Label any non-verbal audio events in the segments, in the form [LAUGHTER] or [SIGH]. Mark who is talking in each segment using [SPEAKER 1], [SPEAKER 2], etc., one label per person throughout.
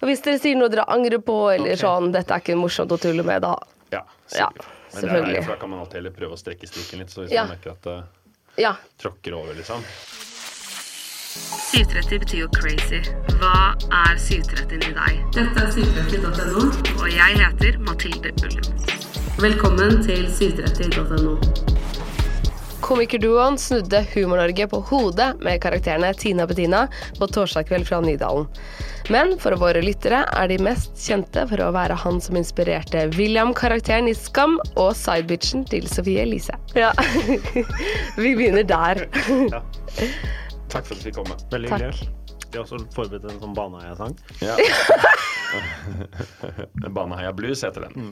[SPEAKER 1] Og hvis dere sier noe dere angrer på, eller
[SPEAKER 2] Ok.
[SPEAKER 1] sånn 'dette er ikke morsomt å tulle med', da
[SPEAKER 2] Ja,
[SPEAKER 1] Ja,
[SPEAKER 2] sikkert. Men det er
[SPEAKER 1] selvfølgelig.
[SPEAKER 2] veien, for da kan man alltid heller prøve å strekke strikken litt, så hvis
[SPEAKER 1] Ja.
[SPEAKER 2] man merker at eh, det
[SPEAKER 1] Ja.
[SPEAKER 2] tråkker over, liksom.
[SPEAKER 3] 730 betyr jo crazy. Hva er 730 i deg? Dette er 730.no. Og jeg heter Mathilde Ullum. Velkommen til 730.no.
[SPEAKER 1] Komikerduoen snudde Humor-Norge på hodet med karakterene Tina Bettina på torsdag kveld fra Nydalen. Men for våre lyttere er de mest kjente for å være han som inspirerte William-karakteren i Skam og sidebitchen til Sofie Elise. Ja, [LAUGHS] vi begynner der.
[SPEAKER 2] Ja. Takk for at du fikk komme.
[SPEAKER 4] Veldig
[SPEAKER 1] Takk.
[SPEAKER 4] hyggelig. Vi har også forberedt en sånn Baneheia-sang. [LAUGHS]
[SPEAKER 2] Ja. [LAUGHS] Baneheia Blues heter den.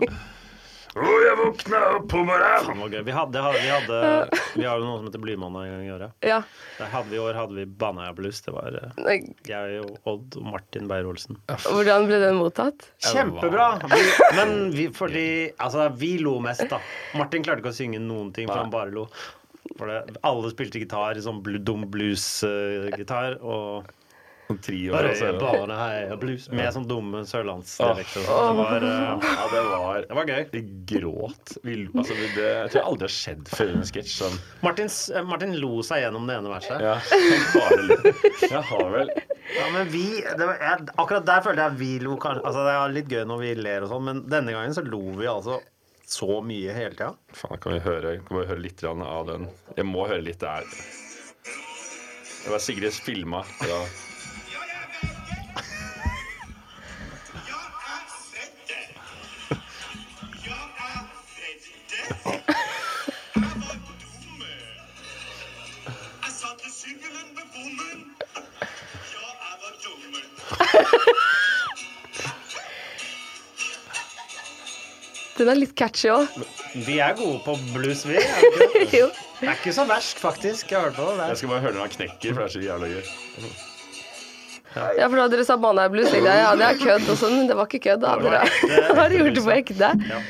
[SPEAKER 2] Å, jeg våkna opp på morgenen!
[SPEAKER 4] Den Mm. var gøy. Vi, hadde, vi,
[SPEAKER 2] [LAUGHS]
[SPEAKER 4] hadde, vi har jo noe som heter Blymann en gang i året.
[SPEAKER 1] Ja.
[SPEAKER 4] Der hadde vi i år hadde vi Baneheia Blues. Det var eh,
[SPEAKER 1] Nei,
[SPEAKER 4] jeg og Odd og Martin Beyer-Olsen.
[SPEAKER 1] Hvordan ble den mottatt?
[SPEAKER 4] Kjempebra! Vi, men vi, fordi, altså, vi lo mest, da. Martin klarte ikke å synge noen ting, for han bare lo. For det, alle spilte gitar, sånn blu- dum blues-gitar. og
[SPEAKER 2] Trio,
[SPEAKER 4] bare,
[SPEAKER 2] altså. Ah.
[SPEAKER 4] bare, hei, blues, Med sånn dumme sørlandsdialekter.
[SPEAKER 2] Åh.
[SPEAKER 4] Det var eh,
[SPEAKER 2] Ja, det var
[SPEAKER 4] det var gøy.
[SPEAKER 2] Vi gråt. Vi, lo- altså, vi, det, jeg tror aldri det har skjedd før i en sketsj sånn.
[SPEAKER 4] Martin, s- eh, Martin lo seg gjennom det ene verset. Ja.
[SPEAKER 2] Ja, jeg bare lo. Jeg har vel
[SPEAKER 4] men vi, det var, jeg, Akkurat der følte jeg vi lo kanskje altså, Det er litt gøy når vi ler og sånn, men denne gangen så lo vi altså så mye hele tida.
[SPEAKER 2] Faen, kan vi høre, kan vi høre litt grann av den? Jeg må høre litt der. Det var Sigrid filma. Ja.
[SPEAKER 1] Den er litt catchy òg.
[SPEAKER 4] Vi er gode på blues, vi. Er vi ikke det?
[SPEAKER 1] [LAUGHS] Jo.
[SPEAKER 4] det er ikke så verst, faktisk. Jeg hørte på det.
[SPEAKER 2] Jeg
[SPEAKER 4] der.
[SPEAKER 2] skal bare høre når han knekker, for det er så jævla gøy.
[SPEAKER 1] Ja, for da dere sa Baneheia Blues, tenkte jeg ja, det er kødd og sånn, men det var ikke kødd. da. Dere har gjort det på ekte. Ja,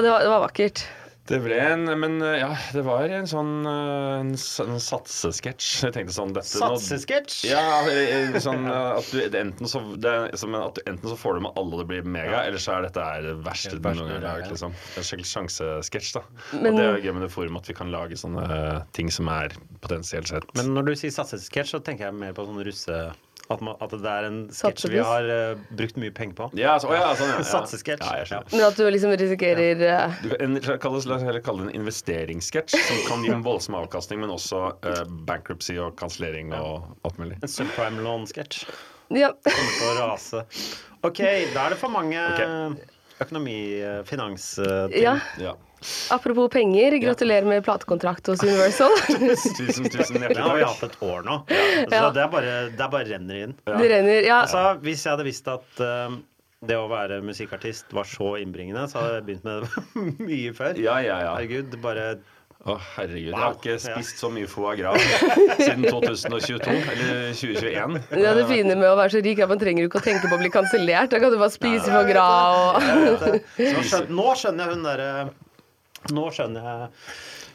[SPEAKER 1] det var, det var vakkert.
[SPEAKER 2] Det ble en Men eh, ja, det var en sånn eh, en, s- en satsesketsj. Jeg tenkte sånn dette nå-
[SPEAKER 4] Satsesketsj.
[SPEAKER 2] Ja, eh, eh, sånn eh, at du, det, enten så, det er, som en- at du enten så får du med alle og det blir mega, eller så er dette her det verste
[SPEAKER 4] Det
[SPEAKER 2] du
[SPEAKER 4] verste
[SPEAKER 2] noen
[SPEAKER 4] jeg har
[SPEAKER 2] gang har lagd.
[SPEAKER 4] laget.
[SPEAKER 2] Liksom. En skikkelig sjansesketsj, da.
[SPEAKER 1] Men-
[SPEAKER 2] og det er jo gøy med det forum at vi kan lage sånne eh, ting som er potensielt sett
[SPEAKER 4] Men når du sier satsesketsj, så tenker jeg mer på sånn russe... At, man, at det er en sketsj vi
[SPEAKER 1] Satseblues.
[SPEAKER 4] har eh, brukt mye penger på.
[SPEAKER 2] ja, så, å, ja, sånn, ja, ja.
[SPEAKER 4] [LAUGHS] Satsesketsj.
[SPEAKER 2] Ja, jeg skjønner.
[SPEAKER 1] Men at du liksom risikerer eh,
[SPEAKER 2] Du kan- en- kall det- La oss heller kalle det en investeringssketsj, som kan gi en voldsom avkastning, men også eh, bankruptcy og kansellering og alt mulig.
[SPEAKER 4] En subprime loan-sketsj.
[SPEAKER 1] Ja.
[SPEAKER 4] Kommer til å rase. OK, da er det for mange
[SPEAKER 2] Ok.
[SPEAKER 4] økonomi... eh, Finansting.
[SPEAKER 1] ja.
[SPEAKER 2] Ja.
[SPEAKER 1] Apropos penger, gratulerer med platekontrakt hos Universal.
[SPEAKER 2] Tusen, tusen
[SPEAKER 4] Det har vi
[SPEAKER 2] hjertelig takk.
[SPEAKER 4] hatt et år nå. Så
[SPEAKER 1] Ja.
[SPEAKER 4] det, er bare, det er bare renner inn.
[SPEAKER 1] Det renner Ja.
[SPEAKER 4] Altså, hvis jeg hadde visst at eh, det å være musikkartist var så innbringende, så hadde jeg begynt med det [LAUGHS] mye før.
[SPEAKER 2] Ja, ja, ja.
[SPEAKER 4] Herregud, bare
[SPEAKER 2] Å, herregud. Jeg har ikke spist så mye foie gras [LAUGHS] siden 2022, eller 2021.
[SPEAKER 1] Det er det fine med å være så rik at man trenger jo ikke å tenke på å bli kansellert. Da kan du bare spise for gras og
[SPEAKER 3] Så nå skjønner, nå skjønner jeg hun derre Nå skjønner jeg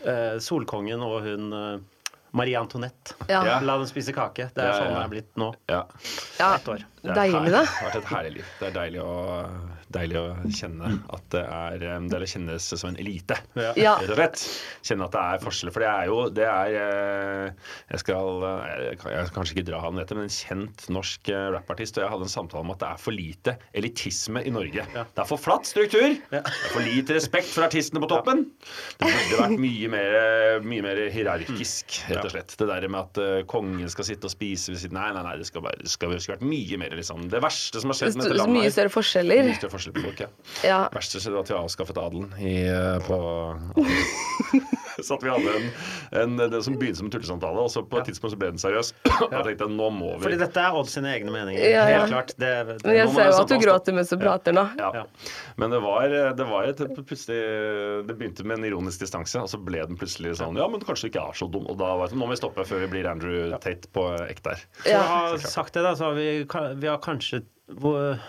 [SPEAKER 3] eh, Solkongen og hun eh, Marie Antoinette.
[SPEAKER 1] Ja.
[SPEAKER 3] La dem spise kake. Det
[SPEAKER 2] Ja,
[SPEAKER 3] er
[SPEAKER 2] ja,
[SPEAKER 3] sånn det
[SPEAKER 2] ja.
[SPEAKER 3] er blitt nå.
[SPEAKER 2] Ja.
[SPEAKER 1] Ja,
[SPEAKER 3] Ett år.
[SPEAKER 1] deilig, da.
[SPEAKER 2] Det har vært et herlig liv. Det er deilig å, deilig å kjenne at det er um, Deilig å kjennes som en elite,
[SPEAKER 1] Ja.
[SPEAKER 2] rett og slett. Kjenne at det er forskjeller. For det er jo Det er eh, Jeg skal eh, jeg kan- jeg skal kanskje ikke dra han dette, men en kjent norsk eh, rappartist, og jeg hadde en samtale om at det er for lite elitisme i Norge. Det er for flatt struktur. Det er for lite respekt for artistene på toppen. Det burde vært mye mer, mye mer hierarkisk, rett og slett. Det der med at eh, kongen skal sitte og spise ved siden Nei, nei, nei, det skal, bare, det skal, det skulle vært mye mer liksom. Det verste som har skjedd med dette
[SPEAKER 1] Så
[SPEAKER 2] landet
[SPEAKER 1] mye
[SPEAKER 2] her-
[SPEAKER 1] større forskjeller.
[SPEAKER 2] Mye større forskjell på folk, ja.
[SPEAKER 1] Ja.
[SPEAKER 2] Det verste skjedde var at vi avskaffet adelen i, eh,
[SPEAKER 1] [LAUGHS]
[SPEAKER 2] på Så at vi hadde en, en, det som begynte som en tullesamtale, og så på et tidspunkt så ble den seriøs. [CLEARS THROAT] Og jeg tenkte nå må vi
[SPEAKER 3] Fordi dette er Odd sine egne meninger.
[SPEAKER 1] Ja, ja.
[SPEAKER 3] Helt klart. Det,
[SPEAKER 1] Men
[SPEAKER 2] Nå
[SPEAKER 1] jeg
[SPEAKER 2] må
[SPEAKER 1] ser
[SPEAKER 2] jeg
[SPEAKER 1] jo
[SPEAKER 2] stoppe
[SPEAKER 1] at
[SPEAKER 2] oss,
[SPEAKER 1] du
[SPEAKER 2] da.
[SPEAKER 1] gråter mens du prater nå.
[SPEAKER 2] Ja. Men det var, det var et plutselig Det begynte med en ironisk distanse, og så ble den plutselig sånn Ja, men kanskje du ikke er så dum. Og da var det sånn Nå må vi stoppe før vi blir Andrew Tate på ekte her.
[SPEAKER 3] For
[SPEAKER 1] Ja.
[SPEAKER 3] å ha sagt det, da, så har vi, ka- vi har kanskje hvor,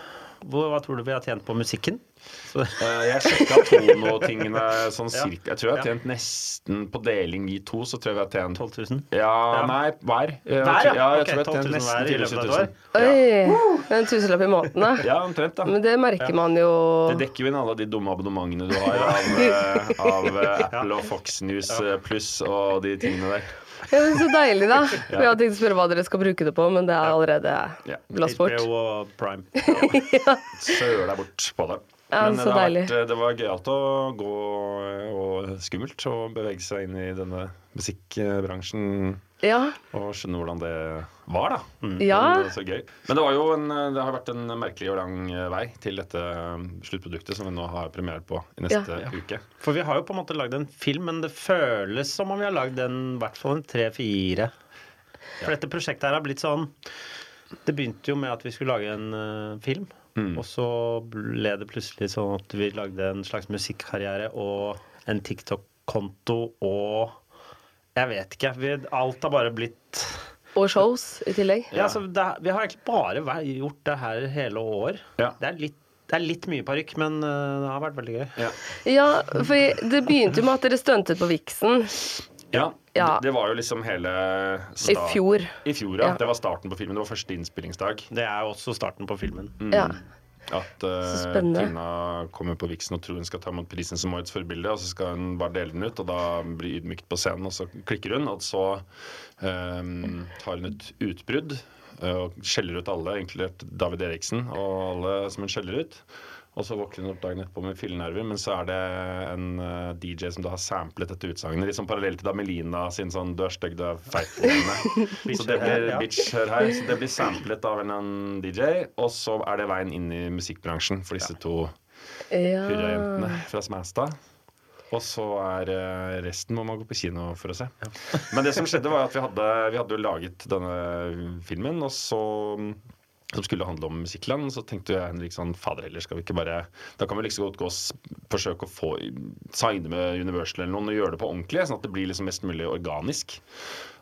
[SPEAKER 3] hvor, Hva tror du vi har tjent på musikken? Så,
[SPEAKER 2] Eh, Jeg sjekka tono-tingene sånn
[SPEAKER 3] Ja.
[SPEAKER 2] cirka. Jeg tror jeg har
[SPEAKER 3] Ja.
[SPEAKER 2] tjent nesten på deling i to, så tror jeg vi har tjent
[SPEAKER 3] 12 000?
[SPEAKER 2] Ja,
[SPEAKER 3] Ja.
[SPEAKER 2] nei, hver. Eh, Jeg
[SPEAKER 3] Hver, ja?
[SPEAKER 2] tror- ja, jeg
[SPEAKER 3] Ok,
[SPEAKER 2] tror jeg har
[SPEAKER 3] 12
[SPEAKER 2] tjent
[SPEAKER 3] 000
[SPEAKER 2] nesten
[SPEAKER 3] hver i
[SPEAKER 2] 10
[SPEAKER 3] løpet av
[SPEAKER 2] 000.
[SPEAKER 3] et
[SPEAKER 2] 000.
[SPEAKER 3] år.
[SPEAKER 1] Oi! En tusenlapp i måneden, da.
[SPEAKER 2] Ja, omtrent, da.
[SPEAKER 1] Men det merker man jo
[SPEAKER 2] Det dekker jo inn alle de dumme abonnementene du har av, eh, av eh, Apple og Fox News eh, pluss og de tingene der.
[SPEAKER 1] Ja, men Så deilig, da. For jeg hadde tenkt å spørre hva dere skal bruke det på, men det er allerede
[SPEAKER 2] Ja.
[SPEAKER 1] blåst bort.
[SPEAKER 3] HBO og Prime.
[SPEAKER 2] søla deg bort på det.
[SPEAKER 1] Ja,
[SPEAKER 2] Men
[SPEAKER 1] så
[SPEAKER 2] det, har
[SPEAKER 1] deilig.
[SPEAKER 2] vært, eh, det var gøyalt å gå og skummelt å bevege seg inn i denne musikkbransjen
[SPEAKER 1] Ja.
[SPEAKER 2] og skjønne hvordan det var, da.
[SPEAKER 1] Ja.
[SPEAKER 2] Men, så gøy. Men det, var jo en, eh, det har vært en merkelig og lang eh, vei til dette mm, sluttproduktet som vi nå har premiere på i neste uke.
[SPEAKER 3] For vi har jo på en måte lagd en film, men det føles som om vi har lagd en i hvert fall en tre-fire. For dette prosjektet her har blitt sånn Det begynte jo med at vi skulle lage en eh, film.
[SPEAKER 2] Mm.
[SPEAKER 3] Og så ble det plutselig sånn at vi lagde en slags musikkarriere og en TikTok-konto og Jeg vet ikke. Vi, alt har bare blitt
[SPEAKER 1] Og shows i tillegg.
[SPEAKER 3] ja, altså, det, Vi har egentlig bare væ- gjort det her hele år.
[SPEAKER 2] Ja.
[SPEAKER 3] Det, er litt, det er litt mye parykk, men eh, det har vært veldig gøy.
[SPEAKER 1] Ja, for det begynte jo med at dere stuntet på Vixen
[SPEAKER 2] Ja,
[SPEAKER 1] Ja.
[SPEAKER 2] Det, det var jo liksom hele
[SPEAKER 1] i
[SPEAKER 2] start-
[SPEAKER 1] fjor.
[SPEAKER 2] I fjor, ja.
[SPEAKER 1] Ja.
[SPEAKER 2] Det var starten på filmen. Det var første innspillingsdag.
[SPEAKER 3] Det er jo også starten på filmen.
[SPEAKER 1] Ja.
[SPEAKER 2] At eh,
[SPEAKER 1] spennende.
[SPEAKER 2] Tina kommer på Vixen og tror hun skal ta imot prisen som årets forbilde, og så skal hun bare dele den ut, og da blir ydmykt på scenen, og så klikker hun, og så eh, har hun et utbrudd eh, og skjeller ut alle, inkludert David Eriksen og alle som hun skjeller ut. Og så våkner hun opp dagen etterpå med fyllenerver, men så er det en eh, DJ som da har samplet dette utsagnet, litt sånn parallell til da Melina sin sånn 'du er stygg, du er feit' på henne. Så det blir
[SPEAKER 3] Ja.
[SPEAKER 2] bitch hør her. Så det blir samplet av en annen DJ, og så er det veien inn i musikkbransjen for disse to
[SPEAKER 1] ja.
[SPEAKER 2] hurrajentene fra Smestad. Og så er eh, resten må man gå på kino for å se. [LAUGHS] Men det som skjedde, var at vi hadde, vi hadde jo laget denne filmen, og så som skulle handle om musikkland. Så tenkte jeg Henrik sånn, fader heller, skal vi ikke bare Da kan vi like så godt gå og s- forsøke å få signe med Universal eller noen og gjøre det på ordentlig, sånn at det blir liksom mest mulig organisk.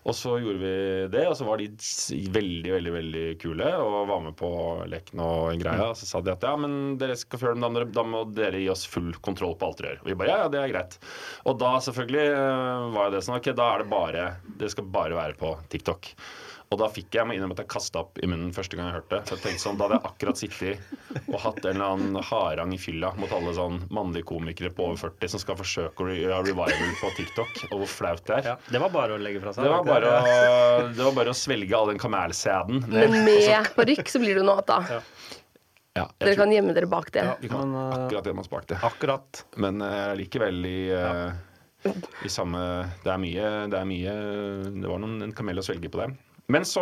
[SPEAKER 2] Og så gjorde vi det, og så var de s- veldig veldig, veldig kule og var med på leken og greia. Og så sa de at ja, men dere skal få gjøre det, men da må- da må dere gi oss full kontroll på alt dere gjør. Og vi bare ja, ja, det er greit. Og da selvfølgelig eh, var jo det sånn ok, da er det bare Det skal bare være på TikTok. Og da fikk jeg meg innrømme at jeg kasta opp i munnen første gang jeg hørte det. Så jeg tenkte sånn, Da hadde jeg akkurat sittet og hatt en eller annen harang i fylla mot alle sånn mannlige komikere på over 40 som skal forsøke å re- gjøre revival på TikTok, og hvor flaut det er.
[SPEAKER 3] Ja, det var bare å legge fra seg.
[SPEAKER 2] Det var
[SPEAKER 3] var ikke
[SPEAKER 2] bare
[SPEAKER 3] det?
[SPEAKER 2] å, det var bare å svelge all den kamelsæden.
[SPEAKER 1] Men med parykk så blir det jo noe annet, da.
[SPEAKER 2] Ja, jeg
[SPEAKER 1] Dere
[SPEAKER 2] tror
[SPEAKER 1] kan gjemme dere bak det.
[SPEAKER 2] vi kan
[SPEAKER 3] Men, eh,
[SPEAKER 2] akkurat det man sparte.
[SPEAKER 3] Akkurat.
[SPEAKER 2] Men eh, likevel i, eh, i samme Det er mye Det, er mye, det var noen, en kamel å svelge på det. Men så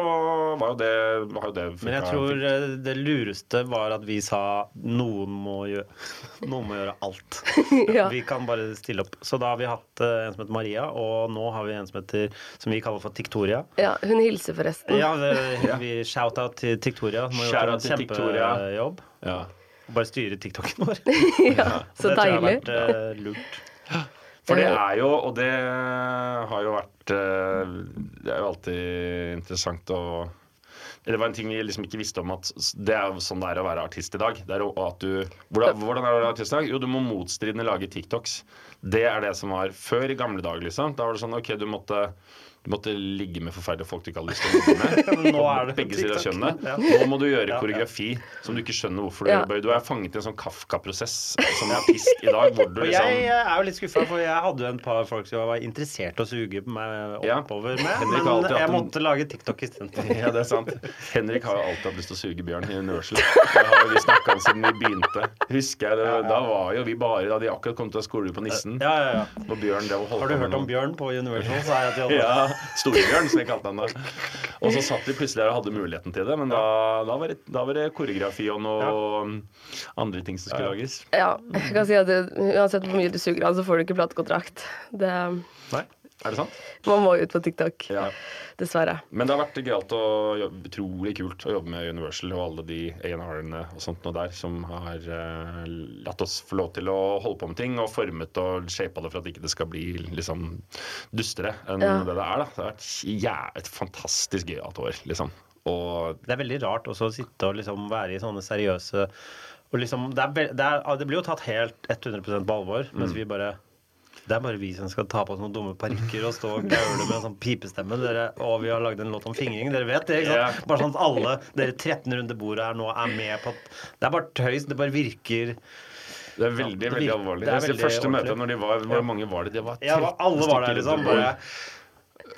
[SPEAKER 2] var jo det, var jo det
[SPEAKER 3] Men jeg tror eh, det lureste var at vi sa noen må gjøre, [LAUGHS] noen må gjøre alt.
[SPEAKER 1] [LAUGHS] Ja.
[SPEAKER 3] Vi kan bare stille opp. Så da har vi hatt eh, en som heter Maria, og nå har vi en som heter som vi kaller for Tiktoria.
[SPEAKER 1] Ja, hun hilser forresten.
[SPEAKER 3] Ja, det- vi Shout-out til Tiktoria. som har
[SPEAKER 2] Shout-out
[SPEAKER 3] gjort en
[SPEAKER 2] til Tiktoria.
[SPEAKER 3] kjempejobb.
[SPEAKER 2] ja.
[SPEAKER 3] Bare styre TikToken vår.
[SPEAKER 1] Så
[SPEAKER 3] det tror jeg
[SPEAKER 1] deilig.
[SPEAKER 3] har vært eh, lurt.
[SPEAKER 2] For det
[SPEAKER 1] Ja.
[SPEAKER 2] er jo, og det har jo vært eh, Det er jo alltid interessant å det var en ting vi liksom ikke visste om at s- Det er jo sånn det er å være artist i dag. Det er jo at du, hvordan, hvordan er det å være artist i dag? Jo, du må motstridende lage TikToks. Det er det som var før i gamle dager. liksom Da var det sånn OK, du måtte, du måtte ligge med forferdelige folk du ikke hadde lyst til å ligge med.
[SPEAKER 3] [LAUGHS] Men nå er det
[SPEAKER 2] Begge sider av
[SPEAKER 3] TikTok.
[SPEAKER 2] kjønnet.
[SPEAKER 3] Ja.
[SPEAKER 2] Nå må du gjøre
[SPEAKER 3] Ja, ja.
[SPEAKER 2] koreografi som du ikke skjønner hvorfor du
[SPEAKER 1] Ja.
[SPEAKER 2] gjør. Bøy. Du er fanget i en sånn Kafka-prosess som artist i dag, hvor du
[SPEAKER 3] Og
[SPEAKER 2] liksom
[SPEAKER 3] jeg eh, er jo litt skuffa, for jeg hadde jo en par folk som var interessert i å suge meg
[SPEAKER 2] Ja.
[SPEAKER 3] oppover
[SPEAKER 2] Henrik
[SPEAKER 3] med,
[SPEAKER 2] har alltid
[SPEAKER 3] men
[SPEAKER 2] hatt
[SPEAKER 3] jeg
[SPEAKER 2] en-
[SPEAKER 3] måtte lage TikTok istedenfor.
[SPEAKER 2] Ja, det er sant. Henrik har jo alltid hatt lyst til å suge bjørn i Nørsel. Det har jo vi snakka om siden vi begynte. Husker jeg det, Da var jo vi bare Da de akkurat kom til skolen på Nissen.
[SPEAKER 3] Ja, ja, ja.
[SPEAKER 2] Og Bjørn det var holdt
[SPEAKER 3] Har du
[SPEAKER 2] på med
[SPEAKER 3] hørt om
[SPEAKER 2] noe.
[SPEAKER 3] Bjørn på Universal? Så er jeg til alle.
[SPEAKER 2] Ja. Storebjørn, som vi kalte han da. Og så satt vi plutselig der og hadde muligheten til det, men da, da, var, det, da var det koreografi og noe andre ting som skulle lages.
[SPEAKER 1] Ja, jeg kan si at det, uansett hvor mye du suger av, så får du ikke platekontrakt. Det,
[SPEAKER 2] Nei, er det sant?
[SPEAKER 1] man må ut på TikTok.
[SPEAKER 2] Ja.
[SPEAKER 1] Dessverre.
[SPEAKER 2] Men det har vært gøyalt og jobb- utrolig kult å jobbe med Universal og alle de A&R-ene og sånt noe der som har eh, latt oss få lov til å holde på med ting og formet og shapa det for at ikke det skal bli liksom dustere enn
[SPEAKER 1] Ja.
[SPEAKER 2] det det er. da. Det har vært jæ et fantastisk gøyalt år, liksom. Og
[SPEAKER 3] Det er veldig rart også å sitte og liksom være i sånne seriøse og liksom, det, er, ve- det, er, det blir jo tatt helt 100 på alvor, mens vi bare det er bare vi som skal ta på oss noen dumme parykker og stå og gaule med en sånn pipestemme. Dere, og vi har lagd en låt om fingring. Dere vet det? ikke sant?
[SPEAKER 2] Ja.
[SPEAKER 3] Bare sånn at alle dere 13 rundt bordet her nå er med på at Det er bare tøys. Det bare virker
[SPEAKER 2] det er veldig,
[SPEAKER 3] det
[SPEAKER 2] veldig
[SPEAKER 3] vir-
[SPEAKER 2] alvorlig.
[SPEAKER 3] det er
[SPEAKER 2] Det, det
[SPEAKER 3] veldig
[SPEAKER 2] første
[SPEAKER 3] ordentlig.
[SPEAKER 2] møtet når de var Hvor mange var det? Det var
[SPEAKER 3] Ja,
[SPEAKER 2] 13
[SPEAKER 3] alle var der,
[SPEAKER 2] stykker
[SPEAKER 3] liksom.
[SPEAKER 2] rundt bordet.
[SPEAKER 3] Bare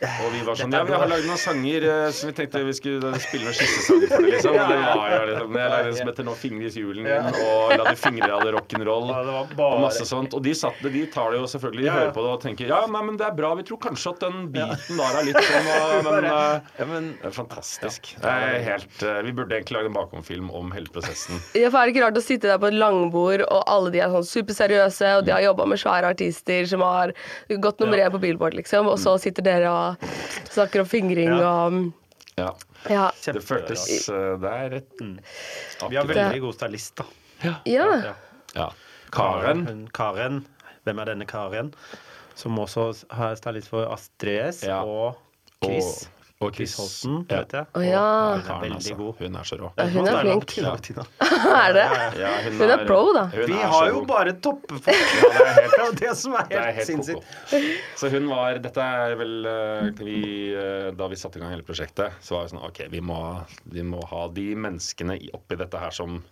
[SPEAKER 2] Og vi var sånn Ja,
[SPEAKER 3] Dette er
[SPEAKER 2] vi har
[SPEAKER 3] bra.
[SPEAKER 2] lagd noen sanger eh, som vi tenkte vi skulle da spille noen skissesanger for dere, liksom. Og det var jo liksom Jeg lagde en som heter 'Nå fingres julen din', og 'La de fingre av det rock'n'roll'.
[SPEAKER 3] Ja, det var bare-
[SPEAKER 2] Og masse sånt. Og de satt det, de tar det jo selvfølgelig, de
[SPEAKER 3] Ja, ja.
[SPEAKER 2] hører på det og tenker 'ja, nei, men det er bra, vi tror kanskje at den biten der er litt sånn',
[SPEAKER 3] [LAUGHS]
[SPEAKER 2] og, men eh, det er fantastisk. Det er helt, eh, vi burde egentlig lage en bakomfilm om hele prosessen.
[SPEAKER 1] Ja, for er det ikke rart å sitte der på et langbord, og alle de er sånn superseriøse, og
[SPEAKER 2] Mm.
[SPEAKER 1] de har jobba med svære artister som har gått nummer én på Billboard, liksom, og så sitter dere og snakker om fingring og
[SPEAKER 2] Mm. Ja.
[SPEAKER 1] Ja.
[SPEAKER 2] Det føltes eh, Det er et
[SPEAKER 3] Mm. Vi har veldig god stylist, da.
[SPEAKER 1] ja.
[SPEAKER 2] Ja. Karen.
[SPEAKER 3] Hun Karen. Hvem er denne Karen? Som også har stylist for Astrid S
[SPEAKER 2] Ja.
[SPEAKER 3] og Chris.
[SPEAKER 2] Og, og
[SPEAKER 3] Chris Holten,
[SPEAKER 2] Ja.
[SPEAKER 3] vet jeg.
[SPEAKER 1] Å ja.
[SPEAKER 3] Og hun er
[SPEAKER 2] Karen,
[SPEAKER 3] veldig
[SPEAKER 2] altså.
[SPEAKER 3] god.
[SPEAKER 2] Hun er så rå.
[SPEAKER 1] Hun er flink.
[SPEAKER 3] Ja. Tina.
[SPEAKER 1] [LAUGHS] Er det?
[SPEAKER 2] Ja,
[SPEAKER 1] Hun er pro, da.
[SPEAKER 2] hun
[SPEAKER 3] Vi
[SPEAKER 2] er
[SPEAKER 3] har
[SPEAKER 2] så
[SPEAKER 3] jo
[SPEAKER 2] god.
[SPEAKER 3] bare
[SPEAKER 2] [LAUGHS]
[SPEAKER 3] toppfolk.
[SPEAKER 2] ja, det, er helt,
[SPEAKER 3] Det er jo det som er
[SPEAKER 2] det er
[SPEAKER 3] helt
[SPEAKER 2] helt
[SPEAKER 3] sinnssykt.
[SPEAKER 2] koko. Så hun var Dette er vel eh, vi, eh, Da vi satte i gang hele prosjektet, så var det sånn OK, vi må, vi må ha de menneskene i- oppi dette her som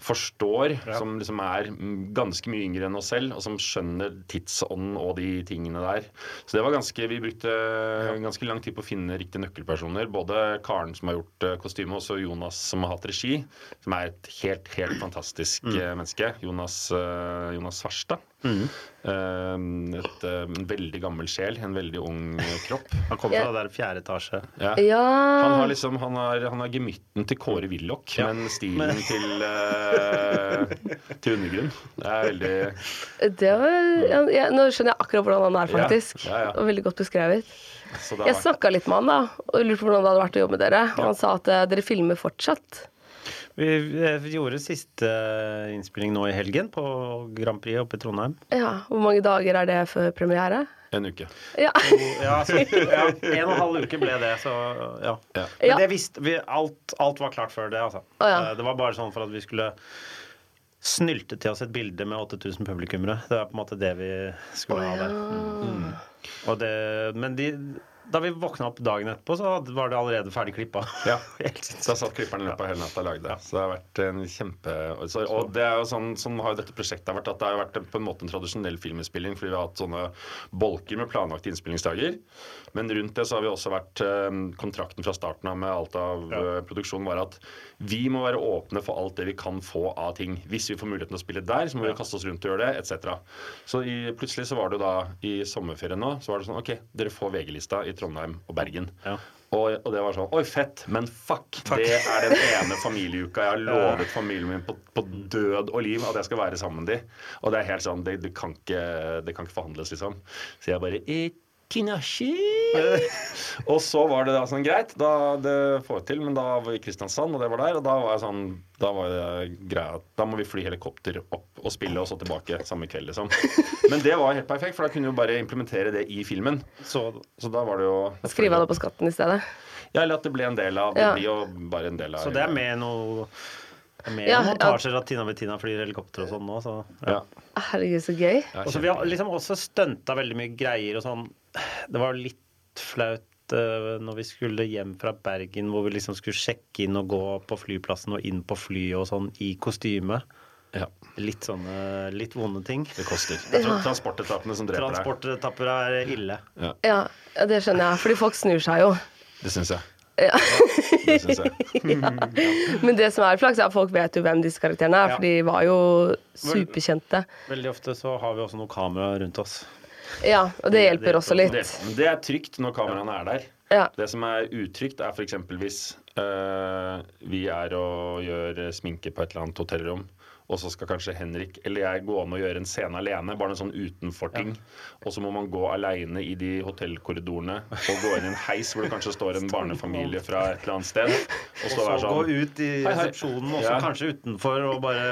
[SPEAKER 2] forstår, som liksom er mm, ganske mye yngre enn oss selv, og som skjønner tidsånden og de tingene der. Så det var ganske Vi brukte ganske lang tid på å finne riktige nøkkelpersoner. Både Karen, som har gjort eh, kostyme, og så Jonas, som har hatt regi. Som er et helt, helt fantastisk eh, menneske. Jonas, eh, Jonas Svarstad. Eh, et, eh, en veldig gammel sjel, en veldig ung eh, kropp.
[SPEAKER 3] Han kommer fra der fjerde etasje.
[SPEAKER 2] Ja. Han
[SPEAKER 1] Ja.
[SPEAKER 2] har liksom, han har, han har gemytten til Kåre Willoch, men stilen til, eh, til undergrunn. Det er veldig
[SPEAKER 1] Det var, ja, ja, nå skjønner jeg akkurat hvordan han er,
[SPEAKER 2] Ja,
[SPEAKER 1] faktisk.
[SPEAKER 2] ja, ja.
[SPEAKER 1] Og Veldig godt beskrevet.
[SPEAKER 2] så det har
[SPEAKER 1] Jeg
[SPEAKER 2] vært-
[SPEAKER 1] snakka litt med han da, og lurte på hvordan det hadde vært å jobbe med dere. Og han sa at eh, dere filmer fortsatt.
[SPEAKER 3] Vi, eh, vi gjorde siste eh, innspilling nå i helgen på Grand Prix oppe i Trondheim.
[SPEAKER 1] Ja, Hvor mange dager er det før premiere?
[SPEAKER 2] en uke.
[SPEAKER 1] Ja. [LAUGHS]
[SPEAKER 3] Ja, så, ja, en og en halv uke ble det, så ja.
[SPEAKER 2] Ja.
[SPEAKER 1] Ja.
[SPEAKER 3] Men det visste vi alt, alt var klart før det, altså.
[SPEAKER 1] Å, ja.
[SPEAKER 3] Eh, Det var bare sånn for at vi skulle snylte til oss et bilde med 8000 publikummere. Det var på en måte det vi skulle ha der. Mm. Og det, men de, da vi våkna opp dagen etterpå, så hadde- var det allerede ferdig klippa.
[SPEAKER 2] Ja.
[SPEAKER 3] [LAUGHS] Helt
[SPEAKER 2] Så
[SPEAKER 3] sinnssykt.
[SPEAKER 2] jeg satt klipperen i løpet av hele natta og lagde det. Så det har vært en kjempe... og så- Og det er jo sånn, sånn har jo dette prosjektet vært, at det har vært på en måte en tradisjonell filminnspilling, fordi vi har hatt sånne bolker med planlagte innspillingsdager. Men rundt det så har vi også vært eh, Kontrakten fra starten av med alt av eh, produksjonen var at vi må være åpne for alt det vi kan få av ting. Hvis vi får muligheten til å spille der, så må vi kaste oss rundt og gjøre det, etc. Så i, plutselig så var det jo da i sommerferien nå, så var det sånn OK, dere får VG-lista i Trondheim og Bergen.
[SPEAKER 3] Ja.
[SPEAKER 2] Og, og det var sånn Oi, fett, men fuck! Det er den ene familieuka jeg har
[SPEAKER 3] Eh.
[SPEAKER 2] lovet familien min på, på død og liv at jeg skal være sammen med de. Og det er helt sånn Det, det, kan, ikke, det kan ikke forhandles, liksom. Så jeg bare Ikke
[SPEAKER 3] [LAUGHS]
[SPEAKER 2] Kinashi. og så var det da sånn greit, da det får vi til, men da var vi i Kristiansand, og det var der. Og da var jeg sånn Da var det greia at da må vi fly helikopter opp og spille, og så tilbake samme kveld,
[SPEAKER 3] [LAUGHS]
[SPEAKER 2] liksom. Men det var helt perfekt, for da kunne vi jo bare implementere det i filmen. Så, så da var det jo
[SPEAKER 1] Skrive han opp på skatten i stedet.
[SPEAKER 2] Ja, eller at det ble en del av Det
[SPEAKER 1] Ja.
[SPEAKER 2] blir jo bare en del av
[SPEAKER 3] Så det er med noe det er med
[SPEAKER 1] Ja, ja.
[SPEAKER 3] noen montasjer at Tina Bettina flyr helikopter og sånn nå. Så.
[SPEAKER 2] Ja.
[SPEAKER 1] Herregud, så gøy.
[SPEAKER 2] Ja,
[SPEAKER 3] Og så vi har liksom også stunta veldig mye greier og sånn. Det var litt flaut eh, når vi skulle hjem fra Bergen, hvor vi liksom skulle sjekke inn og gå på flyplassen og inn på flyet og sånn i kostyme.
[SPEAKER 2] Ja,
[SPEAKER 3] Litt sånne litt vonde ting.
[SPEAKER 2] det koster. Det er tra- transportetatene som dreper deg.
[SPEAKER 3] Transportetapper er ille.
[SPEAKER 1] Ja, det skjønner jeg, fordi folk snur seg jo.
[SPEAKER 2] Det syns jeg. Ja. [LAUGHS] Det syns jeg.
[SPEAKER 1] Men det som er flaks, er at folk vet jo hvem disse karakterene er,
[SPEAKER 3] Ja.
[SPEAKER 1] for de var jo superkjente.
[SPEAKER 3] Veldig ofte så har vi også noe kamera rundt oss.
[SPEAKER 1] Ja, og det
[SPEAKER 3] det-
[SPEAKER 1] hjelper også
[SPEAKER 2] Det,
[SPEAKER 1] litt.
[SPEAKER 2] men det er trygt når kameraene er der.
[SPEAKER 1] Ja.
[SPEAKER 2] Det som er utrygt, er f.eks. hvis eh, vi er og gjør sminke på et eller annet hotellrom, og så skal kanskje Henrik eller jeg gå an og gjøre en scene alene, bare en sånn utenfor-ting. Og så må man gå aleine i de hotellkorridorene og gå inn i en heis hvor det kanskje står
[SPEAKER 3] [LAUGHS]
[SPEAKER 2] en barnefamilie fra et eller annet sted. Og
[SPEAKER 3] Så
[SPEAKER 2] så være
[SPEAKER 3] gå
[SPEAKER 2] sånn
[SPEAKER 3] ut i
[SPEAKER 2] Hei, hei.
[SPEAKER 3] resepsjonen, også
[SPEAKER 2] Ja.
[SPEAKER 3] kanskje utenfor, og bare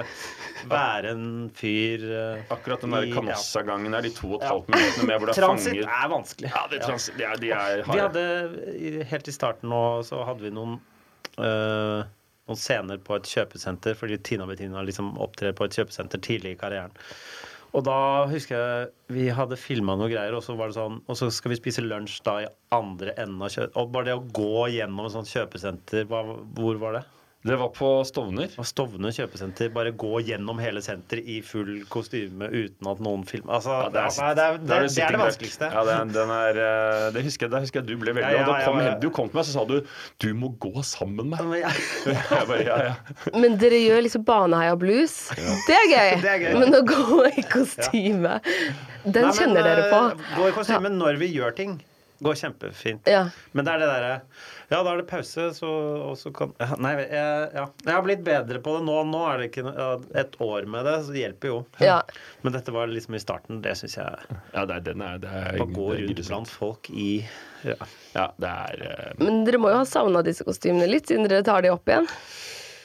[SPEAKER 3] være en fyr eh,
[SPEAKER 2] Akkurat den der
[SPEAKER 3] i- ja.
[SPEAKER 2] Canossa-gangen der, de to og et halvt minuttene med hvor det er
[SPEAKER 3] Transit
[SPEAKER 2] fanger
[SPEAKER 3] er vanskelig.
[SPEAKER 2] Ja, det er trans... De er, de er
[SPEAKER 3] Vi
[SPEAKER 2] harde.
[SPEAKER 3] hadde, i- Helt i starten nå så hadde vi noen eh, noen scener på et kjøpesenter, fordi Tina Bettina liksom opptrer på et kjøpesenter tidlig i karrieren. Og da husker jeg vi hadde filma noe greier, og så var det sånn Og så skal vi spise lunsj da i andre enden av kjø... Og bare det å gå gjennom et sånt kjøpesenter, hva, hvor var det?
[SPEAKER 2] Det var på Stovner.
[SPEAKER 3] Og Stovner kjøpesenter. Bare gå gjennom hele senteret i full kostyme uten at noen filmer. Altså,
[SPEAKER 2] Ja,
[SPEAKER 3] det, er, nei, det, er, det,
[SPEAKER 2] der
[SPEAKER 3] er, det er
[SPEAKER 2] sitting
[SPEAKER 3] det
[SPEAKER 2] duck.
[SPEAKER 3] vanskeligste.
[SPEAKER 2] Ja, den, den er, eh, det husker jeg, der husker jeg du ble veldig
[SPEAKER 3] Ja, ja,
[SPEAKER 2] og da
[SPEAKER 3] jeg
[SPEAKER 2] kom,
[SPEAKER 3] var-
[SPEAKER 2] hen- Du kom til meg så sa du 'du må gå sammen med meg'.
[SPEAKER 3] Men jeg-
[SPEAKER 2] [LAUGHS] Jeg bare, ja, ja.
[SPEAKER 1] Men dere gjør liksom Baneheia blues. Det er gøy!
[SPEAKER 3] [LAUGHS] Det er gøy.
[SPEAKER 1] Men å gå i kostyme, den
[SPEAKER 3] Nei, men,
[SPEAKER 1] kjenner dere på.
[SPEAKER 3] eh, Gå i kostyme når vi gjør ting. Går kjempefint.
[SPEAKER 1] Ja.
[SPEAKER 3] Men det er det derre Ja, da er det pause, så, og så kan ja, Nei, jeg, ja. jeg har blitt bedre på det nå. Nå er det ikke noe- ja, et år med det, så det hjelper jo.
[SPEAKER 1] Ja.
[SPEAKER 3] Men dette var liksom i starten. Det syns jeg.
[SPEAKER 2] ja det er, den er, det er,
[SPEAKER 3] Å gå
[SPEAKER 2] det er
[SPEAKER 3] rundt
[SPEAKER 2] grusomt.
[SPEAKER 3] blant folk i ja.
[SPEAKER 2] Ja, det er eh,
[SPEAKER 1] Men dere må jo ha savna disse kostymene litt, siden dere tar de opp igjen.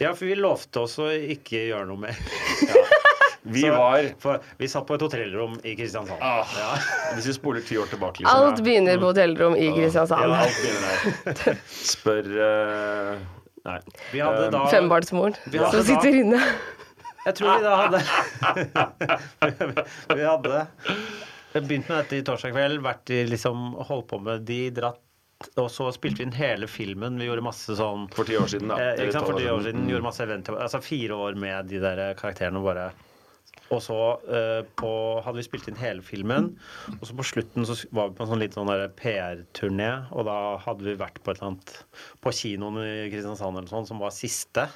[SPEAKER 3] ja, for vi lovte oss å ikke gjøre noe mer.
[SPEAKER 2] Vi
[SPEAKER 3] Så-
[SPEAKER 2] var
[SPEAKER 3] For vi satt på et hotellrom i Kristiansand.
[SPEAKER 2] ah, Hvis vi spoler ti år tilbake, liksom.
[SPEAKER 1] Alt begynner på hotellrom i
[SPEAKER 2] Ja,
[SPEAKER 1] Kristiansand.
[SPEAKER 2] alt begynner der. Spør eh, Nei.
[SPEAKER 3] Vi hadde
[SPEAKER 2] Um,
[SPEAKER 3] da
[SPEAKER 1] Fembarnsmoren
[SPEAKER 3] Ja.
[SPEAKER 1] som sitter inne.
[SPEAKER 3] Jeg tror vi da hadde [LAUGHS] Vi hadde begynt med dette i torsdag kveld, vært i liksom holdt på med de dratt og så spilte vi inn hele filmen. Vi gjorde masse sånn
[SPEAKER 2] For ti år siden, da.
[SPEAKER 3] Eh,
[SPEAKER 2] Eller
[SPEAKER 3] ikke sant,
[SPEAKER 2] tolv
[SPEAKER 3] for ti
[SPEAKER 2] år
[SPEAKER 3] år siden gjorde masse event, altså fire år med de der eh, karakterene og bare og så eh, på, hadde vi spilt inn hele filmen, og så på slutten så var vi på en sånn liten sånn der PR-turné. Og da hadde vi vært på et eller annet på kinoen i Kristiansand eller sånn, som var siste.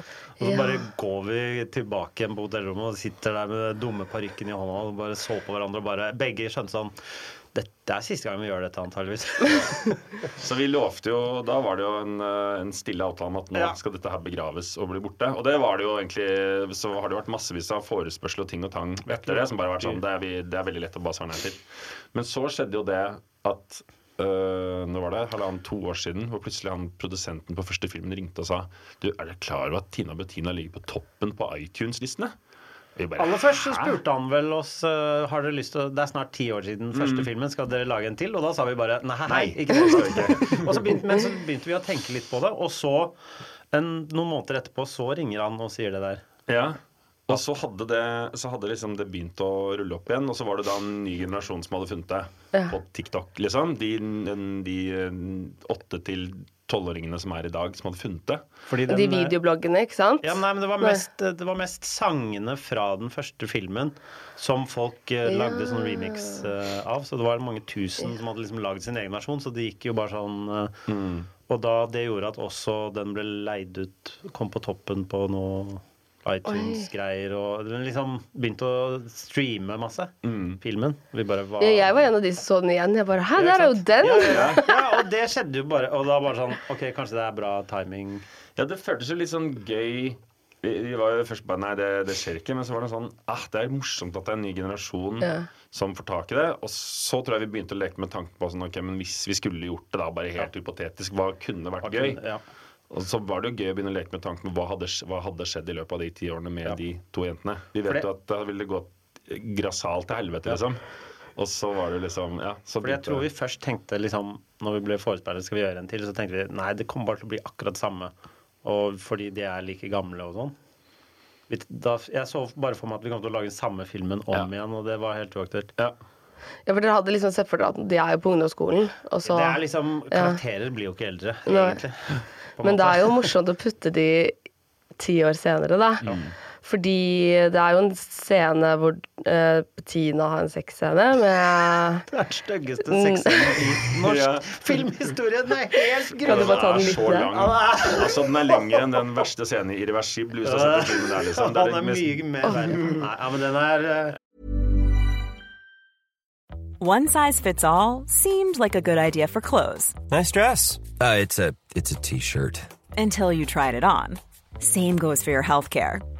[SPEAKER 3] Og så
[SPEAKER 1] Ja.
[SPEAKER 3] bare går vi tilbake igjen på hotellrommet og sitter der med den dumme parykken i hånda og bare så på hverandre og bare Begge skjønte sånn Dette er siste gang vi gjør dette, antageligvis.
[SPEAKER 2] Så vi lovte jo, da var det jo en, eh, en stille avtale om at nå
[SPEAKER 3] Ja.
[SPEAKER 2] skal dette her begraves og bli borte. Og det var det jo egentlig, så har det jo vært massevis av forespørsel og ting og tang etter det, som bare har vært sånn, det er, vi, det er veldig lett å bare svare nei til. Men så skjedde jo det at øh, nå var det halvannen to år siden, hvor plutselig han produsenten på første filmen ringte og sa Du, er dere klar over at Tina Bettina ligger på toppen på iTunes-listene? Vi bare,
[SPEAKER 3] Aller først så
[SPEAKER 2] «Hæ?»
[SPEAKER 3] spurte han vel oss eh, Har dere lyst til å Det er snart ti år siden første filmen, skal dere lage en til? Og da sa vi bare nei.
[SPEAKER 2] Mm. Nei.
[SPEAKER 3] Ikke det, skal vi ikke.
[SPEAKER 2] [LAUGHS]
[SPEAKER 3] og så begynte, men så begynte vi å tenke litt på det, og så en, noen måneder etterpå så ringer han og sier det der.
[SPEAKER 2] Ja. Og så hadde, det, så hadde liksom det begynt å rulle opp igjen, og så var det da en ny generasjon som hadde funnet det på TikTok. liksom. De, den- de eh, åtte til tolvåringene som er i dag, som hadde funnet det.
[SPEAKER 3] Fordi den,
[SPEAKER 1] De
[SPEAKER 3] eh,
[SPEAKER 1] videobloggene, ikke sant?
[SPEAKER 3] ja, nei, men det var,
[SPEAKER 1] Nei.
[SPEAKER 3] mest, eh, det var mest sangene fra den første filmen som folk eh, lagde sånn remix eh, av. Så det var mange tusen som hadde liksom lagd sin egen versjon, så det gikk jo bare sånn eh, Og da det gjorde at også den ble leid ut, kom på toppen på noe iTunes-greier og den liksom begynte å streame masse. Filmen. Vi bare var
[SPEAKER 1] Ja, jeg var en av de som så den igjen. Jeg bare Hæ,
[SPEAKER 3] Ja,
[SPEAKER 1] der er jo
[SPEAKER 3] ikke sant?
[SPEAKER 1] den!
[SPEAKER 3] Ja, ja, ja. ja, og det skjedde jo bare. Og da bare sånn OK, kanskje det er bra timing.
[SPEAKER 2] Ja, det føltes jo litt sånn gøy Vi, vi var jo først bare Nei, det, det skjer ikke. Men så var det sånn ah, Det er morsomt at det er en ny generasjon
[SPEAKER 1] Ja.
[SPEAKER 2] som får tak i det. Og så tror jeg vi begynte å leke med tanken på sånn, ok, men hvis vi skulle gjort det, da bare helt hypotetisk, hva kunne vært gøy?
[SPEAKER 3] Ja.
[SPEAKER 2] Og så var det jo gøy å begynne å leke med tanken på hva hadde, sk- hva hadde skjedd i løpet av de ti årene med de to jentene. Vi
[SPEAKER 3] For
[SPEAKER 2] vet
[SPEAKER 3] det-
[SPEAKER 2] jo at da ville det gått grassat til helvete, liksom. Og så var det jo liksom ja, så
[SPEAKER 3] Fordi jeg
[SPEAKER 2] begynte-
[SPEAKER 3] tror vi først tenkte liksom Når vi ble forespeilet skal vi gjøre en til, så tenkte vi nei, det kommer bare til å bli akkurat det samme. Og fordi de er like gamle og sånn. Vi- Da, jeg så bare for meg at vi kom til å lage den samme filmen om
[SPEAKER 2] Ja.
[SPEAKER 3] igjen, og det var helt uaktuelt.
[SPEAKER 2] ja.
[SPEAKER 1] Ja, for dere hadde liksom sett for dere at de er jo på ungdomsskolen, og så
[SPEAKER 3] Det er liksom, Karakterer blir jo ikke eldre,
[SPEAKER 1] Nei.
[SPEAKER 3] egentlig. på en
[SPEAKER 1] Men det
[SPEAKER 3] måte.
[SPEAKER 1] er jo morsomt å putte de ti år senere, da. Fordi det er jo en scene hvor eh, Bettina har en sexscene med
[SPEAKER 3] [LAUGHS] Det er den styggeste sexscenen i norsk filmhistorie. Den er helt
[SPEAKER 2] [LAUGHS]
[SPEAKER 3] grå!
[SPEAKER 1] Kan du bare ta den
[SPEAKER 2] er
[SPEAKER 1] litt
[SPEAKER 2] så
[SPEAKER 1] ned?
[SPEAKER 2] lang. Altså, den er lengre enn den verste scenen i Irreversible. Hvis du har sett den filmen der,
[SPEAKER 3] [LAUGHS]
[SPEAKER 2] liksom. Det
[SPEAKER 3] Han er
[SPEAKER 2] den mest-
[SPEAKER 3] mye mer verre. Nei, ja, men den er eh,
[SPEAKER 5] One size fits all seemed like a good idea for clothes
[SPEAKER 6] Nice dress. Uh, it's a it's a t-shirt.
[SPEAKER 5] until you tried it on. Same goes for your healthcare.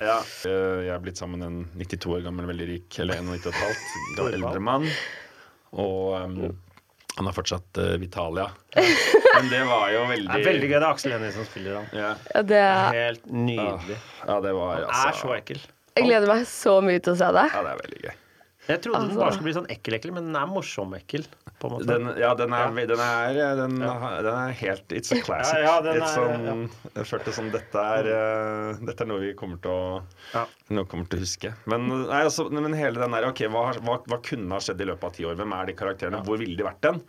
[SPEAKER 2] Ja, eh, jeg er blitt sammen med en 92 år gammel, veldig rik, eller 91 og et halvt,
[SPEAKER 3] [LAUGHS]
[SPEAKER 2] gammel eldre mann. Og em, han er fortsatt eh, Vitalia.
[SPEAKER 3] [LAUGHS]
[SPEAKER 2] Men det var jo veldig
[SPEAKER 3] det er veldig gøy. Det er Aksel Hennie som spiller han.
[SPEAKER 2] Ja, Ah.
[SPEAKER 1] Ja, det
[SPEAKER 3] Helt nydelig.
[SPEAKER 2] ja det var
[SPEAKER 3] Han er så
[SPEAKER 2] altså
[SPEAKER 3] ekkel.
[SPEAKER 1] Jeg gleder meg så mye til å se det.
[SPEAKER 2] Ja, det er veldig gøy.
[SPEAKER 3] Jeg trodde den
[SPEAKER 1] Altså.
[SPEAKER 3] bare skulle bli sånn ekkel-ekkel, men den er morsom-ekkel. på en måte.
[SPEAKER 2] Den, ja, den er, den er, eh, den, den er helt It's a classic.
[SPEAKER 3] Ja, ja, den
[SPEAKER 2] It's
[SPEAKER 3] er-
[SPEAKER 2] sånn, Jeg følte som dette er, eh, dette er noe vi kommer til å
[SPEAKER 3] Ja.
[SPEAKER 2] noe vi kommer til å huske. Men, nei, altså, men hele den der OK, hva, har- hva, hva kunne ha skjedd i løpet av ti år? Hvem er de karakterene? Hvor ville de vært den?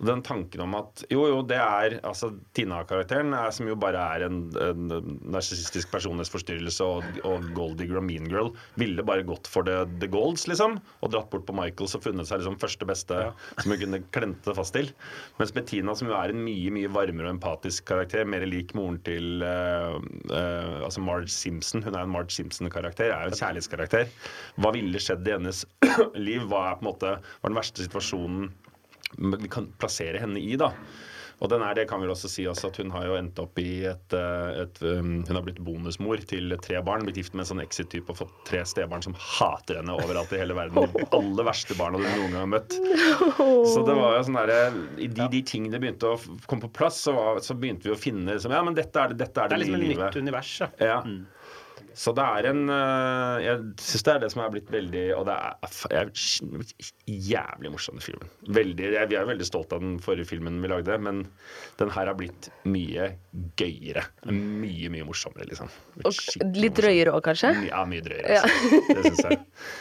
[SPEAKER 2] Og Den tanken om at jo, jo, det er altså Tina-karakteren, er, som jo bare er en, en narsissistisk personlighetsforstyrrelse, og, og Goldie og Mean Girl ville bare gått for the, the golds, liksom. Og dratt bort på Michaels og funnet seg liksom første beste som hun kunne klente fast til. Mens Bettina, som jo er en mye mye varmere og empatisk karakter, mer lik moren til eh, eh, altså Marge Simpson, hun er en Marge Simpson-karakter, er jo en kjærlighetskarakter. Hva ville skjedd i hennes [CLEARS THROAT] liv? Hva er på en måte var den verste situasjonen vi kan plassere henne i, da. Og den er, det kan vi vel også si også, at hun har jo endt opp i et, eh, et um, Hun har blitt bonusmor til tre barn, blitt gift med en sånn exit-type og fått tre stebarn som hater henne overalt i hele verden. De aller verste barna du noen gang har møtt. Så det var jo sånn derre I de, de tingene begynte å f- komme på plass, så, var, så begynte vi å finne liksom, Ja, men dette er det, dette er det,
[SPEAKER 3] Det er liksom
[SPEAKER 2] nye
[SPEAKER 3] et
[SPEAKER 2] livet.
[SPEAKER 3] nytt univers. Mm. Ja.
[SPEAKER 2] Ja. Så det er en øh, Jeg syns det er det som er blitt veldig Og det er, f- er sk- jævlig morsom, den filmen. Veldig, jeg, vi er veldig stolt av den forrige filmen vi lagde, men den her har blitt mye gøyere. Mye, mye morsommere, liksom. Skikkelig
[SPEAKER 1] Og litt
[SPEAKER 2] morsom.
[SPEAKER 1] drøyere òg, kanskje?
[SPEAKER 2] My- Ja, mye drøyere. Altså. det syns [LAUGHS] jeg.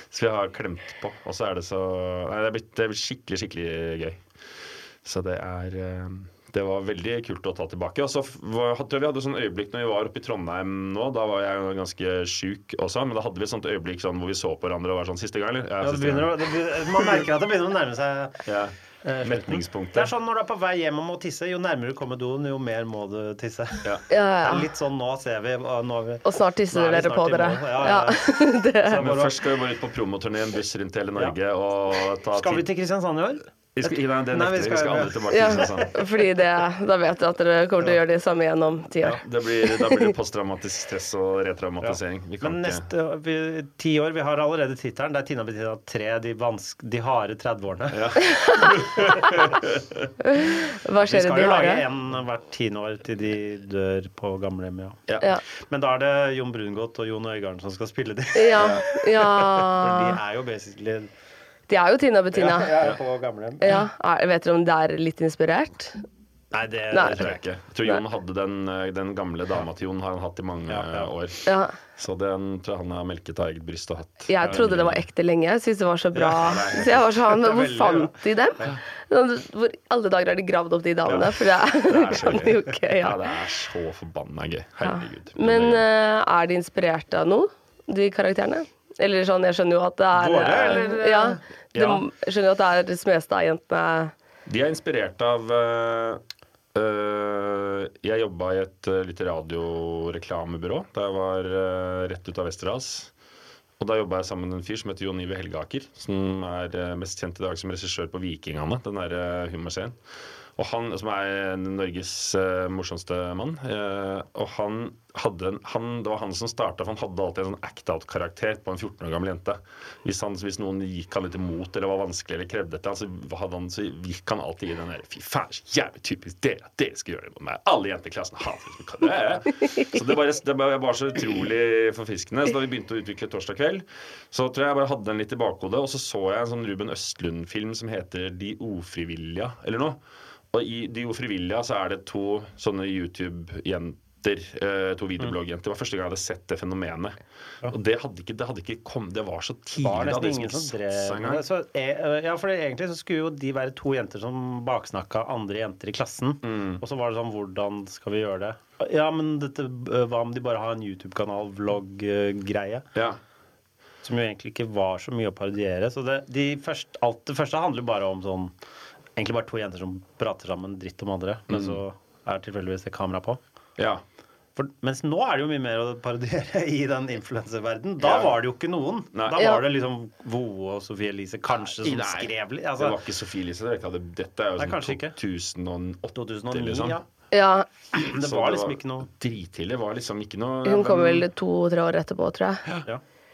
[SPEAKER 2] Så vi har klemt på. Og så er det så Nei, det er blitt, det er blitt skikkelig, skikkelig gøy. Så det er øh, Det var veldig kult å ta tilbake. Og så f- var- tror jeg vi hadde sånn øyeblikk når vi var oppe i Trondheim nå. Da var jeg jo ganske sjuk også, men da hadde vi et sånt øyeblikk sånn hvor vi så på hverandre og var sånn Siste gang, eller?
[SPEAKER 3] Ja, det
[SPEAKER 2] siste
[SPEAKER 3] begynner, å- det begynner, man merker at det begynner å nærme seg
[SPEAKER 2] Ja.
[SPEAKER 3] eh, slutten.
[SPEAKER 2] Metningspunktet.
[SPEAKER 3] Det er sånn når du er på vei hjem og må tisse. Jo nærmere du kommer doen, jo mer må du tisse.
[SPEAKER 1] Ja, ja.
[SPEAKER 3] Litt sånn nå ser vi. Og, nå er vi,
[SPEAKER 1] Og snart tisser
[SPEAKER 3] nå er vi
[SPEAKER 1] dere
[SPEAKER 3] snart
[SPEAKER 1] på
[SPEAKER 3] i
[SPEAKER 1] dere.
[SPEAKER 3] mål. Ja, ja, ja.
[SPEAKER 1] [LAUGHS]
[SPEAKER 2] Ja, Men først skal vi bare ut på promoturné, en buss rundt hele Norge og ta
[SPEAKER 3] Skal vi
[SPEAKER 2] tid-
[SPEAKER 3] til Kristiansand i år?
[SPEAKER 2] Vi skal, nei, det
[SPEAKER 3] Nei,
[SPEAKER 2] nekter vi.
[SPEAKER 3] vi
[SPEAKER 2] Vi
[SPEAKER 3] skal-
[SPEAKER 2] skal aldri tilbake
[SPEAKER 1] Ja,
[SPEAKER 2] til Kristiansand.
[SPEAKER 1] fordi det, da vet jeg at dere kommer til å gjøre det samme igjen om ti
[SPEAKER 2] Ja,
[SPEAKER 1] år.
[SPEAKER 2] det blir, da blir det posttraumatisk stress og retraumatisering. Vi kan
[SPEAKER 3] Men
[SPEAKER 2] ikke-
[SPEAKER 3] neste vi, ti år Vi har allerede tittelen. Det er Tina Bettina 3, de, vansk, de harde 30-årene.
[SPEAKER 1] Hva
[SPEAKER 3] Vi
[SPEAKER 1] skjer i
[SPEAKER 3] skal
[SPEAKER 1] de
[SPEAKER 3] jo lage
[SPEAKER 1] harde?
[SPEAKER 3] en hvert tiende år til de dør på gamlehjemmet. Ja.
[SPEAKER 1] Ja.
[SPEAKER 3] Men da er det Jon Brungot og Jon Øigarden som skal spille de.
[SPEAKER 1] Ja, ja.
[SPEAKER 3] [LAUGHS] For de er jo basically
[SPEAKER 1] De er jo Tina Bettina.
[SPEAKER 3] Ja, ja, på gamlehjem.
[SPEAKER 1] Ja, er, Vet dere om det er litt inspirert?
[SPEAKER 3] Nei, det,
[SPEAKER 1] Nei.
[SPEAKER 3] det
[SPEAKER 2] tror jeg ikke. Jeg tror Jon hadde den, eh, den gamle dama til Jon har han hatt i mange eh, år.
[SPEAKER 1] Ja.
[SPEAKER 2] Så den tror jeg han har melket av eget bryst og hatt.
[SPEAKER 1] Jeg trodde det var ekte lenge. Jeg syntes det var så bra.
[SPEAKER 2] Ja, nei.
[SPEAKER 1] Så jeg var
[SPEAKER 2] Det
[SPEAKER 1] sånn,
[SPEAKER 2] er
[SPEAKER 1] men Hvor
[SPEAKER 2] veldig
[SPEAKER 1] fant de dem? Sånn, Hvor i alle dager har de gravd opp de damene? For
[SPEAKER 2] Det
[SPEAKER 1] [LAUGHS] det
[SPEAKER 2] er så
[SPEAKER 1] kan de
[SPEAKER 2] gøy.
[SPEAKER 1] jo ikke.
[SPEAKER 2] Ja,
[SPEAKER 1] Ja.
[SPEAKER 2] det er så forbanna gøy. Herregud.
[SPEAKER 1] Men eh, er de inspirert av noe, de karakterene? Eller sånn, jeg skjønner jo at det er
[SPEAKER 2] Våre,
[SPEAKER 1] eh,
[SPEAKER 2] eller?
[SPEAKER 1] Ja. De,
[SPEAKER 2] Ja.
[SPEAKER 1] Jeg skjønner jo at det er Smestad-jentene.
[SPEAKER 2] De er inspirert av eh, eh, Jeg jobba i et eh, lite radioreklamebyrå da jeg var eh, rett ut av Westerdals. Og da jobba jeg sammen med en fyr som heter Jon Ive Helgeaker, som er eh, mest kjent i dag som regissør på Vikingane, den eh, derre humorscenen. Og han, som er Norges eh, morsomste mann, eh, og han hadde en, han, det var han som starta, for han hadde alltid en sånn act-out-karakter på en 14 år gammel jente. Hvis, han, hvis noen gikk han litt imot eller var vanskelig eller krevde etter han, så, hadde han, så gikk han alltid i den der Fy faen, så jævlig typisk dere at dere skal gjøre det mot meg. Alle jenter i klassen hater det. Hva det er. Så det bare, det bare var så utrolig forfriskende. Så da vi begynte å utvikle torsdag kveld, så tror jeg jeg bare hadde den litt i bakhodet, og så så jeg en sånn Ruben Østlund-film som heter De ofrivillige, eller noe. Og i De ofrivillige så er det to sånne YouTube-jenter. eh, To videoblogjenter. Det var første gang jeg hadde sett det fenomenet. Og det hadde ikke, det hadde ikke kommet Det var så tidlig.
[SPEAKER 3] var
[SPEAKER 2] det
[SPEAKER 3] nesten
[SPEAKER 2] hadde liksom
[SPEAKER 3] ingen
[SPEAKER 2] ikke
[SPEAKER 3] som
[SPEAKER 2] satt seg
[SPEAKER 3] drev
[SPEAKER 2] engang.
[SPEAKER 3] med det. Så, eh, ja, for det- egentlig så skulle jo de være to jenter som baksnakka andre jenter i klassen. Og så var det sånn Hvordan skal vi gjøre det? Ja, men dette, eh, hva om de bare har en YouTube-kanal, eh, vlogg-greie? Som jo egentlig ikke var så mye å parodiere. Så det, de først, alt det første handler jo bare om sånn Egentlig bare to jenter som prater sammen dritt om andre, men
[SPEAKER 2] Mm.
[SPEAKER 3] så er tilfeldigvis det kamera på.
[SPEAKER 2] Ja.
[SPEAKER 3] For, mens nå er det jo mye mer å parodiere [LAUGHS] i den influenserverdenen. Da
[SPEAKER 2] Ja.
[SPEAKER 3] var det jo ikke noen.
[SPEAKER 2] Nei.
[SPEAKER 3] Da
[SPEAKER 2] Ja.
[SPEAKER 3] var det liksom Voe og Sofie Elise kanskje som
[SPEAKER 2] Nei,
[SPEAKER 3] skrev litt.
[SPEAKER 2] Det
[SPEAKER 3] Altså,
[SPEAKER 2] var ikke liksom. Sofie Elise. det var ikke det. Dette er jo
[SPEAKER 3] Nei, kanskje
[SPEAKER 2] sånn 2008,
[SPEAKER 3] 2009,
[SPEAKER 2] liksom.
[SPEAKER 3] ja. [CLEARS THROAT]
[SPEAKER 1] Ja,
[SPEAKER 3] Det
[SPEAKER 2] Så
[SPEAKER 3] var liksom ikke noe
[SPEAKER 2] Drittidlig. Det var liksom ikke noe
[SPEAKER 1] hun kom
[SPEAKER 2] men
[SPEAKER 1] vel to-tre år etterpå, tror jeg.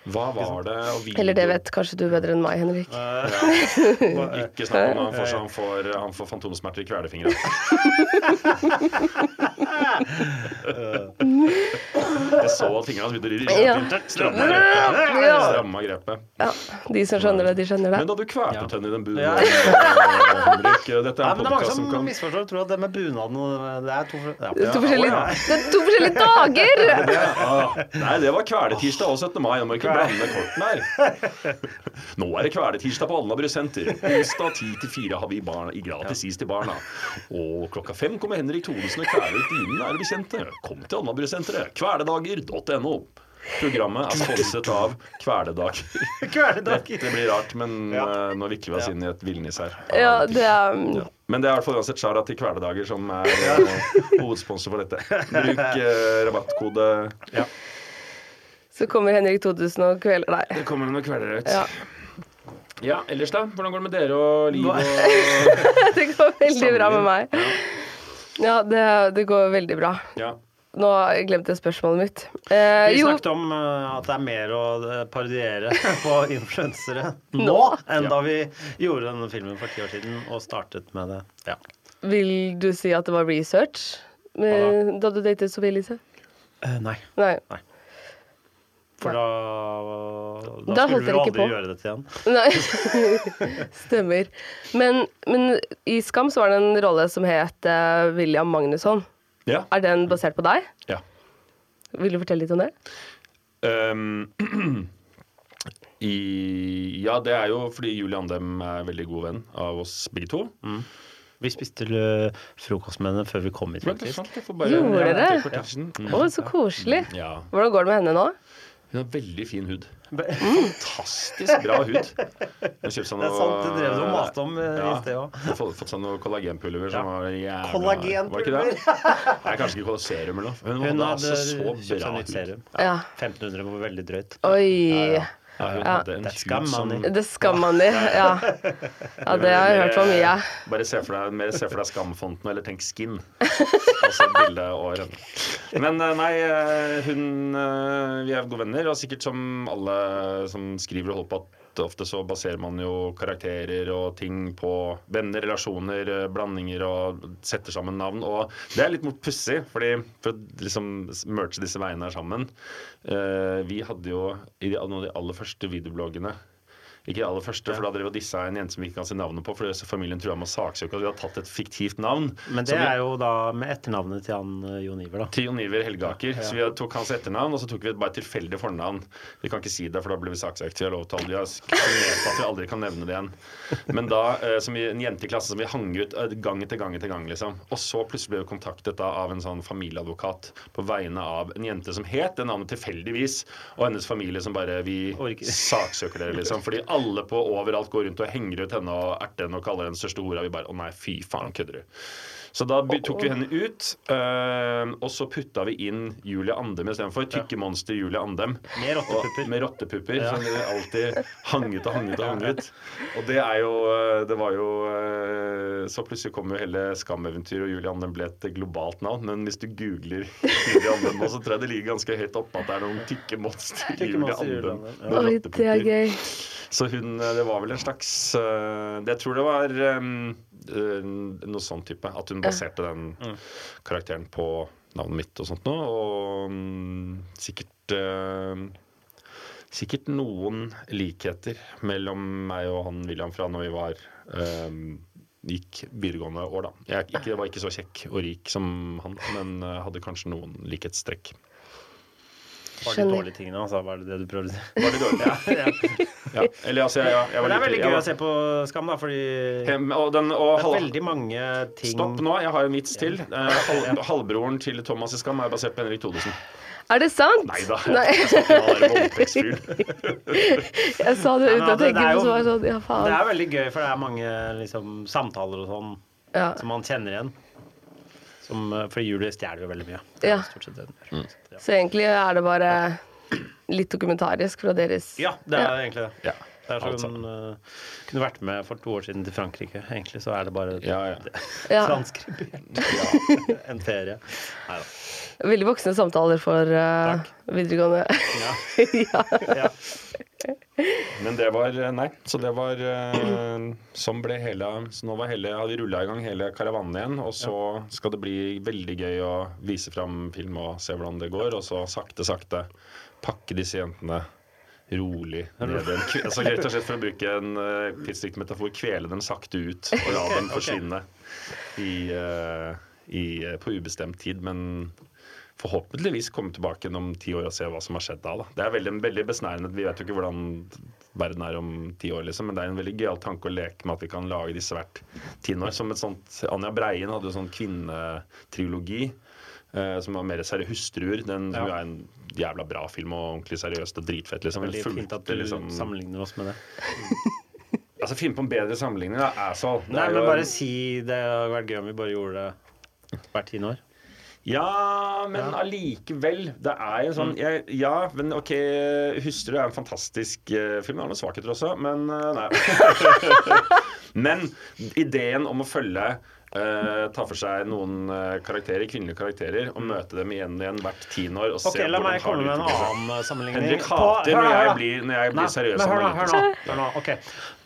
[SPEAKER 2] Hva var det? Og video-
[SPEAKER 1] Eller det vet kanskje du bedre enn meg, Henrik.
[SPEAKER 2] Ikke snakk om når han får, så han får, han får fantomsmerter i kvelerfingra.
[SPEAKER 3] [LAUGHS]
[SPEAKER 2] Jeg så at fingrene hans begynte å rirre.
[SPEAKER 1] Ja.
[SPEAKER 2] Stramma grepet.
[SPEAKER 1] Ja.
[SPEAKER 2] Stramma grepet.
[SPEAKER 1] Ja, De som skjønner det, de skjønner
[SPEAKER 2] Men da hadde
[SPEAKER 1] det.
[SPEAKER 2] du kverpet henne i den bunaden.
[SPEAKER 3] Ja.
[SPEAKER 2] Henrik. Dette er en
[SPEAKER 3] Nei, men det sånn er mange
[SPEAKER 2] podkast
[SPEAKER 3] som
[SPEAKER 2] som kan
[SPEAKER 3] misforstår og tror at det med bunaden og- [LAUGHS] Det er to, ja.
[SPEAKER 1] Det er to forskjellige, det er to forskjellige dager!
[SPEAKER 2] Ah, Nei, det var kveletirsdag og 17. mai. Nå må du ikke blande kortene her. Nå er det kveletirsdag på Alnabru senter. Onsdag 10 til 4 har vi barna i gratis is til barna. Og klokka fem kommer Henrik Thonesen og kveler dine nære bekjente. Kom til Alnabru senteret. Kveledager.no. Programmet er sponset av Kveledag.
[SPEAKER 3] Kvelerdager.
[SPEAKER 2] Det blir rart, men eh, nå virker vi oss inn i et villnis her.
[SPEAKER 1] Ja, det er mm,
[SPEAKER 2] Men det er i hvert fall uansett Shara til Kvelerdager som er eh, hovedsponsor for dette. Bruk eh, rabattkode
[SPEAKER 1] Så kommer Henrik 2000 og kveler deg.
[SPEAKER 2] Det kommer noen kvelder ut.
[SPEAKER 1] Ja. [LAUGHS]
[SPEAKER 2] Ja, ellers da? Hvordan går det med dere og liv og
[SPEAKER 1] Det går veldig bra med meg. Ja, det, det går veldig bra.
[SPEAKER 2] Ja.
[SPEAKER 1] Nå glemte jeg spørsmålet mitt. Eh,
[SPEAKER 3] Vi
[SPEAKER 1] jo,
[SPEAKER 3] snakket om eh, at det er mer å eh, parodiere [LAUGHS] på influensere nå, enn da vi gjorde denne filmen for ti år siden og startet med det. Ja.
[SPEAKER 1] vil du si at det var research eh, da du datet Sofie Elise?
[SPEAKER 2] Eh,
[SPEAKER 3] nei.
[SPEAKER 1] Nei.
[SPEAKER 3] For da, da,
[SPEAKER 1] Da holdt
[SPEAKER 3] skulle du
[SPEAKER 1] dere ikke
[SPEAKER 3] aldri
[SPEAKER 1] på.
[SPEAKER 3] gjøre dette igjen.
[SPEAKER 1] Nei. [LAUGHS] Stemmer. Men, men i Skam så var det en rolle som het eh, William Magnusson.
[SPEAKER 2] Ja.
[SPEAKER 1] Er den basert på deg?
[SPEAKER 2] Ja.
[SPEAKER 1] Vil du fortelle litt om det?
[SPEAKER 2] Ehm, [CLEARS THROAT]
[SPEAKER 3] Mm,
[SPEAKER 2] i, ja, det er jo fordi Julie Andem er veldig god venn av oss begge to.
[SPEAKER 3] Vi spiste øh, frokost med henne før vi kom hit.
[SPEAKER 2] Men det sånn? er
[SPEAKER 3] faktisk.
[SPEAKER 2] sant, jeg får bare-
[SPEAKER 1] Gjorde
[SPEAKER 2] Ja,
[SPEAKER 1] dere?
[SPEAKER 2] for tersen. Mm.
[SPEAKER 1] Å, så koselig.
[SPEAKER 2] Ja.
[SPEAKER 1] Hvordan går det med henne nå?
[SPEAKER 2] Hun har veldig fin hud.
[SPEAKER 1] Mm.
[SPEAKER 2] Fantastisk bra
[SPEAKER 3] [LAUGHS]
[SPEAKER 2] hud. Hun kjøpte seg
[SPEAKER 3] Det er sant, det drev du og maste om, eh, i
[SPEAKER 2] Ja,
[SPEAKER 3] sted også.
[SPEAKER 2] hun har fått- Fått seg noen kollagenpulver som var jævla Var ikke
[SPEAKER 3] Kollagenpulver!
[SPEAKER 2] det? Nei, kanskje ikke serum eller noe. Hun,
[SPEAKER 3] Hun
[SPEAKER 2] hadde
[SPEAKER 3] hadde
[SPEAKER 2] altså så
[SPEAKER 3] kjøpt seg
[SPEAKER 2] bra
[SPEAKER 3] nytt serum.
[SPEAKER 1] Ja.
[SPEAKER 3] 1500 var veldig drøyt.
[SPEAKER 1] Oi.
[SPEAKER 2] Ja, hun
[SPEAKER 1] Ja.
[SPEAKER 2] hadde en
[SPEAKER 3] Det
[SPEAKER 2] hud
[SPEAKER 3] skal man
[SPEAKER 2] som-
[SPEAKER 3] i.
[SPEAKER 1] Det skal man i. Ja. ja, det har jeg hørt for mye.
[SPEAKER 2] Bare se for deg, mer se for deg skamfonten, eller tenk
[SPEAKER 1] [LAUGHS]
[SPEAKER 2] skin. Altså bildet og rønne. Men eh, nei, eh, hun eh, Vi er gode venner, og sikkert som alle som skriver og holder på, at ofte så baserer man jo karakterer og ting på venner, relasjoner, eh, blandinger, og setter sammen navn. Og det er litt mot pussig, fordi for å liksom merge disse veiene her sammen eh, Vi hadde jo i de, noen av de aller første videobloggene ikke det aller første, for da drev vi og dissa en jente som vi ikke kan si navnet på, fordi så familien trua med å saksøke at vi hadde tatt et fiktivt navn.
[SPEAKER 3] Men
[SPEAKER 2] Så
[SPEAKER 3] det
[SPEAKER 2] vi-
[SPEAKER 3] er jo da med etternavnet til han øh, Jon Iver, da.
[SPEAKER 2] til Jon Iver Helgaker. Så vi tok hans etternavn, og så tok vi et bare tilfeldig fornavn. Vi kan ikke si det, for da blir vi saksøkt. Vi har lov til aldri, vi har signert på at vi aldri kan nevne det igjen. Men da, eh, som vi, en jente i klassen som vi hang ut eh, gang etter gang etter gang, liksom. Og så plutselig ble vi kontaktet da av en sånn familieadvokat på vegne av en jente som het det navnet tilfeldigvis, og hennes familie som bare Vi saksøker dere, liksom. Fordi alle på overalt går rundt og henger ut henne og erter henne og kaller henne største hora. Vi bare Å nei, fy faen, kødder du? Så da by- tok vi henne ut, øh, og så putta vi inn Julie Andem istedenfor. Tykke monster Julie Andem.
[SPEAKER 3] Med rottepupper.
[SPEAKER 2] Og- Med rottepupper.
[SPEAKER 3] Ja.
[SPEAKER 2] Som vi alltid hang ut og hang ut og hang ut. Og det er jo øh, Det var jo øh, Så plutselig kom jo hele Skam-eventyret, og Julie Andem ble et globalt navn. Men hvis du googler Julie Andem nå, så tror jeg det ligger ganske høyt oppe at det er noen tykke monster
[SPEAKER 3] Tykke
[SPEAKER 2] Julie
[SPEAKER 3] monster Julie
[SPEAKER 2] Andem.
[SPEAKER 3] Andem,
[SPEAKER 2] med
[SPEAKER 1] Oi,
[SPEAKER 3] ja.
[SPEAKER 1] det er
[SPEAKER 2] rottepupper.
[SPEAKER 1] gøy.
[SPEAKER 2] Så hun, eh, det var vel en slags øh, Jeg tror det var øhm, øh, noe sånn type. At hun baserte den
[SPEAKER 3] Mm.
[SPEAKER 2] karakteren på navnet mitt og sånt noe. Og mm, sikkert øh, Sikkert noen likheter mellom meg og han William fra når vi var øhm, gikk videregående år, da. Jeg er ikke, var ikke så kjekk og rik som han, men øh, hadde kanskje noen likhetstrekk.
[SPEAKER 3] Var de dårlige tingene hans, da? Var det det du prøvde å si?
[SPEAKER 2] Var det dårlig?
[SPEAKER 3] [LAUGHS] Ja, ja.
[SPEAKER 2] Ja. Eller altså, jeg, jeg, jeg var
[SPEAKER 3] Men det er
[SPEAKER 2] litt-
[SPEAKER 3] veldig
[SPEAKER 2] jeg
[SPEAKER 3] gøy
[SPEAKER 2] var-
[SPEAKER 3] å se på Skam, da, fordi
[SPEAKER 2] Hem- og den, og
[SPEAKER 3] det er
[SPEAKER 2] halv-
[SPEAKER 3] veldig mange ting
[SPEAKER 2] Stopp nå, jeg har en vits til. Eh, hal halvbroren til Thomas i Skam er basert på Henrik Thodesen.
[SPEAKER 1] Er det sant?
[SPEAKER 2] Nei da.
[SPEAKER 1] Nei. Jeg sa det
[SPEAKER 3] Nei,
[SPEAKER 1] uten
[SPEAKER 3] men
[SPEAKER 1] å
[SPEAKER 3] det- det
[SPEAKER 1] tenke på
[SPEAKER 3] er
[SPEAKER 1] så
[SPEAKER 3] jo-
[SPEAKER 1] var det sånn, ja
[SPEAKER 3] Det
[SPEAKER 1] faen.
[SPEAKER 3] er veldig gøy, for det er mange liksom, samtaler og sånn
[SPEAKER 1] Ja.
[SPEAKER 3] som man kjenner igjen. Som, eh, for Julie stjeler jo veldig mye. Det er
[SPEAKER 1] Ja.
[SPEAKER 3] stort sett det den gjør.
[SPEAKER 2] Mm.
[SPEAKER 1] Så egentlig er det bare litt dokumentarisk fra deres
[SPEAKER 3] Ja, det er egentlig det.
[SPEAKER 2] Ja, altså.
[SPEAKER 3] Det er
[SPEAKER 2] alt
[SPEAKER 3] som hun eh, kunne vært med for to år siden til Frankrike. Egentlig så er det bare
[SPEAKER 2] Ja, ja.
[SPEAKER 3] [LAUGHS]
[SPEAKER 1] Ja.
[SPEAKER 3] transkribert. [LAUGHS] En ferie. Nei da.
[SPEAKER 1] Veldig voksne samtaler for eh, videregående. [LAUGHS] Ja.
[SPEAKER 2] Men det var eh, Nei. Så det var eh, Sånn ble hele Så nå var hele, har vi rulla i gang hele karavanen igjen. Og så skal det bli veldig gøy å vise fram film og se hvordan det går. Og så sakte, sakte pakke disse jentene rolig ned igjen. Kve- [LAUGHS] Altså, rett og slett for å bruke en uh, tidsdiktmetafor kvele dem sakte ut og la [LAUGHS] dem forsvinne i, eh, i, eh, på ubestemt tid. Men forhåpentligvis komme tilbake igjen om ti år og se hva som har skjedd da. da. Det er veldig, veldig besnærende. Vi vet jo ikke hvordan verden er om ti år, liksom, men det er en veldig gøyal tanke å leke med at vi kan lage disse hvert tiende år. Som et sånt Anja Breien hadde jo sånn kvinnetrilogi. eh, som var mer seriøse hustruer. Den som jo
[SPEAKER 3] Ja.
[SPEAKER 2] er en jævla bra film og ordentlig seriøst og dritfett. liksom.
[SPEAKER 3] Veldig
[SPEAKER 2] Fulgte,
[SPEAKER 3] fint at du
[SPEAKER 2] liksom-
[SPEAKER 3] sammenligner oss med det.
[SPEAKER 2] Altså, Finn på en bedre sammenligning, da. Asshole. Det
[SPEAKER 3] Nei,
[SPEAKER 2] er
[SPEAKER 3] men
[SPEAKER 2] jo-
[SPEAKER 3] bare si det hadde vært gøy om vi bare gjorde det hvert tiende år.
[SPEAKER 2] Ja, men allikevel. Det er jo
[SPEAKER 3] Mm.
[SPEAKER 2] sånn jeg, Ja, men OK, 'Hustru' er en fantastisk eh, film. Den har noen svakheter også, men eh, nei. [LAUGHS] men ideen om å følge eh, ta for seg noen eh, karakterer, kvinnelige karakterer og møte dem igjen og igjen hvert tiende år. Og
[SPEAKER 3] Ok, La
[SPEAKER 2] hvordan har
[SPEAKER 3] meg komme
[SPEAKER 2] de
[SPEAKER 3] med en
[SPEAKER 2] utviklet seg.
[SPEAKER 3] annen eh, sammenligning.
[SPEAKER 2] Henrik
[SPEAKER 3] På-
[SPEAKER 2] hater
[SPEAKER 3] hør
[SPEAKER 2] når
[SPEAKER 3] da, hør
[SPEAKER 2] jeg
[SPEAKER 3] da.
[SPEAKER 2] blir, når jeg
[SPEAKER 3] Nei,
[SPEAKER 2] blir seriøs.
[SPEAKER 3] men hør nå, hør
[SPEAKER 2] analytiker.
[SPEAKER 3] nå. Hør nå. ok.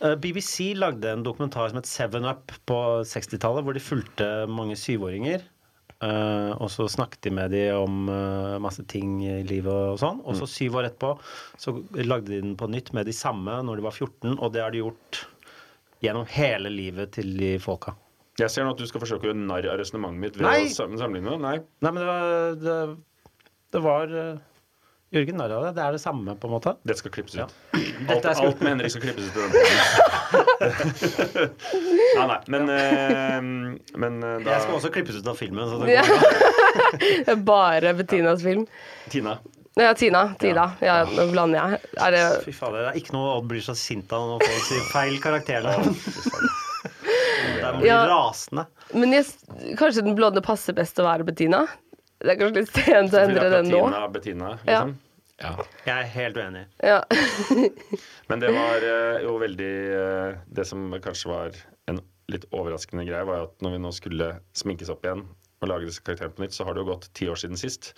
[SPEAKER 3] Eh, BBC lagde en dokumentar som het Seven Up på 60-tallet, hvor de fulgte mange syvåringer. eh, og så snakket de med de om eh, masse ting i livet og sånn. Og så
[SPEAKER 2] Mm.
[SPEAKER 3] syv år etterpå så lagde de den på nytt med de samme når de var 14, og det har de gjort gjennom hele livet til de folka.
[SPEAKER 2] Jeg ser nå at du skal forsøke å gjøre narr av resonnementet mitt ved
[SPEAKER 3] Nei!
[SPEAKER 2] å sam- sammenligne det. Nei.
[SPEAKER 3] Nei, men det var Det, det var eh, Jørgen narr av det. Det er det samme, på en måte.
[SPEAKER 2] Det skal klippes ut.
[SPEAKER 3] Dette
[SPEAKER 2] Alt,
[SPEAKER 3] er
[SPEAKER 2] alt med Henrik skal klippes ut. i den
[SPEAKER 1] [LAUGHS]
[SPEAKER 2] podden. nei, nei, men, eh, men eh, da
[SPEAKER 3] Jeg skal også klippes ut av filmen. Så det
[SPEAKER 1] Ja.
[SPEAKER 3] går.
[SPEAKER 1] Det er Bare Bettinas film.
[SPEAKER 2] Tina.
[SPEAKER 1] Ja, Tina. Tida. Ja, nå blander jeg. Er [LAUGHS] det
[SPEAKER 3] Fy fader, det er ikke noe Odd blir så sint av når folk sier feil karakternavn. Der blir
[SPEAKER 1] Ja.
[SPEAKER 3] rasende.
[SPEAKER 1] Men jeg, kanskje den blonde passer best å være Bettina? Det er kanskje litt sent å endre den nå?
[SPEAKER 2] Bettina, Bettina,
[SPEAKER 1] Ja.
[SPEAKER 2] liksom. Ja.
[SPEAKER 3] Jeg er helt uenig.
[SPEAKER 1] Ja.
[SPEAKER 2] Men det var eh, jo veldig eh, Det som kanskje var en litt overraskende greie, var jo at når vi nå skulle sminkes opp igjen og lage disse karakterene på nytt, så har det jo gått ti år siden sist.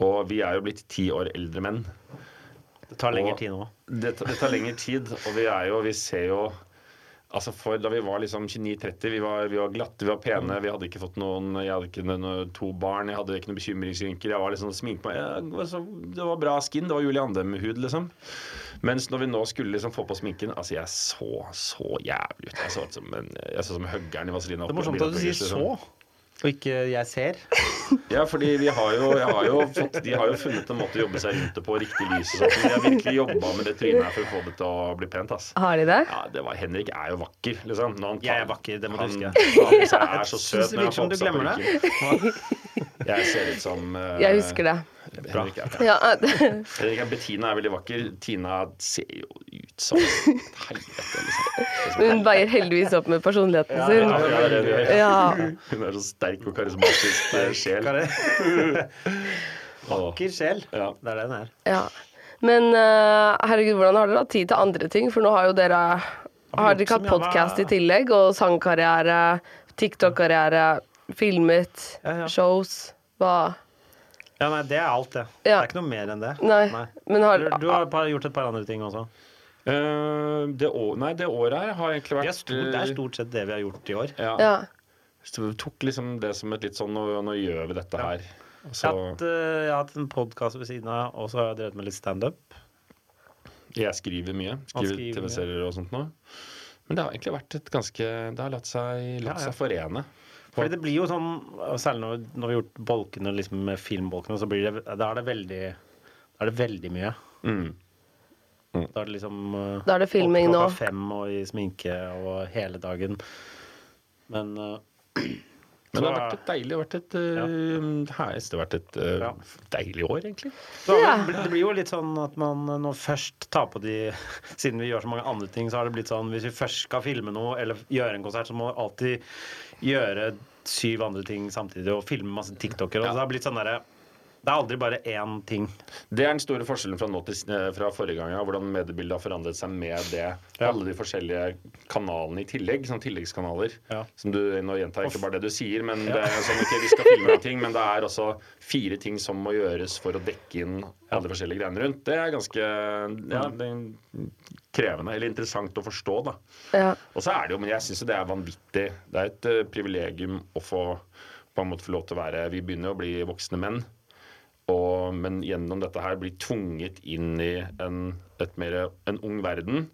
[SPEAKER 2] Og vi er jo blitt ti år eldre menn.
[SPEAKER 3] Det tar lengre
[SPEAKER 2] Og
[SPEAKER 3] tid nå.
[SPEAKER 2] Det, tar- det tar lengre tid, og vi er jo Vi ser jo Altså for Da vi var liksom 29-30, vi, var- vi var glatte, vi var pene, vi hadde ikke fått noen Jeg hadde ikke noen, to barn, jeg hadde ikke noen bekymringsrynker. Jeg var liksom sminket meg jeg, var så- Det var bra skin, det var Julie Andem-hud, liksom. Mens når vi nå skulle liksom få på sminken Altså, jeg så så jævlig ut. Jeg så ut som en Jeg så ut som huggeren i Vazelina.
[SPEAKER 3] Det er morsomt at du sier så, og ikke jeg ser.
[SPEAKER 2] liksom. Ja, fordi vi har jo, jeg har jo fått, de har jo funnet en måte å jobbe seg rundt det på, riktig lys og sånt. men De har virkelig jobba med det trynet her for å få det til å bli pent, ass.
[SPEAKER 1] Har de det?
[SPEAKER 2] Ja, det var, Henrik er jo vakker, liksom. Når han tar,
[SPEAKER 3] Jeg er vakker, det må du
[SPEAKER 2] han-
[SPEAKER 3] huske.
[SPEAKER 2] Han, er så
[SPEAKER 3] Synes
[SPEAKER 2] søt
[SPEAKER 3] det
[SPEAKER 2] når han
[SPEAKER 3] virker som
[SPEAKER 2] får
[SPEAKER 3] du
[SPEAKER 2] på seg
[SPEAKER 3] glemmer det.
[SPEAKER 2] [LAUGHS] perukken. Jeg ser ut [LAUGHS] som eh,
[SPEAKER 1] Jeg husker det.
[SPEAKER 2] Henrik er,
[SPEAKER 1] Ja.
[SPEAKER 3] eh.
[SPEAKER 1] [LAUGHS]
[SPEAKER 2] Henrik er Bettina er veldig vakker. Tina ser jo ut [LAUGHS] som helvete, liksom.
[SPEAKER 1] Hun veier heldigvis opp med personligheten
[SPEAKER 2] Ja,
[SPEAKER 1] sin.
[SPEAKER 2] ja, ja, ja, ja.
[SPEAKER 1] Ja.
[SPEAKER 2] Hun er så sterk og karismatisk eh, sjel. Åh,
[SPEAKER 3] Vakker sjel.
[SPEAKER 2] Ja.
[SPEAKER 3] Det er det den er.
[SPEAKER 1] ja. Men eh, herregud, hvordan har dere hatt tid til andre ting? For nå har jo dere Har dere ikke hatt podkast i tillegg? Og sangkarriere, TikTok-karriere, filmet, shows? Hva?
[SPEAKER 3] Ja, nei, det er alt, det. Det
[SPEAKER 1] Ja.
[SPEAKER 3] er ikke noe mer enn det.
[SPEAKER 1] Nei, men har-
[SPEAKER 3] du, du har par- gjort et par andre ting også.
[SPEAKER 2] Eh, det, å, nei, det året her har egentlig
[SPEAKER 3] Det er,
[SPEAKER 2] vært
[SPEAKER 3] stort, det er stort sett det vi har gjort i år.
[SPEAKER 2] eh, ja.
[SPEAKER 1] Ja.
[SPEAKER 2] Så vi tok liksom det som et litt sånn Nå, nå gjør vi dette her. Og
[SPEAKER 3] Jeg
[SPEAKER 2] Så,
[SPEAKER 3] har hatt, eh, jeg har hatt en podkast ved siden av, og så har jeg drevet med litt standup.
[SPEAKER 2] jeg skriver mye. Skriver,
[SPEAKER 3] skriver mye.
[SPEAKER 2] TV-serier og sånt nå. Men det har egentlig vært et ganske Det har latt seg, latt
[SPEAKER 3] Ja, ja.
[SPEAKER 2] seg forene.
[SPEAKER 3] Fordi det blir jo sånn, og særlig når, når vi har gjort bolkene liksom med filmbolkene, så blir det, da er det veldig da er det veldig mye.
[SPEAKER 2] Mm.
[SPEAKER 3] Da er det liksom eh,
[SPEAKER 1] Da er det filming
[SPEAKER 3] opp klokka
[SPEAKER 1] nå.
[SPEAKER 3] fem og i sminke og hele dagen. Men eh,
[SPEAKER 2] Men det har
[SPEAKER 3] Så-
[SPEAKER 2] vært et deilig vært et, eh, her- Det har vært et eh,
[SPEAKER 3] Ja.
[SPEAKER 2] deilig år, egentlig.
[SPEAKER 3] Så har det, bl- det blir jo litt sånn at man eh, når først tar på de [LAUGHS] Siden vi gjør så mange andre ting, så har det blitt sånn hvis vi først skal filme noe eller gjøre en konsert, så må vi alltid gjøre syv andre ting samtidig og filme masse TikToker. Og
[SPEAKER 2] Ja.
[SPEAKER 3] det har blitt sånn derre Det er aldri bare én ting.
[SPEAKER 2] Det er den store forskjellen fra, nå til, eh, fra forrige gang. Ja, hvordan mediebildet har forandret seg med det. Alle de forskjellige kanalene i tillegg, sånn tilleggskanaler.
[SPEAKER 3] Ja.
[SPEAKER 2] Som du, nå gjentar jeg ikke bare det du sier, men det er sånn, ok, vi skal filme noen ting, men det er også fire ting som må gjøres for å dekke inn alle forskjellige greiene rundt. Det er ganske ja, det er krevende, eller interessant å forstå, da.
[SPEAKER 1] ja.
[SPEAKER 2] Og så er det jo, men jeg syns jo det er vanvittig. Det er et eh, privilegium å få på en måte få lov til å være Vi begynner jo å bli voksne menn. Og, men gjennom dette her bli tvunget inn i en, et mer, en ung verden.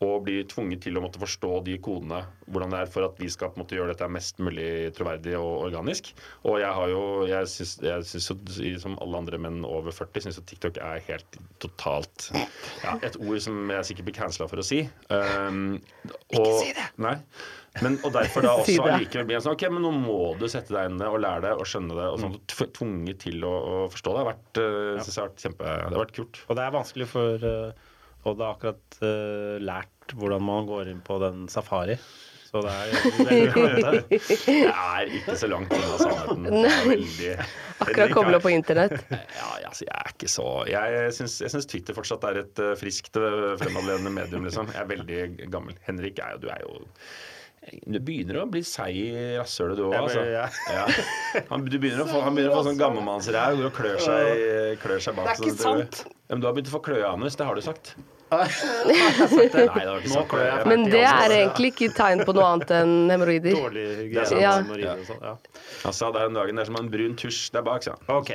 [SPEAKER 2] Og bli tvunget til å måtte forstå de kodene, hvordan det er for at vi skal på en måte gjøre dette mest mulig troverdig og organisk. Og jeg har jo, jeg syns, jeg syns jo, som alle andre menn over 40, syns jo TikTok er helt totalt ja, Et ord som jeg sikkert blir cancela for å si. Ikke si det! Nei. Men, og derfor [LAUGHS] da
[SPEAKER 1] Si
[SPEAKER 2] også
[SPEAKER 1] det.
[SPEAKER 2] allikevel blir jeg sånn Ok, men nå må du sette deg inn i det og lære det og skjønne det.
[SPEAKER 1] Mm.
[SPEAKER 2] Og sånn, tv- tvunget til å, å forstå det. Det har vært, eh, synes jeg har vært kjempe Det har vært
[SPEAKER 1] [LAUGHS]
[SPEAKER 2] kult.
[SPEAKER 3] Og det er vanskelig for eh, Odd har akkurat eh, lært hvordan man går inn på den safari. Så det er
[SPEAKER 2] [LAUGHS]
[SPEAKER 3] veldig klønete.
[SPEAKER 2] Det er ikke så langt unna sannheten. Det er veldig
[SPEAKER 1] Akkurat kobla på internett.
[SPEAKER 2] Ja, jeg, altså, jeg er ikke så Jeg syns, jeg syns Twitter fortsatt er et eh, friskt eh, fremadsledende medium, liksom. Jeg er veldig gammel. Henrik er jo Du er jo du begynner å bli seig i rasshølet, du òg.
[SPEAKER 3] Jeg
[SPEAKER 2] Altså.
[SPEAKER 3] blir- ja.
[SPEAKER 2] Ja. Han, du begynner å få- han begynner å få sånn gammelmannsræv og klør seg, klør seg bak.
[SPEAKER 3] Det er ikke
[SPEAKER 2] sånn,
[SPEAKER 3] sant.
[SPEAKER 2] Ja, men du har begynt å få kløeanus, det har du sagt. Nei, det har du ikke
[SPEAKER 3] Nå
[SPEAKER 2] sagt.
[SPEAKER 3] klør jeg.
[SPEAKER 1] Men det er egentlig ikke tegn på noe annet enn hemoroider.
[SPEAKER 3] Dårlig
[SPEAKER 2] Det er
[SPEAKER 3] hygiene.
[SPEAKER 2] sant.
[SPEAKER 1] Ja.
[SPEAKER 3] når man river og sånn, Ja.
[SPEAKER 2] Han sa det her om dagen, det er som en brun tusj der bak, sa han.
[SPEAKER 3] OK.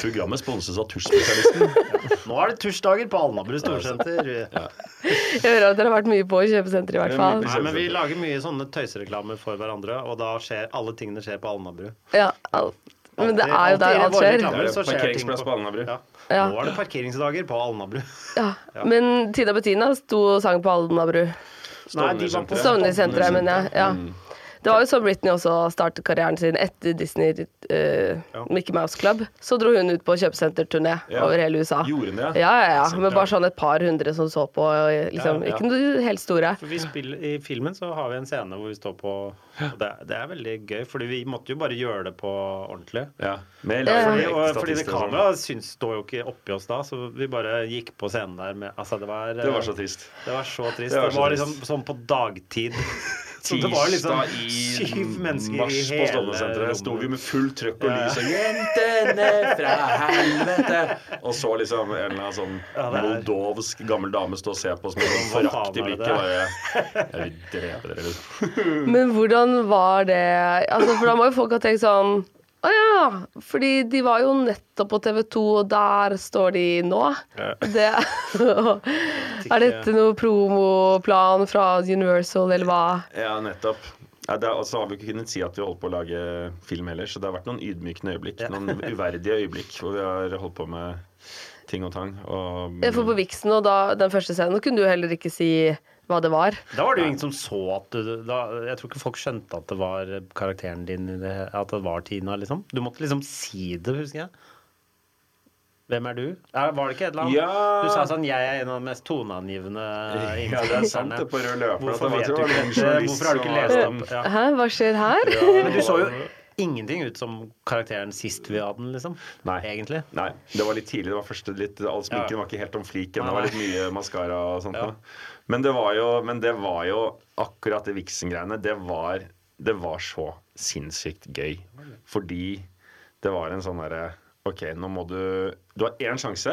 [SPEAKER 2] Programmet sponses av tusjspesialisten.
[SPEAKER 3] Nå er det tursdager på Alnabru storsenter.
[SPEAKER 1] Jeg hører at dere har vært mye på kjøpesenter i hvert fall.
[SPEAKER 3] Nei, men vi lager mye sånne tøysereklamer for hverandre, og da skjer alle tingene skjer på Alnabru.
[SPEAKER 1] Ja, al- Men det er jo der alt skjer.
[SPEAKER 2] Parkeringsplass på Alnabru.
[SPEAKER 1] Ja.
[SPEAKER 3] Nå er det parkeringsdager på
[SPEAKER 2] [LAUGHS]
[SPEAKER 3] Alnabru.
[SPEAKER 1] Ja. Men Tina Bettina sto og sang på Alnabru.
[SPEAKER 3] Nei, de var på-
[SPEAKER 1] Stovner-senteret, mener jeg. Ja. Det var jo så Britney også startet karrieren sin etter Disney eh, Mickey Mouse Club. Så dro hun ut på kjøpesenterturné
[SPEAKER 2] Ja.
[SPEAKER 1] over hele USA.
[SPEAKER 2] Gjorde hun det, ja?
[SPEAKER 1] Ja, ja, ja.
[SPEAKER 2] Så
[SPEAKER 1] Med
[SPEAKER 2] bra.
[SPEAKER 1] bare sånn et par hundre som så på. og Liksom,
[SPEAKER 3] Ja, ja.
[SPEAKER 1] Ikke noe helt store.
[SPEAKER 3] For vi spiller, I filmen så har vi en scene hvor vi står på og det, det er veldig gøy, fordi vi måtte jo bare gjøre det på ordentlig.
[SPEAKER 2] med
[SPEAKER 3] fordi,
[SPEAKER 2] live-
[SPEAKER 3] og, fordi det
[SPEAKER 2] statister og sånn.
[SPEAKER 3] kameraet syns- står jo ikke oppi oss da, så vi bare gikk på scenen der med Altså, det var
[SPEAKER 2] Det var så trist.
[SPEAKER 3] Det var så
[SPEAKER 2] Det
[SPEAKER 3] trist. Det
[SPEAKER 2] var
[SPEAKER 3] var,
[SPEAKER 2] så trist.
[SPEAKER 3] liksom sånn på
[SPEAKER 2] [LAUGHS]
[SPEAKER 3] dagtid. Så det var liksom
[SPEAKER 2] Tirsdag i
[SPEAKER 3] syv mennesker
[SPEAKER 2] mars
[SPEAKER 3] i
[SPEAKER 2] på
[SPEAKER 3] hele
[SPEAKER 2] Stovner-senteret sto vi med fullt trøkk og
[SPEAKER 3] Ja.
[SPEAKER 2] lys og 'Jentene fra helvete!' Og så liksom en eller annen sånn moldovsk gammel dame stå og se på oss med sånn
[SPEAKER 3] Hva faen
[SPEAKER 2] forakt i
[SPEAKER 3] var det
[SPEAKER 2] blikket.
[SPEAKER 3] der?
[SPEAKER 2] Bare, jeg vil drepe dere, liksom.
[SPEAKER 1] Men hvordan var det altså, For da må jo folk ha tenkt sånn Å ja! Fordi de var jo nettopp på TV 2, og der står de nå.
[SPEAKER 2] Ja.
[SPEAKER 1] Det,
[SPEAKER 2] [LAUGHS]
[SPEAKER 1] er dette noe promoplan fra Universal, eller hva?
[SPEAKER 2] Ja, nettopp. Ja, det er, og så har vi ikke kunnet si at vi holdt på å lage film heller, så det har vært noen ydmykende øyeblikk. Noen uverdige øyeblikk hvor vi har holdt på med ting og tang. Og,
[SPEAKER 1] Jeg får på Vixen, og da, den første scenen da kunne du jo heller ikke si hva det var.
[SPEAKER 3] Da var det jo ingen som så at du da, Jeg tror ikke folk skjønte at det var eh, karakteren din, i det, at det var Tina, liksom. Du måtte liksom si det, husker jeg. Hvem er du? Ja, var det ikke et eller annet?
[SPEAKER 2] Ja.
[SPEAKER 3] Du sa sånn 'jeg er en av de mest toneangivende
[SPEAKER 2] [LAUGHS] Ja, det er sant, det, på rød løper,
[SPEAKER 3] Hvorfor
[SPEAKER 2] at det var-
[SPEAKER 3] vet du
[SPEAKER 2] det var
[SPEAKER 3] ikke
[SPEAKER 2] en
[SPEAKER 3] dette?
[SPEAKER 2] journalist
[SPEAKER 3] Hvorfor har du ikke lest
[SPEAKER 2] som-
[SPEAKER 3] opp? Ja.
[SPEAKER 2] [LAUGHS]
[SPEAKER 1] Hæ, hva skjer her?
[SPEAKER 3] Men du så jo ingenting ut som karakteren sist vi hadde den, liksom.
[SPEAKER 2] Nei.
[SPEAKER 3] Egentlig.
[SPEAKER 2] Nei, det var litt tidlig. Det var første litt, All sminken
[SPEAKER 3] Ja.
[SPEAKER 2] var ikke helt om fliken.
[SPEAKER 3] Nei,
[SPEAKER 2] Det var
[SPEAKER 3] nei.
[SPEAKER 2] litt mye maskara og sånt. da. Men, det var jo, men det var jo akkurat det Vixen-greiene. Det var, det var så sinnssykt gøy. Fordi det var en sånn derre OK, nå må du Du har én sjanse.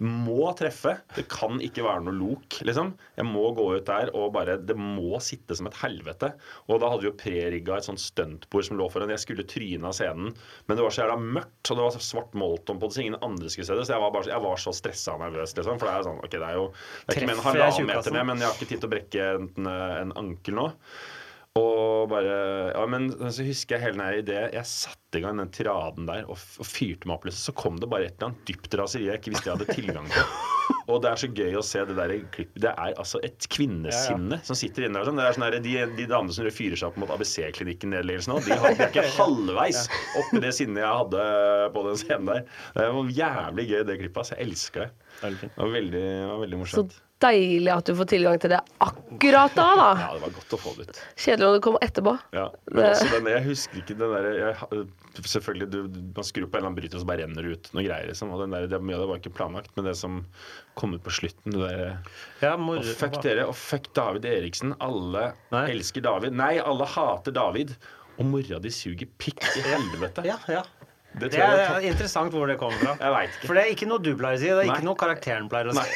[SPEAKER 2] Du må treffe. Det kan ikke være noe lok, liksom. Jeg må gå ut der og bare Det må sitte som et helvete. Og da hadde vi jo prerigga et sånt stuntbord som lå foran. Jeg skulle tryne av scenen, men det var så jævla mørkt, og det var så svart molton på det, så ingen andre skulle se det. Så jeg var, bare, jeg var så stressa og nervøs, liksom. For det er sånn OK, det er jo Det er ikke mer enn
[SPEAKER 3] Treffer jeg
[SPEAKER 2] halvannen
[SPEAKER 3] tjukkassen?
[SPEAKER 2] meter ned, men jeg har ikke tid til å brekke enten eh, en ankel nå. Og bare Ja, men så husker jeg hele den her ideen. Jeg satte i gang den tiraden der og, f- og fyrte meg opp. Liksom. Så kom det bare et eller annet dypt raseri jeg ikke visste jeg hadde tilgang på. Og det er så gøy å se det der i klippet. Det er altså et kvinnesinne som sitter inne der. og Sånn. Det er sånn der, de, de damene som fyrer seg opp mot ABC-klinikken-nedleggelsen nå, de har de er ikke halvveis oppi det sinnet jeg hadde på den scenen der. Det var jævlig gøy, det klippet. Altså, jeg elsker det. Det var veldig, det var veldig
[SPEAKER 1] Så
[SPEAKER 2] morsomt.
[SPEAKER 1] deilig at du får tilgang til det akkurat da,
[SPEAKER 2] Ja,
[SPEAKER 1] da.
[SPEAKER 2] det var godt å få det ut.
[SPEAKER 1] Kjedelig om det kom etterpå.
[SPEAKER 2] Ja, men
[SPEAKER 1] Det-
[SPEAKER 2] også den, jeg husker ikke den der jeg, Selvfølgelig, du, man skrur på en eller annen bryter, og så bare renner det ut noen greier. Liksom. Og den der, det, mye av det var ikke planlagt, men det som kom ut på slutten det der,
[SPEAKER 3] Ja,
[SPEAKER 2] Og
[SPEAKER 3] mor-
[SPEAKER 2] fuck dere, og fuck David Eriksen. Alle elsker David. Nei, alle hater David. Og mora di suger pikk i helvete.
[SPEAKER 3] Ja, ja.
[SPEAKER 2] Det
[SPEAKER 3] Det
[SPEAKER 2] tror jeg
[SPEAKER 3] er interessant hvor det kommer fra.
[SPEAKER 2] Jeg vet ikke.
[SPEAKER 3] For det er ikke noe du pleier å si, det er ikke noe karakteren pleier å [LAUGHS] si.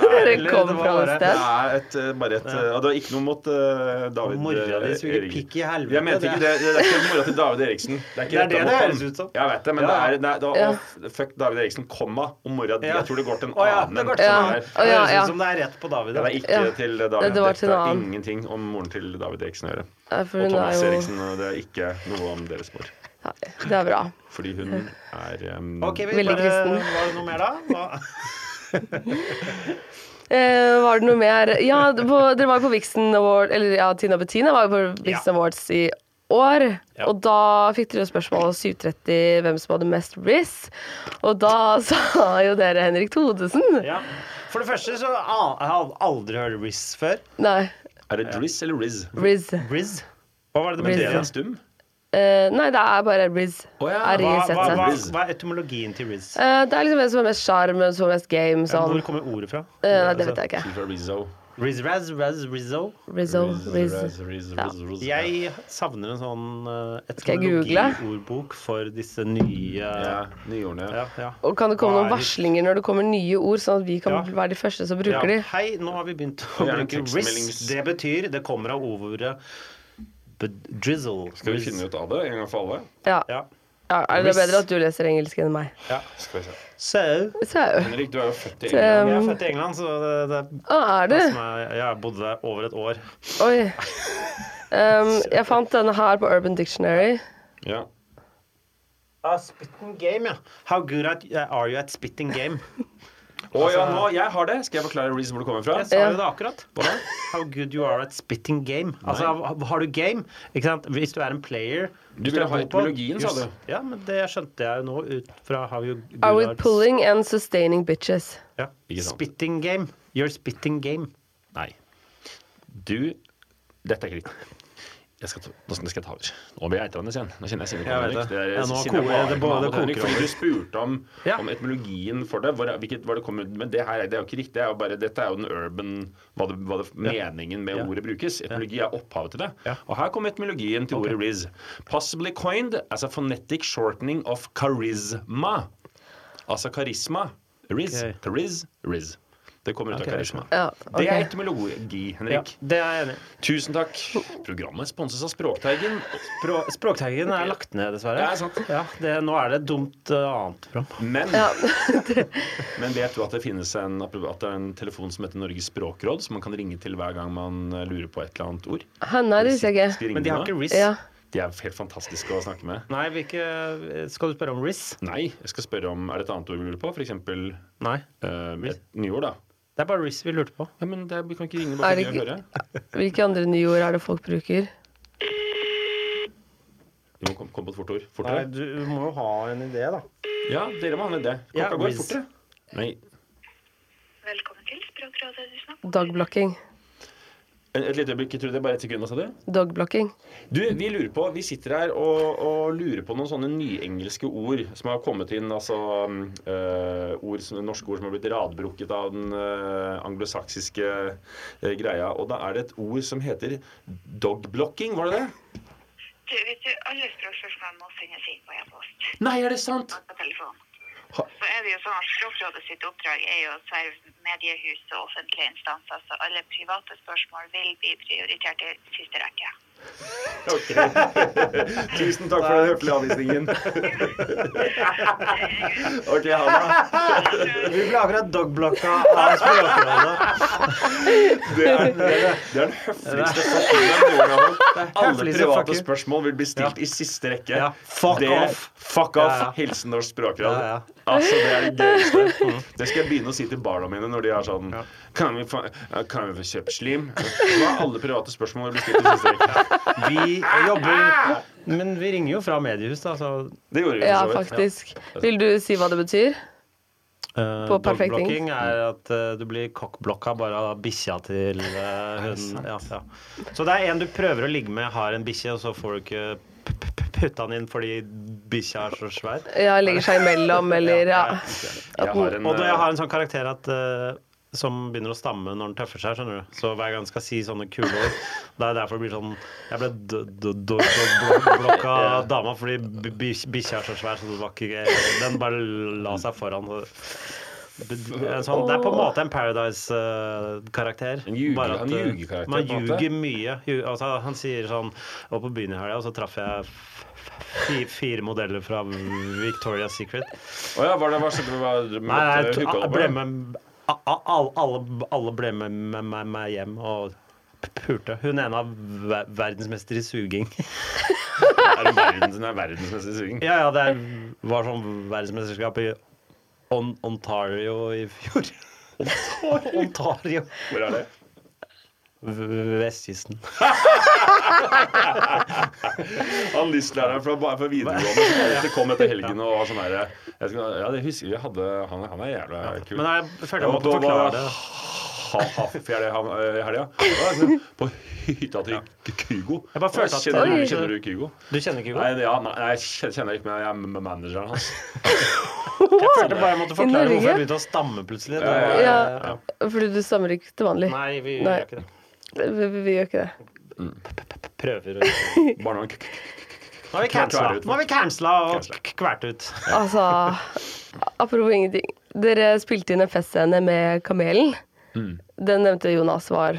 [SPEAKER 1] Det
[SPEAKER 3] Eller
[SPEAKER 1] kom
[SPEAKER 3] det
[SPEAKER 1] fra
[SPEAKER 3] var
[SPEAKER 1] et
[SPEAKER 3] bare-
[SPEAKER 2] Det
[SPEAKER 1] sted.
[SPEAKER 2] er et, eh, bare et eh, og Det er ikke noe mot eh, David
[SPEAKER 3] Mora di suger
[SPEAKER 2] Eriksen.
[SPEAKER 3] pikk i helvete,
[SPEAKER 2] Jeg mente ikke det.
[SPEAKER 3] det.
[SPEAKER 2] Det er ikke mora til David Eriksen. Det er,
[SPEAKER 3] Det er
[SPEAKER 2] rettet mot
[SPEAKER 3] det det
[SPEAKER 2] han.
[SPEAKER 3] høres ut som.
[SPEAKER 2] Jeg vet det, men
[SPEAKER 3] Ja.
[SPEAKER 2] det er, det er, det var-
[SPEAKER 3] Ja.
[SPEAKER 2] å, Fuck David Eriksen, komma, og mora di.
[SPEAKER 3] Ja.
[SPEAKER 2] Jeg tror det går til en
[SPEAKER 3] Å ja,
[SPEAKER 2] annen.
[SPEAKER 3] det
[SPEAKER 2] enn
[SPEAKER 3] går til
[SPEAKER 2] som er-
[SPEAKER 3] en annen.
[SPEAKER 1] Å,
[SPEAKER 3] Det
[SPEAKER 1] ja,
[SPEAKER 3] høres
[SPEAKER 1] ja.
[SPEAKER 3] ut som det er rett på David.
[SPEAKER 2] Det
[SPEAKER 3] da.
[SPEAKER 2] er ikke
[SPEAKER 1] Ja.
[SPEAKER 2] til
[SPEAKER 1] Det-
[SPEAKER 2] David.
[SPEAKER 1] det var
[SPEAKER 2] Dette
[SPEAKER 1] til en
[SPEAKER 2] har
[SPEAKER 1] annen.
[SPEAKER 2] ingenting om moren til David Eriksen å gjøre.
[SPEAKER 1] Nei, for
[SPEAKER 2] og
[SPEAKER 1] hun er
[SPEAKER 2] Thomas
[SPEAKER 1] jo-
[SPEAKER 2] Eriksen, og det er ikke noe om deres mor.
[SPEAKER 1] [LAUGHS] Det er bra.
[SPEAKER 2] Fordi hun er um,
[SPEAKER 3] Ok, vi
[SPEAKER 1] Veldig
[SPEAKER 3] bare,
[SPEAKER 1] kristen.
[SPEAKER 3] Var det noe mer da? Hva?
[SPEAKER 1] Eh, var det noe mer Ja, det- på, dere var jo på Vixen Award Eller ja, Tina Bettina var jo på Vixen Awards i år. Og da fikk dere spørsmål om 730 hvem som hadde mest riss. Og da [LAUGHS] sa jo dere Henrik Thodesen.
[SPEAKER 3] Ja. For det første så al- jeg har aldri hørt Riz før.
[SPEAKER 1] Nei,
[SPEAKER 2] Er det Driss eller Riz?
[SPEAKER 1] Riz.
[SPEAKER 3] Riz? Hva var det det
[SPEAKER 2] Men
[SPEAKER 1] Riz,
[SPEAKER 2] det er
[SPEAKER 1] ja.
[SPEAKER 2] en stum?
[SPEAKER 1] Eh, nei, det er bare Riz.
[SPEAKER 3] Hva, hva, hva,
[SPEAKER 1] R-I-Z-Z.
[SPEAKER 3] hva er etymologien til Riz?
[SPEAKER 1] Eh, det er liksom hvem som har mest sjarm, hvem som har mest game,
[SPEAKER 3] Hvor
[SPEAKER 1] sånn.
[SPEAKER 3] kommer ordet fra?
[SPEAKER 1] Eh, nei, det vet jeg ikke.
[SPEAKER 2] Fra Rizzo.
[SPEAKER 3] Riz, Raz, Raz, Rizzo?
[SPEAKER 1] Rizzo, Riz.
[SPEAKER 2] Raz, Riz,
[SPEAKER 1] Ja.
[SPEAKER 2] Riz, Riz.
[SPEAKER 3] Jeg savner en sånn uh,
[SPEAKER 1] Skal jeg google?
[SPEAKER 3] etymologiordbok for disse nye
[SPEAKER 2] Ja, nyordene.
[SPEAKER 3] ja, ja.
[SPEAKER 1] Og kan det komme
[SPEAKER 3] Hva
[SPEAKER 1] noen
[SPEAKER 3] er-
[SPEAKER 1] varslinger når det kommer nye ord, sånn at vi kan være de første som bruker
[SPEAKER 3] Ja.
[SPEAKER 1] de?
[SPEAKER 3] Hei, nå har vi begynt å
[SPEAKER 2] Gjerne
[SPEAKER 3] bruke riz.
[SPEAKER 2] tekstmeldings-
[SPEAKER 3] Det betyr Det kommer av ordet bedrizzle.
[SPEAKER 2] Skal vi finne ut av det en gang for alle?
[SPEAKER 1] Ja.
[SPEAKER 3] Ja.
[SPEAKER 1] Ja, er det
[SPEAKER 3] Riz.
[SPEAKER 1] bedre at du leser engelsk enn meg?
[SPEAKER 3] ja.
[SPEAKER 2] Skal vi se.
[SPEAKER 3] So
[SPEAKER 1] Så,
[SPEAKER 2] Henrik, du er jo født i
[SPEAKER 1] Så,
[SPEAKER 2] England.
[SPEAKER 3] Jeg er født i England, så det, det
[SPEAKER 1] å, er du?
[SPEAKER 3] passer meg. Jeg bodde der over et år.
[SPEAKER 1] Oi. Um, jeg fant denne her på Urban Dictionary.
[SPEAKER 2] Ja.
[SPEAKER 3] Ah, spitting game, ja. How good at, eh, are you at spitting game?
[SPEAKER 2] Å ja, nå, jeg har det. Skal jeg forklare reason hvor det kommer fra?
[SPEAKER 3] Jeg sa jo det akkurat. How good you are at spitting game. Altså, har- har du game? Ikke sant? Hvis du er en player
[SPEAKER 2] Du
[SPEAKER 3] hvis
[SPEAKER 2] ville
[SPEAKER 3] er
[SPEAKER 2] ha
[SPEAKER 3] god på-
[SPEAKER 2] etymologien, sa
[SPEAKER 3] Just-
[SPEAKER 2] du.
[SPEAKER 3] Ja, men det skjønte jeg nå ut fra how you good
[SPEAKER 1] Are we
[SPEAKER 3] at-
[SPEAKER 1] pulling and sustaining bitches?
[SPEAKER 3] Ja. Spitting game. You're spitting game.
[SPEAKER 2] Nei. Du Dette er ikke riktig. Jeg skal ta, nå skal jeg ta over. Nå blir jeg eitrende igjen. Nå kjenner jeg sinnet
[SPEAKER 3] Jeg
[SPEAKER 2] kommer,
[SPEAKER 3] vet
[SPEAKER 2] Henrik.
[SPEAKER 3] det.
[SPEAKER 2] Det er-
[SPEAKER 3] Ja, nå
[SPEAKER 2] sinnet
[SPEAKER 3] koker
[SPEAKER 2] bare
[SPEAKER 3] det- det
[SPEAKER 2] kommer
[SPEAKER 3] både
[SPEAKER 2] mot Henrik,
[SPEAKER 3] koker
[SPEAKER 2] Fordi
[SPEAKER 3] over.
[SPEAKER 2] du spurte om, om etymologien for det, hvor, hvilket, hva det kom ut Men det her er- det er jo ikke riktig. Det er jo bare, dette er jo den urban hva det, hva det, Meningen med ordet brukes. Etymologi er opphavet til det. Og her kommer etymologien til ordet riz. Possibly coined as a phonetic shortening of charisma. Altså karisma. Riz,
[SPEAKER 3] Ok.
[SPEAKER 2] riz, riz. Det kommer ut
[SPEAKER 3] Ok,
[SPEAKER 2] av karisma.
[SPEAKER 3] ja,
[SPEAKER 2] Det er
[SPEAKER 3] ok.
[SPEAKER 2] etymologi, Henrik.
[SPEAKER 3] Det er jeg enig i.
[SPEAKER 2] Tusen takk. Programmet sponses av Språkteigen.
[SPEAKER 3] Språkteigen er lagt ned, dessverre.
[SPEAKER 2] Ja, sant.
[SPEAKER 3] Ja, det, nå er det et dumt eh, annet program.
[SPEAKER 2] Men, [LAUGHS] men vet du at det finnes en, at det er en telefon som heter Norges språkråd, som man kan ringe til hver gang man eh, lurer på et eller annet ord?
[SPEAKER 1] Hæ, nei, det visste jeg
[SPEAKER 2] Skal
[SPEAKER 1] ikke.
[SPEAKER 2] ringe nå?
[SPEAKER 1] Ja.
[SPEAKER 2] De er helt fantastiske å snakke med.
[SPEAKER 3] Nei, hvilke Skal du spørre om RIS?
[SPEAKER 2] Nei, jeg skal spørre om Er det et annet ord vi lurer på? For eksempel
[SPEAKER 3] Nei.
[SPEAKER 2] eh, et nyord, da.
[SPEAKER 3] Det er bare RIS vi lurte på.
[SPEAKER 2] Ja, men det, vi kan ikke ringe
[SPEAKER 1] Er
[SPEAKER 2] bare
[SPEAKER 1] det
[SPEAKER 2] for gøy å høre.
[SPEAKER 1] Hvilke andre nye ord er det folk bruker?
[SPEAKER 2] Vi må komme komme på et fort ord. Fort
[SPEAKER 3] Nei,
[SPEAKER 2] ord.
[SPEAKER 3] du må jo ha en idé, da.
[SPEAKER 2] Ja, dere må ha en idé.
[SPEAKER 3] Ja,
[SPEAKER 2] Klokka går
[SPEAKER 3] whiz.
[SPEAKER 2] fortere. Nei,
[SPEAKER 1] Dogblocking.
[SPEAKER 2] et, et lite øyeblikk. Jeg tror det er bare et sekund, hva sa du?
[SPEAKER 1] Dogblocking.
[SPEAKER 2] Du, vi lurer på, vi sitter her og, og lurer på noen sånne nyengelske ord som har kommet inn. Altså mm, eh, ord som, norske ord som har blitt radbrukket av den eh, anglosaksiske eh, greia. Og da er det et ord som heter dogblocking, var det det?
[SPEAKER 7] Du, vet du, alle språkspørsmål må sendes inn på e-post.
[SPEAKER 2] Nei, er det
[SPEAKER 3] [LAUGHS]
[SPEAKER 2] sant?
[SPEAKER 7] På telefon. Så er det jo sånn at Språkrådet sitt oppdrag er jo å serve mediehus og offentlige instanser, så alle private spørsmål vil bli prioritert i siste rekke.
[SPEAKER 2] Ok. Tusen takk for den høflige avvisningen. ok, ha det.
[SPEAKER 3] Vi ble akkurat dogblocka av Språkrådet.
[SPEAKER 2] Det er, det er, det er den høfligste setningen noen gang. har hørt. Alle
[SPEAKER 3] Høfligste fuck
[SPEAKER 2] private
[SPEAKER 3] you.
[SPEAKER 2] spørsmål vil bli stilt i siste rekke.
[SPEAKER 3] Fuck
[SPEAKER 2] det,
[SPEAKER 3] off.
[SPEAKER 2] Fuck off.
[SPEAKER 3] Ja, ja.
[SPEAKER 2] Hilsen Norsk Språkråd.
[SPEAKER 3] Ja, Mm. ja.
[SPEAKER 2] Altså, det er det
[SPEAKER 3] [LAUGHS]
[SPEAKER 2] gøyeste. Det skal jeg begynne å si til barna mine når de er sånn Kan vi få, kan vi få kjøpt slim? Hva er alle private spørsmål blir stilt i siste rekke?
[SPEAKER 3] Vi jobber Men vi ringer jo fra mediehus, da, så
[SPEAKER 2] Det gjorde vi.
[SPEAKER 1] Ja,
[SPEAKER 2] for så vidt.
[SPEAKER 1] faktisk. Vil du si hva det betyr?
[SPEAKER 3] eh,
[SPEAKER 1] På perfekt
[SPEAKER 3] Dogblocking er at eh, du blir cockblocka bare av bikkja til
[SPEAKER 1] [LAUGHS]
[SPEAKER 3] eh, hunden. Ja, ja. Så det er en du prøver å ligge med, har en bikkje, og så får du ikke p- p- p- putta den inn fordi bikkja er så svær.
[SPEAKER 1] Ja, legger seg imellom, eller ja.
[SPEAKER 2] Jeg har en,
[SPEAKER 3] Og da jeg
[SPEAKER 2] eh,
[SPEAKER 3] har en sånn karakter at eh, som begynner å stamme når den tøffer seg. skjønner du Så hver gang jeg skal si sånne kule ord [LAUGHS] Det er derfor det blir sånn Jeg ble d- d- d- d- blokka
[SPEAKER 2] [LAUGHS]
[SPEAKER 3] av dama fordi bi- bi- bikkja er så svær, så det var ikke den bare la seg foran. En sånn, det er på en måte en Paradise-karakter.
[SPEAKER 2] En ljuge-
[SPEAKER 3] bare at,
[SPEAKER 2] en
[SPEAKER 3] eh,
[SPEAKER 2] ljugekarakter,
[SPEAKER 3] Man
[SPEAKER 2] på en måte.
[SPEAKER 3] ljuger mye. Ju- Altså, han sier sånn Og på byen i helga, og så traff jeg f- f- fire modeller fra Victoria's Secret.
[SPEAKER 2] Å ja, var det hva skjedde? Var, du
[SPEAKER 3] Nei,
[SPEAKER 2] møtte-
[SPEAKER 3] nei to,
[SPEAKER 2] hooka
[SPEAKER 3] a-
[SPEAKER 2] opp,
[SPEAKER 3] ble
[SPEAKER 2] eller?
[SPEAKER 3] med, a, a, alle, alle- alle ble med meg med, meg hjem og p- pulte. Hun ene av ver verdensmester i suging. [LAUGHS]
[SPEAKER 2] Er det verdens, den er verdensmessig suging?
[SPEAKER 3] ja, ja, det er- var sånn verdensmesterskap i On Ontario i fjor. [LAUGHS] Ontario.
[SPEAKER 2] Hvor er det?
[SPEAKER 3] V- Vestkysten.
[SPEAKER 2] Han lystlæreren fra, fra videregående som alltid kom etter helgen og var sånn herre jeg skal- Ja, det husker jeg hadde Han, han er jævla kul.
[SPEAKER 3] Men jeg følte jeg
[SPEAKER 2] Og
[SPEAKER 3] måtte
[SPEAKER 2] da var
[SPEAKER 3] forklare det.
[SPEAKER 2] Ha- Hafjell i ham- eh, i helga. Det var liksom På hytta til Kygo.
[SPEAKER 3] Jeg bare følte at-
[SPEAKER 2] kjenner,
[SPEAKER 3] Oi.
[SPEAKER 2] du, kjenner du Kygo?
[SPEAKER 3] Du kjenner ikke
[SPEAKER 2] Nei,
[SPEAKER 3] Hugo?
[SPEAKER 2] ja, nei, jeg kjen- kjenner ikke, men jeg er m- manageren hans.
[SPEAKER 3] Jeg følte bare jeg måtte
[SPEAKER 1] I
[SPEAKER 3] forklare
[SPEAKER 1] Norge?
[SPEAKER 3] hvorfor jeg begynte å stamme plutselig. Det var-
[SPEAKER 1] ja. Fordi du stammer ikke til vanlig?
[SPEAKER 3] Nei, vi
[SPEAKER 1] Nei.
[SPEAKER 3] gjør ikke det.
[SPEAKER 1] Vi, vi, vi gjør ikke det.
[SPEAKER 3] Prøver å
[SPEAKER 2] Barnevern k-
[SPEAKER 3] Nå har vi cancela. Nå har vi cancela og k- kvært ut.
[SPEAKER 1] Altså, apropos ingenting. Dere spilte inn en festscene med Kamelen.
[SPEAKER 2] Mm.
[SPEAKER 1] Den nevnte Jonas var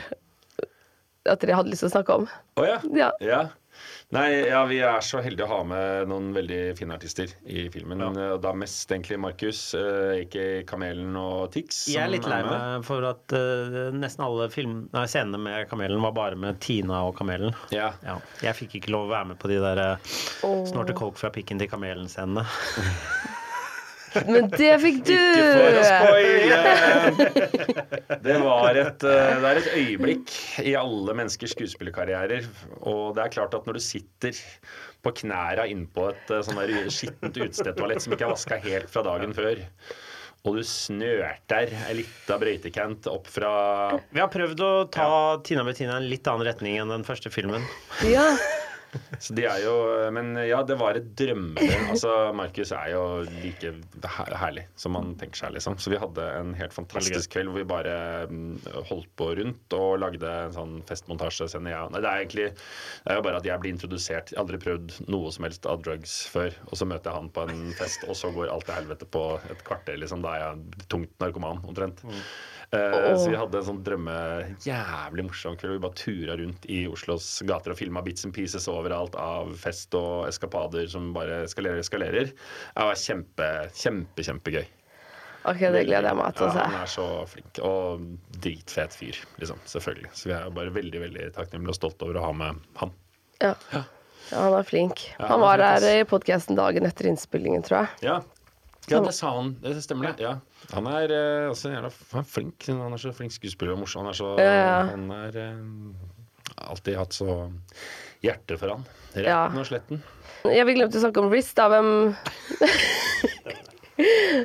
[SPEAKER 1] at dere hadde lyst til å snakke om.
[SPEAKER 2] Å ja.
[SPEAKER 1] Ja.
[SPEAKER 2] ja. Nei, ja, Vi er så heldige å ha med noen veldig fine artister i filmen. Og Da mest egentlig Markus, eh, ikke Kamelen og Tix.
[SPEAKER 3] Jeg er
[SPEAKER 2] som
[SPEAKER 3] litt lei
[SPEAKER 2] med.
[SPEAKER 3] meg for at eh, nesten alle film, nei, scenene med Kamelen var bare med Tina og Kamelen. Ja. Jeg fikk ikke lov å være med på de der eh, snorte coke fra pikken til Kamelen-scenene.
[SPEAKER 1] Men det fikk du!
[SPEAKER 2] Det, var et, eh, det er et øyeblikk i alle menneskers skuespillerkarrierer. Og det er klart at når du sitter på knæra innpå et eh, sånn der skittent utestedtoalett som ikke er vaska helt fra dagen før, og du snørter ei lita brøytekant opp fra
[SPEAKER 3] Vi har prøvd å ta Tina Bettina i en litt annen retning enn den første filmen.
[SPEAKER 1] Ja.
[SPEAKER 2] Så de er jo Men ja, det var et drømme. Altså, Markus er jo like her- herlig som man tenker seg, liksom. Så vi hadde en helt fantastisk kveld hvor vi bare mm, holdt på rundt og lagde en sånn festmontasjescene. Ja. Nei, det er egentlig det er jo bare at jeg blir introdusert. Jeg har aldri prøvd noe som helst av drugs før. Og så møter jeg han på en fest, og så går alt til helvete på et kvarter, liksom. Da er jeg tungt narkoman, omtrent. Eh, Så vi hadde en sånn drømme jævlig morsom kveld. hvor Vi bare tura rundt i Oslos gater og filma bits and pieces overalt av fest og eskapader som bare eskalerer og eskalerer. Det var kjempe, kjempe, kjempegøy.
[SPEAKER 1] Ok, det gleder jeg meg til å
[SPEAKER 2] Ja,
[SPEAKER 1] se.
[SPEAKER 2] han er så flink og dritfet fyr, liksom. Selvfølgelig. Så vi er jo bare veldig veldig takknemlige og stolte over å ha med han.
[SPEAKER 1] Ja. ja, han er flink.
[SPEAKER 2] Ja, han
[SPEAKER 1] Han
[SPEAKER 2] er
[SPEAKER 1] var
[SPEAKER 2] flink,
[SPEAKER 1] her i podkasten dagen etter innspillingen, tror jeg.
[SPEAKER 2] Ja, ja det sa han. Det stemmer, det. Ja. Han er eh, også en jævla han er flink. Han er så flink skuespiller og morsom. Han er så
[SPEAKER 1] Ja, ja.
[SPEAKER 2] Han er eh, alltid hatt så hjerte for han. Retten
[SPEAKER 1] Ja.
[SPEAKER 2] og sletten.
[SPEAKER 1] Ja, vi glemte å snakke om Riz, da. Hvem [LAUGHS]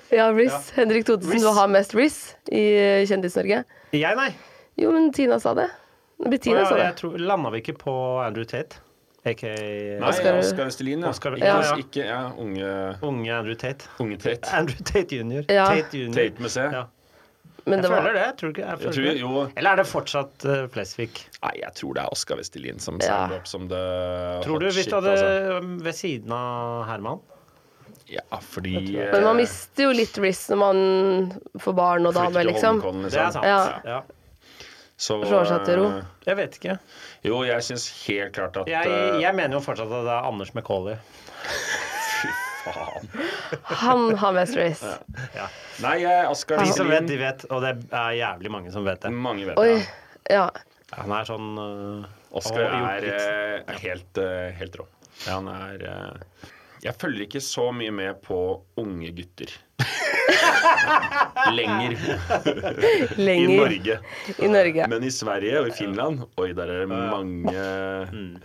[SPEAKER 1] Ja, Riz. Henrik Thodesen vil ha mest Riz i eh, Kjendis-Norge.
[SPEAKER 3] Jeg, nei.
[SPEAKER 1] Jo, men Tina sa det. Bettina
[SPEAKER 3] Å, ja,
[SPEAKER 1] sa det.
[SPEAKER 3] jeg tror, landa vi ikke på Andrew Tate? A.k.a.
[SPEAKER 2] Nei, Oscar, Østelin, ja.
[SPEAKER 3] Oscar-
[SPEAKER 2] ikke,
[SPEAKER 3] ja, ja.
[SPEAKER 2] ikke ja, unge
[SPEAKER 3] Unge Andrew Tate.
[SPEAKER 2] Unge Tate.
[SPEAKER 3] Andrew Tate jr.
[SPEAKER 1] Ja.
[SPEAKER 3] Tate jr.
[SPEAKER 2] Tate med C.
[SPEAKER 3] Ja.
[SPEAKER 1] Men
[SPEAKER 3] jeg
[SPEAKER 1] det var-
[SPEAKER 3] føler det. Jeg tror ikke, jeg
[SPEAKER 2] Jeg
[SPEAKER 3] føler
[SPEAKER 2] tror,
[SPEAKER 3] det.
[SPEAKER 2] jo,
[SPEAKER 3] Eller er det fortsatt eh, Flesvig?
[SPEAKER 2] nei, jeg tror det er Oskar Vestelin som
[SPEAKER 3] Ja.
[SPEAKER 2] signer opp som det
[SPEAKER 3] Tror du
[SPEAKER 2] hot
[SPEAKER 3] hvis
[SPEAKER 2] shit,
[SPEAKER 3] du hadde
[SPEAKER 2] altså.
[SPEAKER 3] um, ved siden av Herman?
[SPEAKER 2] Ja, fordi eh,
[SPEAKER 1] Men man mister jo litt Riz når man får barn og dame, liksom.
[SPEAKER 3] Det er sant.
[SPEAKER 1] Ja.
[SPEAKER 3] Ja.
[SPEAKER 2] Så,
[SPEAKER 1] Slår seg til ro.
[SPEAKER 2] eh,
[SPEAKER 3] Jeg vet ikke.
[SPEAKER 2] Jo, jeg syns helt klart at
[SPEAKER 3] Jeg,
[SPEAKER 2] eh,
[SPEAKER 3] jeg mener jo fortsatt at det er Anders Macauley.
[SPEAKER 2] Faen.
[SPEAKER 1] Han har mest Riz.
[SPEAKER 3] Ja.
[SPEAKER 2] Nei, jeg, Oskar
[SPEAKER 3] De som vet,
[SPEAKER 2] Vestelin
[SPEAKER 3] de vet. Og det er jævlig mange som vet det.
[SPEAKER 2] Mange vet
[SPEAKER 1] Oi.
[SPEAKER 2] det.
[SPEAKER 1] Ja.
[SPEAKER 3] Han er sånn uh,
[SPEAKER 2] Oscar
[SPEAKER 3] og gjort
[SPEAKER 2] er
[SPEAKER 3] litt-
[SPEAKER 2] eh, helt, eh, helt rå. Ja, han er eh, Jeg følger ikke så mye med på unge
[SPEAKER 3] [LAUGHS]
[SPEAKER 2] gutter. Lenger.
[SPEAKER 1] Lenger.
[SPEAKER 2] I Norge.
[SPEAKER 1] I Norge.
[SPEAKER 2] Men i Sverige og i Finland Oi, der er det
[SPEAKER 3] [LAUGHS]
[SPEAKER 2] mange
[SPEAKER 3] Mm.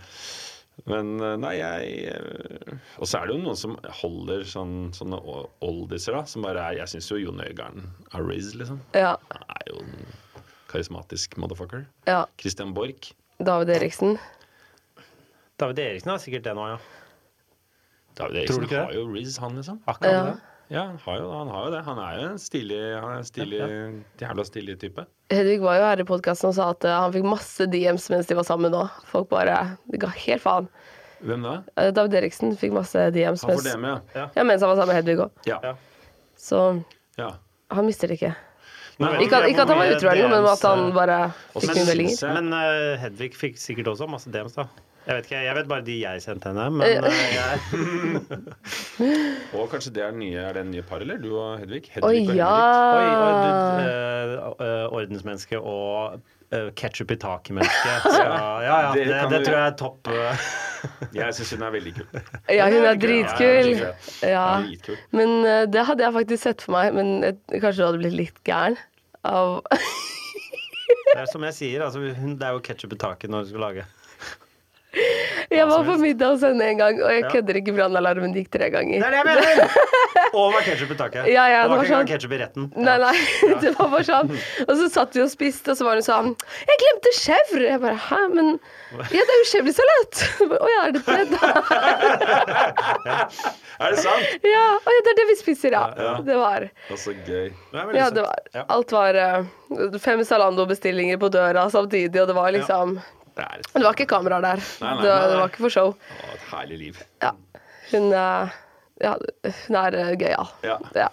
[SPEAKER 2] Men eh, nei, jeg eh, Og så er det jo noen som holder sånn, sånne o- oldiser, da. Som bare er Jeg syns jo Jon Øigarden er Riz, liksom.
[SPEAKER 1] Ja.
[SPEAKER 2] Han er jo en karismatisk motherfucker.
[SPEAKER 1] ja.
[SPEAKER 2] Christian Borch.
[SPEAKER 1] David Eriksen.
[SPEAKER 3] David Eriksen er sikkert det nå, ja.
[SPEAKER 2] David
[SPEAKER 3] Tror
[SPEAKER 2] Eriksen
[SPEAKER 3] du ikke
[SPEAKER 2] har jo Riz, han, liksom.
[SPEAKER 3] Akkurat
[SPEAKER 1] Ja.
[SPEAKER 3] det.
[SPEAKER 2] Ja, han har jo, han har jo det. Han er jo en stilig, han er en stilig jævla stilig type.
[SPEAKER 1] Hedvig var jo her i podkasten og sa at eh, han fikk masse DMs mens de var sammen nå. Folk bare Det ga helt faen.
[SPEAKER 2] Hvem da?
[SPEAKER 1] Eh, David Eriksen fikk masse DMs
[SPEAKER 2] Han
[SPEAKER 1] mens,
[SPEAKER 2] får det med, ja.
[SPEAKER 1] ja, mens han var sammen med Hedvig òg.
[SPEAKER 2] Ja.
[SPEAKER 1] Så
[SPEAKER 2] ja.
[SPEAKER 1] han mister det ikke.
[SPEAKER 3] Nå vet
[SPEAKER 1] Ikke at,
[SPEAKER 3] jeg
[SPEAKER 1] ikke at han
[SPEAKER 3] hvor
[SPEAKER 1] var
[SPEAKER 3] mye
[SPEAKER 1] utro, eller noe, men
[SPEAKER 3] DMs,
[SPEAKER 1] at han
[SPEAKER 3] eh,
[SPEAKER 1] bare
[SPEAKER 2] Og
[SPEAKER 1] fikk
[SPEAKER 2] så
[SPEAKER 1] mye meldinger.
[SPEAKER 2] synes jeg-
[SPEAKER 3] Men eh, Hedvig fikk sikkert også masse DMs, da. Jeg vet ikke, jeg vet bare de jeg sendte henne. Men
[SPEAKER 1] Eh.
[SPEAKER 3] eh, jeg,
[SPEAKER 2] Og kanskje det er, den nye, er det en nye par, eller? Du og Hedvig? Hedvig
[SPEAKER 1] Å
[SPEAKER 2] og Henrik.
[SPEAKER 1] ja!
[SPEAKER 3] oi, oi,
[SPEAKER 1] Ah.
[SPEAKER 3] du, eh, eh, ordensmenneske og eh, ketchup i
[SPEAKER 1] [LAUGHS]
[SPEAKER 3] taket-menneske. Så, Ja, ja,
[SPEAKER 2] Det
[SPEAKER 3] det,
[SPEAKER 2] kan
[SPEAKER 3] det
[SPEAKER 2] du-
[SPEAKER 3] tror jeg er topp. eh.
[SPEAKER 2] Jeg syns hun er veldig kul.
[SPEAKER 1] Ja, hun er
[SPEAKER 2] Ja,
[SPEAKER 1] dritkul.
[SPEAKER 2] hun er skikkelig.
[SPEAKER 1] Ja.
[SPEAKER 2] Hun er dritkul.
[SPEAKER 1] Men eh, det hadde jeg faktisk sett for meg, men jeg, kanskje du hadde blitt litt gæren av [LAUGHS]
[SPEAKER 3] Det er som jeg sier, altså, hun, det er jo ketchup i taket når du skal lage.
[SPEAKER 1] Jeg var på middag hos henne en gang, og jeg
[SPEAKER 3] Ja.
[SPEAKER 1] kødder ikke, brannalarmen gikk tre ganger.
[SPEAKER 3] Det er det jeg mener! [LAUGHS] Og var ketchup i taket.
[SPEAKER 1] Ja, ja, det
[SPEAKER 3] det var ikke
[SPEAKER 1] var sånn-
[SPEAKER 3] engang ketchup i retten.
[SPEAKER 1] Nei, [LAUGHS] nei, det var bare sånn. Og så satt vi og spiste, og så var hun sånn 'Jeg glemte chèvre'. Jeg bare 'hæ, men
[SPEAKER 2] [LAUGHS]
[SPEAKER 1] Ja, det er jo chèvresalat'. [LAUGHS] Å ja, er det det,
[SPEAKER 2] [LAUGHS]
[SPEAKER 1] da?
[SPEAKER 2] Er det sant?
[SPEAKER 1] Ja, å ja, det er det vi spiser, ja.
[SPEAKER 2] Ja, ja.
[SPEAKER 1] Det var
[SPEAKER 2] Det er så Altså, gøy.
[SPEAKER 1] Ja, det var Alt var eh, fem Zalando-bestillinger på døra samtidig, og det var liksom
[SPEAKER 2] Det er et,
[SPEAKER 1] Men det var ikke kameraer der.
[SPEAKER 2] Nei, nei,
[SPEAKER 1] det, var,
[SPEAKER 2] nei,
[SPEAKER 1] det
[SPEAKER 2] nei.
[SPEAKER 1] var ikke for show.
[SPEAKER 2] å, et herlig liv.
[SPEAKER 1] Ja. Hun, eh, ja, hun er eh, gøyal.
[SPEAKER 2] Ja.
[SPEAKER 1] Ja.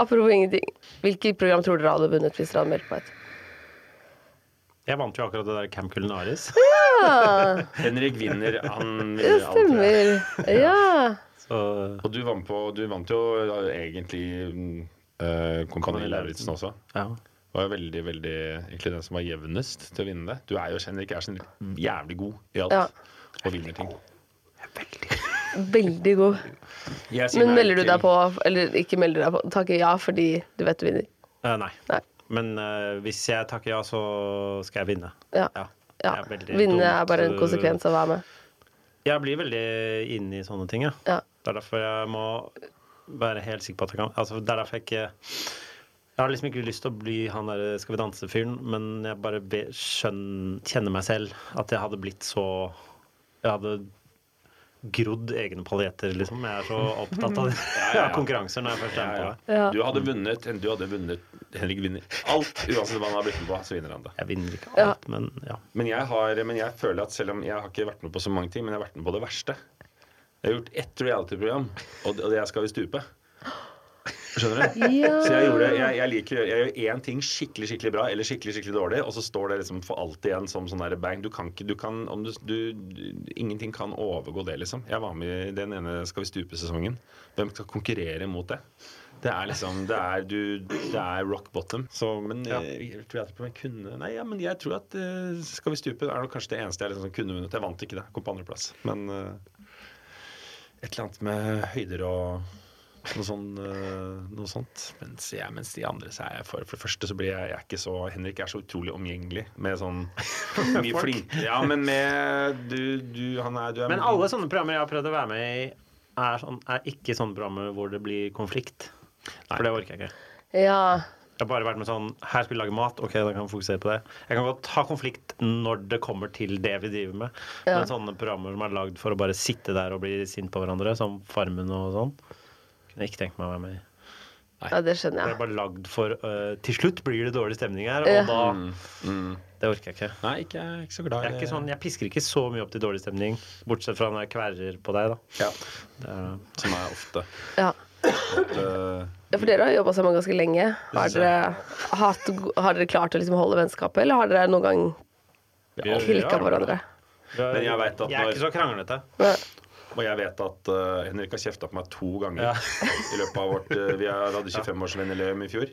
[SPEAKER 1] Apropos ingenting. Hvilket program tror dere hadde vunnet hvis dere hadde meldt på et?
[SPEAKER 3] Jeg vant jo akkurat det der
[SPEAKER 1] [LAUGHS]
[SPEAKER 3] Camp Culinaris.
[SPEAKER 1] Ja,
[SPEAKER 2] Henrik vinner, han
[SPEAKER 1] det
[SPEAKER 2] vinner alltid.
[SPEAKER 1] stemmer. Ja.
[SPEAKER 2] Og du vant, på, du vant jo ja, egentlig mm, eh, Kompani Lauritzen også. Det var jo veldig, veldig egentlig den som var jevnest til å vinne det. Du er jo Henrik er generelt jævlig god i alt.
[SPEAKER 1] Ja.
[SPEAKER 2] Og vinner ting.
[SPEAKER 1] Veldig god.
[SPEAKER 2] Jeg [LAUGHS] sier
[SPEAKER 1] Men
[SPEAKER 2] nei
[SPEAKER 1] melder du
[SPEAKER 2] til-
[SPEAKER 1] deg på, eller ikke melder deg på, takker ja fordi du vet du vinner?
[SPEAKER 3] Eh, nei. Men eh, hvis jeg takker ja, så skal jeg vinne.
[SPEAKER 1] Ja. ja.
[SPEAKER 3] Det er veldig
[SPEAKER 1] Vinne
[SPEAKER 3] dumt,
[SPEAKER 1] er bare
[SPEAKER 2] eh,
[SPEAKER 1] en
[SPEAKER 3] øh,
[SPEAKER 1] konsekvens av å være med.
[SPEAKER 3] Jeg blir veldig inne i sånne ting, ja.
[SPEAKER 1] Ja.
[SPEAKER 3] Det er derfor jeg må være helt sikker på at jeg kan altså, Det er derfor jeg ikke Jeg har liksom ikke lyst til å bli han der Skal vi danse-fyren, men jeg bare be, skjønn, kjenner meg selv at jeg hadde blitt så Jeg hadde grodd egne paljetter, liksom. Jeg er så opptatt
[SPEAKER 1] [LAUGHS]
[SPEAKER 3] av
[SPEAKER 2] ja.
[SPEAKER 3] [LAUGHS] konkurranser når jeg først er med på det.
[SPEAKER 2] Du hadde vunnet, du hadde vunnet Henrik vinner alt, uansett hva han har blitt med på, så vinner han det.
[SPEAKER 3] Jeg vinner ikke
[SPEAKER 1] Ja.
[SPEAKER 3] alt, men ja.
[SPEAKER 2] Men jeg, har, men jeg føler at selv om jeg har ikke vært med på så mange ting, men jeg har vært med på det verste. Jeg har gjort ett reality-program, og det og det er Skal vi stupe. Skjønner du?
[SPEAKER 1] Ja.
[SPEAKER 2] Så jeg, gjorde, jeg, jeg liker å gjøre- jeg gjør én ting skikkelig skikkelig bra eller skikkelig skikkelig dårlig, og så står det liksom for alltid igjen som sånn der bang. Du kan ikke, du kan, om du, du, Ingenting kan overgå det, liksom. Jeg var med i den ene Skal vi stupe-sesongen. Hvem skal konkurrere mot det? Det er liksom Det er, du, det er rock bottom. Så, men
[SPEAKER 3] Ja.
[SPEAKER 2] eh, jeg tror jeg at jeg kunne Nei, ja, men jeg tror at eh, Skal vi stupe er nok kanskje det eneste jeg liksom kunne vunnet. Jeg vant ikke det. Kom på andreplass. Men eh, et eller annet med høyder og noe, sånn, eh, noe sånt. Mens, jeg, mens de andre så er jeg for, for det første så blir jeg, jeg er ikke så Henrik er så utrolig omgjengelig med [LAUGHS] sånn mye
[SPEAKER 3] Folk.
[SPEAKER 2] flink Ja, men med Du, du han er, du er
[SPEAKER 3] Men alle sånne programmer jeg har prøvd å være med i, er, sånn, er ikke sånne programmer hvor det blir konflikt. For det orker jeg ikke.
[SPEAKER 1] Ja.
[SPEAKER 3] Jeg har bare vært med sånn Her skal vi lage mat, ok, da kan vi fokusere på det. Jeg kan godt ta konflikt når det kommer til det vi driver med.
[SPEAKER 1] Ja.
[SPEAKER 3] Men sånne programmer som er lagd for å bare sitte der og bli sint på hverandre, som Farmen og sånn, kunne jeg ikke tenkt meg å være med i.
[SPEAKER 1] ja, det
[SPEAKER 3] Det
[SPEAKER 1] skjønner
[SPEAKER 3] er
[SPEAKER 1] jeg.
[SPEAKER 3] bare lagd for øh, Til slutt blir det dårlig stemning her,
[SPEAKER 1] Ja.
[SPEAKER 3] og da
[SPEAKER 2] Mm.
[SPEAKER 3] Det orker jeg ikke.
[SPEAKER 2] Nei, ikke, jeg er ikke så glad
[SPEAKER 3] Jeg,
[SPEAKER 2] i
[SPEAKER 3] er
[SPEAKER 2] det.
[SPEAKER 3] ikke sånn, jeg pisker ikke så mye opp til dårlig stemning, bortsett fra når jeg kverrer på deg, da.
[SPEAKER 2] Ja,
[SPEAKER 3] Det er, øh,
[SPEAKER 2] som er ofte.
[SPEAKER 1] Ja.
[SPEAKER 2] At, eh,
[SPEAKER 1] Ja, for dere har jobba sammen ganske lenge. Har dere, hatt, har dere klart å liksom holde vennskapet, eller har dere noen gang klikka hverandre?
[SPEAKER 2] Men jeg vet at
[SPEAKER 3] jeg er
[SPEAKER 2] når-
[SPEAKER 3] ikke så kranglete.
[SPEAKER 1] Ja.
[SPEAKER 2] Og jeg vet at eh, Henrik har kjefta på meg to ganger
[SPEAKER 3] Ja.
[SPEAKER 2] [LAUGHS] i løpet av vårt eh, Vi hadde 25-årsvennejubileum i fjor.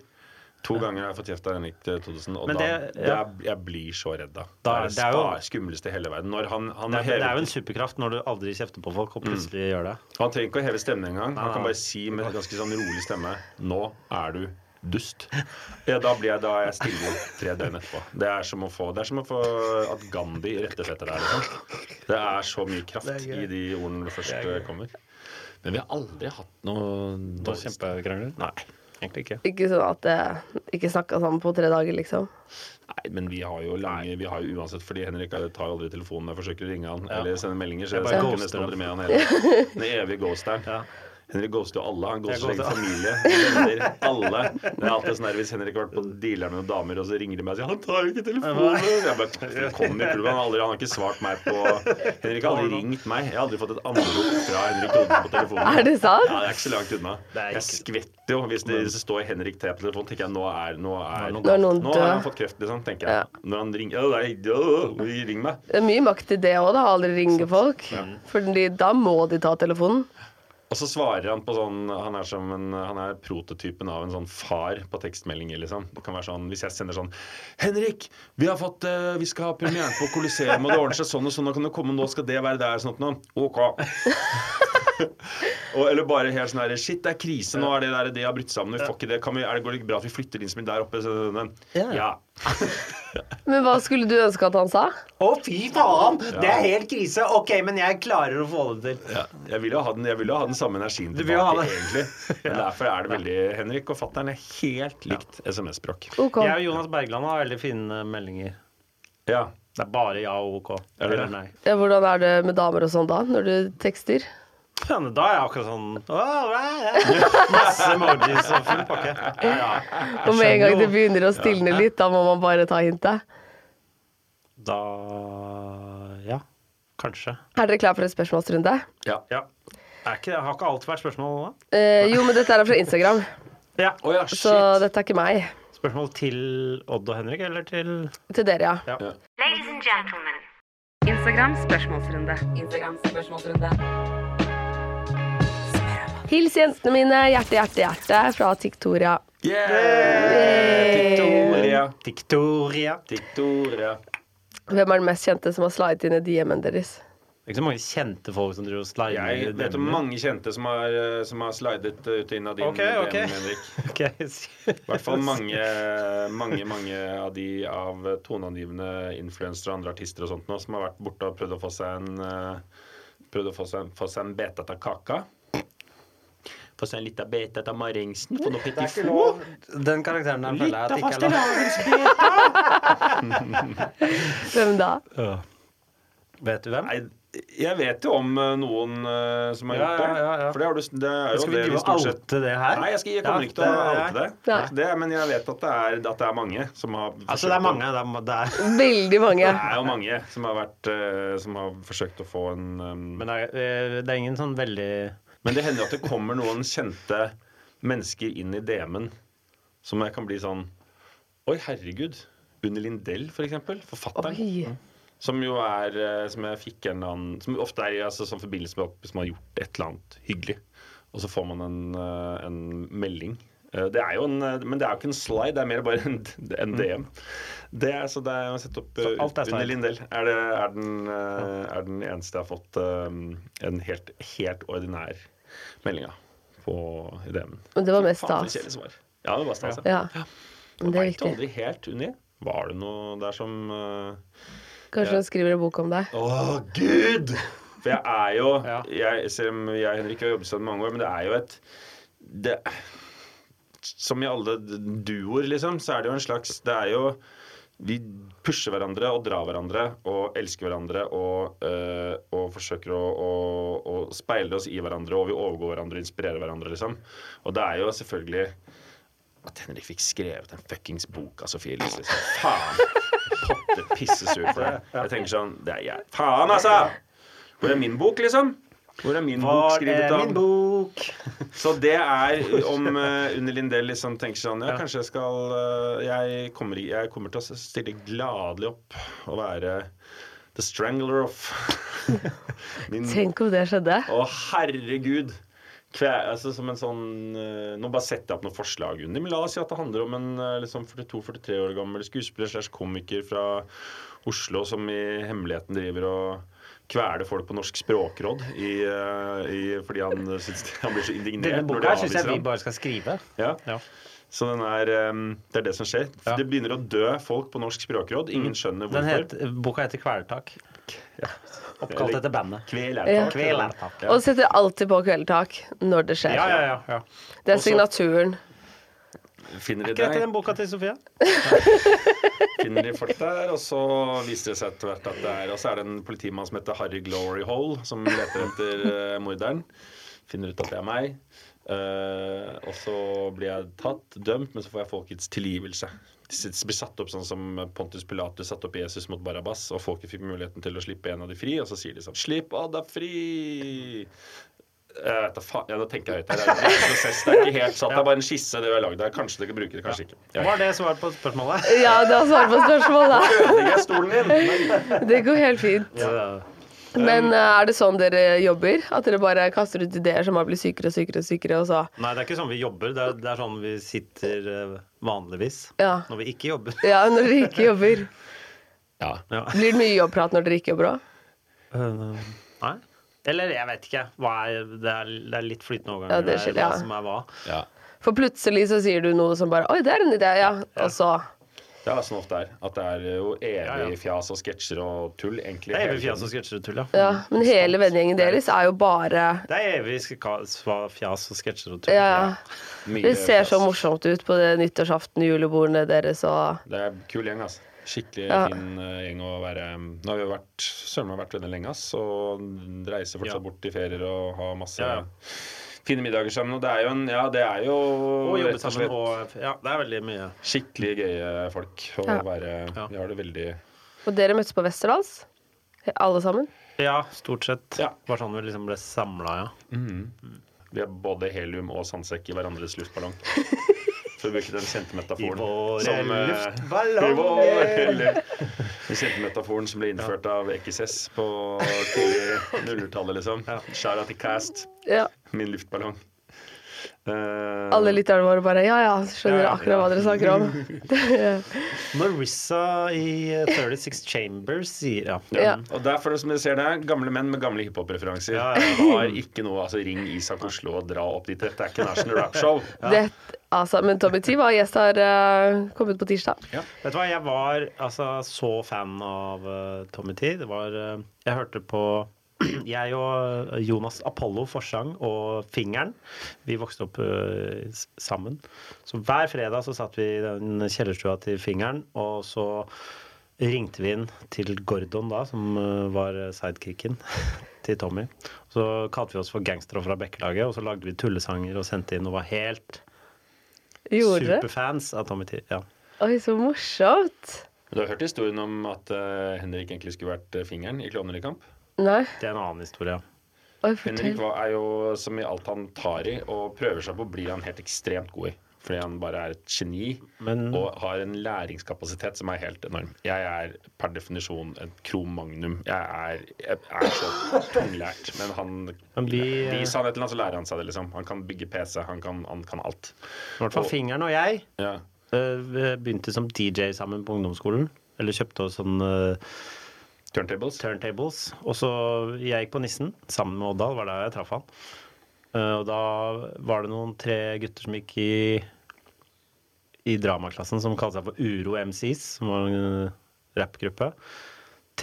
[SPEAKER 2] To ganger har jeg fått kjeft av Henrik til Todesen, og
[SPEAKER 3] Men
[SPEAKER 2] da,
[SPEAKER 3] det-
[SPEAKER 2] det
[SPEAKER 3] ja.
[SPEAKER 2] er, jeg blir så redd da.
[SPEAKER 3] Da-
[SPEAKER 2] det er det,
[SPEAKER 3] det er jo-
[SPEAKER 2] spa- skumleste i hele verden. Når Mm. han, han,
[SPEAKER 3] Det
[SPEAKER 2] har
[SPEAKER 3] er, det er jo
[SPEAKER 2] hevet-
[SPEAKER 3] en superkraft når du aldri kjefter på folk, og plutselig gjør det.
[SPEAKER 2] han trenger ikke å heve stemmen engang. Han
[SPEAKER 3] Nei,
[SPEAKER 2] kan
[SPEAKER 3] nei.
[SPEAKER 2] bare si med ganske sånn rolig stemme Nå er du [LAUGHS] dust. Ja, da blir jeg, da er jeg stille tre døgn etterpå. Det er som å få, det er som å få at Gandhi rettesetter deg. Liksom. Det er så mye kraft i de ordene du først eh, kommer. Men vi har aldri hatt noe
[SPEAKER 3] Noe
[SPEAKER 2] dårlig
[SPEAKER 3] kjempekrangler?
[SPEAKER 2] Nei.
[SPEAKER 3] Egentlig ikke.
[SPEAKER 1] Ikke sånn at eh, ikke snakka sammen på tre dager, liksom.
[SPEAKER 2] Nei, men vi har jo lange Vi har jo uansett Fordi Henrik er- tar jo aldri telefonen når jeg forsøker å ringe han eller sende meldinger. Så
[SPEAKER 3] Jeg
[SPEAKER 2] jeg
[SPEAKER 3] bare
[SPEAKER 2] snakker
[SPEAKER 3] ghoster
[SPEAKER 2] nesten
[SPEAKER 3] han.
[SPEAKER 2] aldri med han heller.
[SPEAKER 3] [LAUGHS]
[SPEAKER 2] Den evige ghosteren. Henrik ghoster jo alle. Han ghoster sin
[SPEAKER 3] Jeg
[SPEAKER 2] egen
[SPEAKER 3] ghoster-
[SPEAKER 2] familie, venner, alle. Men jeg er alltid sånn her hvis Henrik har vært på dealer med noen damer, og så ringer de meg og sier 'Han tar jo ikke telefonen'. Jeg bare, kom i klubben, han, har aldri, han har ikke svart meg på Henrik har aldri ringt meg. Jeg har aldri fått et anrop fra Henrik Thodesen på telefonen.
[SPEAKER 1] Er det sant?
[SPEAKER 2] Ja, det er ikke så langt Mm. unna.
[SPEAKER 3] er
[SPEAKER 2] Jeg skvetter jo hvis det hvis det står Henrik T på telefonen. tenker jeg, nå er, nå er,
[SPEAKER 1] Nå er noen
[SPEAKER 2] nå har han
[SPEAKER 1] død.
[SPEAKER 2] fått kreft, liksom, tenker jeg. Når han ringer «Å, nei, å, Ring meg.
[SPEAKER 1] Det er mye makt i det òg, da. Aldri ringe folk. Fordi da må de ta telefonen.
[SPEAKER 2] Og så svarer han på sånn Han er, som en, han er prototypen av en sånn far på tekstmeldinger, liksom. Det kan være sånn, Hvis jeg sender sånn 'Henrik, vi har fått eh, Vi skal ha premieren på Coliseum, og det ordner seg sånn og sånn, nå kan du komme, nå skal det være der', sånn og sånn. OK. [LAUGHS] Og, eller bare helt sånn her Shit, det er krise nå. Er det der det har brutt sammen? Vi får ikke det. Kan vi, er det, går det ikke bra at vi flytter inn som der oppe? Så- så- så- Ja.
[SPEAKER 1] Men hva skulle du ønske at han sa?
[SPEAKER 3] Å, fy faen! Det
[SPEAKER 2] Ja.
[SPEAKER 3] er helt krise. Ok, men jeg klarer å få det til.
[SPEAKER 2] ja. Jeg vil jo ha den, jeg vil jo ha den samme energien
[SPEAKER 3] Du vil jo ha
[SPEAKER 2] tilbake,
[SPEAKER 3] det.
[SPEAKER 2] egentlig.
[SPEAKER 3] [LAUGHS]
[SPEAKER 2] Men derfor er det veldig Henrik og fatter'n er helt likt SMS-språk.
[SPEAKER 1] OK.
[SPEAKER 3] Jeg og Jonas Bergland har veldig fine meldinger.
[SPEAKER 2] Ja.
[SPEAKER 3] Det er bare ja og ok.
[SPEAKER 2] Er det det?
[SPEAKER 3] Eller nei.
[SPEAKER 1] Ja, hvordan er det med damer og sånn da, når du tekster?
[SPEAKER 3] Ja, men da er jeg akkurat sånn «Å, nei,
[SPEAKER 2] [LAUGHS]
[SPEAKER 3] nei». Masse emojis og full pakke. Ja, ja.
[SPEAKER 1] Og med en gang det
[SPEAKER 3] skjønner jo.
[SPEAKER 1] begynner å stilne litt, da må man bare ta hintet.
[SPEAKER 3] Da Ja. Kanskje.
[SPEAKER 1] Er dere klar for en spørsmålsrunde?
[SPEAKER 2] Ja.
[SPEAKER 3] Ja. Er ikke, har ikke alt vært spørsmål nå?
[SPEAKER 1] Eh, jo, men dette er fra Instagram,
[SPEAKER 3] Ja.
[SPEAKER 2] Å ja,
[SPEAKER 1] så
[SPEAKER 2] shit.
[SPEAKER 1] dette er ikke meg.
[SPEAKER 3] Spørsmål til Odd og Henrik, eller til
[SPEAKER 1] Til dere,
[SPEAKER 3] ja.
[SPEAKER 8] Ladies and gentlemen.
[SPEAKER 1] Instagram spørsmålsrunde. Instagram spørsmålsrunde. Hils jentene mine, hjerte, hjerte, hjerte fra Tiktoria.
[SPEAKER 2] Victoria.
[SPEAKER 3] Victoria.
[SPEAKER 2] Victoria.
[SPEAKER 1] Hvem er den mest kjente som har slidet inn i DM-en deres?
[SPEAKER 3] Det er ikke så mange kjente folk som driver og slider. i
[SPEAKER 2] Jeg vet om
[SPEAKER 3] DM-en.
[SPEAKER 2] mange kjente som har, eh, som har slidet eh, ut og inn av din
[SPEAKER 3] Ok, [LAUGHS] ok.
[SPEAKER 2] DM, Henrik.
[SPEAKER 3] Ok.
[SPEAKER 2] I
[SPEAKER 3] [LAUGHS]
[SPEAKER 2] hvert fall mange, mange mange av de av toneangivende influensere og andre artister og sånt nå, som har vært borte og prøvd å få seg en eh, Prøvd å få seg, få seg en bete av kaka. Få seg en liten bete av Marengsen. Få noe
[SPEAKER 3] Det er
[SPEAKER 2] petit
[SPEAKER 3] ikke lov. Den karakteren der føler jeg at ikke er lov. [LAUGHS]
[SPEAKER 1] Hvem da?
[SPEAKER 3] Vet du hvem?
[SPEAKER 2] Jeg vet jo om eh, noen eh, som har
[SPEAKER 3] Ja,
[SPEAKER 2] gjort det.
[SPEAKER 3] ja, ja, ja.
[SPEAKER 2] For det, har du, det er jo
[SPEAKER 3] Skal vi
[SPEAKER 2] det
[SPEAKER 3] drive og
[SPEAKER 2] stort sett
[SPEAKER 3] oute det her?
[SPEAKER 2] Nei, jeg, skal, jeg
[SPEAKER 3] Ja,
[SPEAKER 2] kommer ikke til å
[SPEAKER 3] det er-
[SPEAKER 2] oute det. Det er ikke det. Men jeg vet at det er, at det er mange som har
[SPEAKER 3] Altså, det er
[SPEAKER 2] forsøkt å-
[SPEAKER 3] mange. Det er, det er.
[SPEAKER 1] Veldig mange.
[SPEAKER 2] Det er jo mange som har, vært, eh, som har forsøkt å få en eh,
[SPEAKER 3] Men det er, eh, det er ingen sånn veldig
[SPEAKER 2] Men det hender jo at det kommer noen kjente mennesker inn i DM-en som jeg kan bli sånn Oi, herregud. Unni Lindell, for eksempel. Forfatteren.
[SPEAKER 1] Oi.
[SPEAKER 2] Som jo er eh, Som jeg fikk en eller annen Som ofte er i altså, sånn forbindelse med at hvis man har gjort et eller annet hyggelig, og så får man en, eh, en melding. Eh, Det er jo en, eh, men det er jo ikke en slide, det er mer bare en, [LAUGHS] en DM. Det er, så det er å sette opp
[SPEAKER 3] Mm. Så alt er
[SPEAKER 2] eh, Unni
[SPEAKER 3] slide.
[SPEAKER 2] Lindell. Er, det, er, den, eh, er den eneste jeg har fått eh, en helt, helt ordinær melding av på i DM-en.
[SPEAKER 1] Men det var mest
[SPEAKER 2] Faen, for
[SPEAKER 1] stas.
[SPEAKER 2] kjedelig svar. Ja, det var stas.
[SPEAKER 1] Ja. Men det er
[SPEAKER 2] Veit
[SPEAKER 1] viktig.
[SPEAKER 2] aldri helt, Unni. Var det noe der som eh,
[SPEAKER 1] Kanskje hun skriver en bok om deg.
[SPEAKER 2] Å, gud! For jeg er jo jeg, Selv om jeg og Henrik har jobbet sammen i mange år, men det er jo et det, Som i alle duoer, liksom, så er det jo en slags Det er jo Vi pusher hverandre og drar hverandre og elsker hverandre og, eh, og forsøker å, å, å speile oss i hverandre, og vi overgår hverandre og inspirerer hverandre, liksom. Og det er jo selvfølgelig at Henrik fikk skrevet en fuckings bok av Sofie Elise. Liksom. Faen! Potte pissesur for det. Jeg tenker sånn det er jeg. Faen, altså! Hvor er min bok, liksom? Hvor er min bok
[SPEAKER 3] Var det
[SPEAKER 2] skrevet
[SPEAKER 3] min
[SPEAKER 2] av
[SPEAKER 3] bok?
[SPEAKER 2] Så det er om eh, Unni Lindell liksom tenker sånn Ja, kanskje jeg skal eh, jeg, kommer, i- jeg kommer til å stille gladelig opp og være the strangler of min
[SPEAKER 1] Tenk om det skjedde.
[SPEAKER 2] Å, herregud! Kve, altså, som en sånn eh, Nå bare setter jeg opp noen forslag under, men la oss si at det handler om en eh, liksom 42-43 år gammel skuespiller slash komiker fra Oslo som i hemmeligheten driver og kveler folk på Norsk språkråd i, eh, i, fordi han syns han blir så indignert. når
[SPEAKER 3] Denne
[SPEAKER 2] de
[SPEAKER 3] boka syns jeg
[SPEAKER 2] avviser
[SPEAKER 3] vi
[SPEAKER 2] ham.
[SPEAKER 3] bare skal skrive.
[SPEAKER 2] Ja. Så den er, eh, det er det som skjer. Det begynner å dø folk på Norsk språkråd. Ingen skjønner
[SPEAKER 3] Mm. Den
[SPEAKER 2] hvorfor.
[SPEAKER 3] het, boka heter Kvelertak. Oppkalt
[SPEAKER 2] Eller-
[SPEAKER 3] etter bandet.
[SPEAKER 1] Ja.
[SPEAKER 2] Kvelertak.
[SPEAKER 3] Kvelertak.
[SPEAKER 1] Og setter alltid på kveldstak når det skjer.
[SPEAKER 3] Ja, ja, ja. ja.
[SPEAKER 1] Det er
[SPEAKER 2] Også-
[SPEAKER 1] signaturen.
[SPEAKER 2] Finner de
[SPEAKER 3] Ikke dette
[SPEAKER 2] deg?
[SPEAKER 3] den boka til Sofie?
[SPEAKER 2] finner de folk der, og så viser det seg etter hvert at det er Og så er det en politimann som heter Harry Glory Hole, som leter etter eh, morderen. Finner ut at det er meg. Eh, og så blir jeg tatt, dømt, men så får jeg folkets tilgivelse. De s- blir satt opp sånn som Pontus Pilatus satte opp Jesus mot Barabbas, og folket fikk muligheten til å slippe en av de fri, og så sier de sånn Slipp Ada fri! Jeg vet da faen, ja, Nå tenker jeg høyt her. Det er en prosess, det er ikke helt satt. Det er bare en skisse, det vi har lagd her. Kanskje dere bruker det, kanskje ikke. Jeg
[SPEAKER 3] Var det svar på spørsmålet?
[SPEAKER 1] Ja, det var svar på spørsmålet.
[SPEAKER 2] ødelegger jeg stolen din!
[SPEAKER 1] Det går helt fint. Men eh, er det sånn dere jobber? At dere bare kaster ut ideer som har blitt sykere og sykere og sykere, og så
[SPEAKER 3] Nei, det er ikke sånn vi jobber. Det er, det er sånn vi sitter eh, vanligvis
[SPEAKER 1] Ja.
[SPEAKER 3] når vi ikke jobber.
[SPEAKER 1] Ja, når dere ikke jobber.
[SPEAKER 2] Ja.
[SPEAKER 3] Ja.
[SPEAKER 1] [LAUGHS] Blir det mye jobbprat når dere ikke jobber òg?
[SPEAKER 3] Eh, Nei? Eller jeg vet ikke. Hva er, det, er, det er litt flytende overganger
[SPEAKER 1] Ja, det
[SPEAKER 3] der,
[SPEAKER 1] skjer, ja.
[SPEAKER 3] hva som er hva.
[SPEAKER 2] Ja.
[SPEAKER 1] For plutselig så sier du noe som bare Oi, det er en idé, ja. Og så
[SPEAKER 2] Det er sånn ofte er. At det er jo evig
[SPEAKER 3] Ja, ja.
[SPEAKER 2] fjas og sketsjer og tull, egentlig.
[SPEAKER 3] Det er evig fjas og sketsjer og tull, ja.
[SPEAKER 1] Ja. Men hele vennegjengen deres er jo bare
[SPEAKER 3] Det er evig ska- sva- fjas og sketsjer og tull.
[SPEAKER 1] Ja, ja.
[SPEAKER 2] Mye
[SPEAKER 1] Det ser så
[SPEAKER 2] fjas.
[SPEAKER 1] morsomt ut på det nyttårsaften, julebordene deres og
[SPEAKER 2] Det er kul gjeng, altså. Skikkelig
[SPEAKER 1] Ja.
[SPEAKER 2] fin eh, gjeng å være Nå har vi jo vært søren meg vært venner lenge, ass. Og reiser fortsatt bort i ferier og har masse
[SPEAKER 3] Ja, ja.
[SPEAKER 2] fine middager sammen. Og det er jo en Ja, det er jo
[SPEAKER 3] Og jobbe
[SPEAKER 2] rett og
[SPEAKER 3] sammen
[SPEAKER 2] slett
[SPEAKER 3] og Ja, det er veldig mye.
[SPEAKER 2] skikkelig gøye folk å
[SPEAKER 1] Ja.
[SPEAKER 2] være Vi har det veldig
[SPEAKER 1] Og dere møttes på Westerdals? Alle sammen?
[SPEAKER 3] Ja, stort sett. Var sånn vi liksom ble samla, ja.
[SPEAKER 1] [LAUGHS]
[SPEAKER 2] Vi er både helium og sandsekk i hverandres luftballong. For å bruke den kjente metaforen.
[SPEAKER 3] I våre
[SPEAKER 2] eh,
[SPEAKER 3] luftballonger.
[SPEAKER 2] i våre- Den kjente metaforen som ble innført av XS på tidlig 00-tallet, liksom. Shara til Cast.
[SPEAKER 1] Ja.
[SPEAKER 2] Min luftballong. Eh,
[SPEAKER 1] Alle lytterne våre bare Ja, ja, skjønner
[SPEAKER 3] Ja, ja,
[SPEAKER 1] akkurat hva dere snakker om. [LAUGHS] Det-
[SPEAKER 3] Marissa i eh, 36 Chambers sier ja.
[SPEAKER 2] Ja. mm. Og derfor, som dere ser det, gamle menn med gamle hiphop-referanser har ikke noe altså, Ring Isak Oslo og dra opp dit. Dette er ikke National Rap Show.
[SPEAKER 1] det, altså, men Tommy T var gjest her, eh, kommet på tirsdag.
[SPEAKER 3] Vet du hva, jeg var altså, så fan av eh, Tommy T. Det var eh, Jeg hørte på [CLEARS THROAT] jeg og Jonas Apollo Forsang og Fingeren, vi vokste opp eh, s- sammen. Så hver fredag så satt vi i den kjellerstua til Fingeren, og så ringte vi inn til Gordon da, som eh, var sidekicken [LAUGHS] til Tommy. Så kalte vi oss for gangstere fra Bekkelaget, og så lagde vi tullesanger og sendte inn og var helt
[SPEAKER 1] Gjorde dere?
[SPEAKER 3] superfans av Tommy T. Ja.
[SPEAKER 1] Oi, så morsomt.
[SPEAKER 2] Du har hørt historien om at eh, Henrik egentlig skulle vært eh, fingeren i Klovner i kamp?
[SPEAKER 1] Nei.
[SPEAKER 3] Det er en annen historie.
[SPEAKER 1] Oi,
[SPEAKER 2] Henrik
[SPEAKER 1] fortell.
[SPEAKER 2] var, er jo som i alt han tar i og prøver seg på, blir han helt ekstremt god i. Fordi han bare er et geni og har en læringskapasitet som er helt enorm. Jeg er per definisjon et kromagnum. Jeg er, jeg er så tunglært. Men han
[SPEAKER 3] Men vi, eh,
[SPEAKER 2] Vis han et eller annet, så lærer han seg det, liksom. Han kan bygge PC, han kan, han kan alt.
[SPEAKER 3] I hvert fall
[SPEAKER 2] Og-
[SPEAKER 3] fingeren og jeg
[SPEAKER 2] Ja.
[SPEAKER 3] eh, vi begynte som DJ sammen på ungdomsskolen. Eller kjøpte oss sånn eh,
[SPEAKER 2] Turntables.
[SPEAKER 3] Og så jeg gikk på Nissen sammen med Oddal, var der jeg traff han. Eh, og da var det noen tre gutter som gikk i i dramaklassen som kalte seg for Uro MCs, som var en eh, rappgruppe.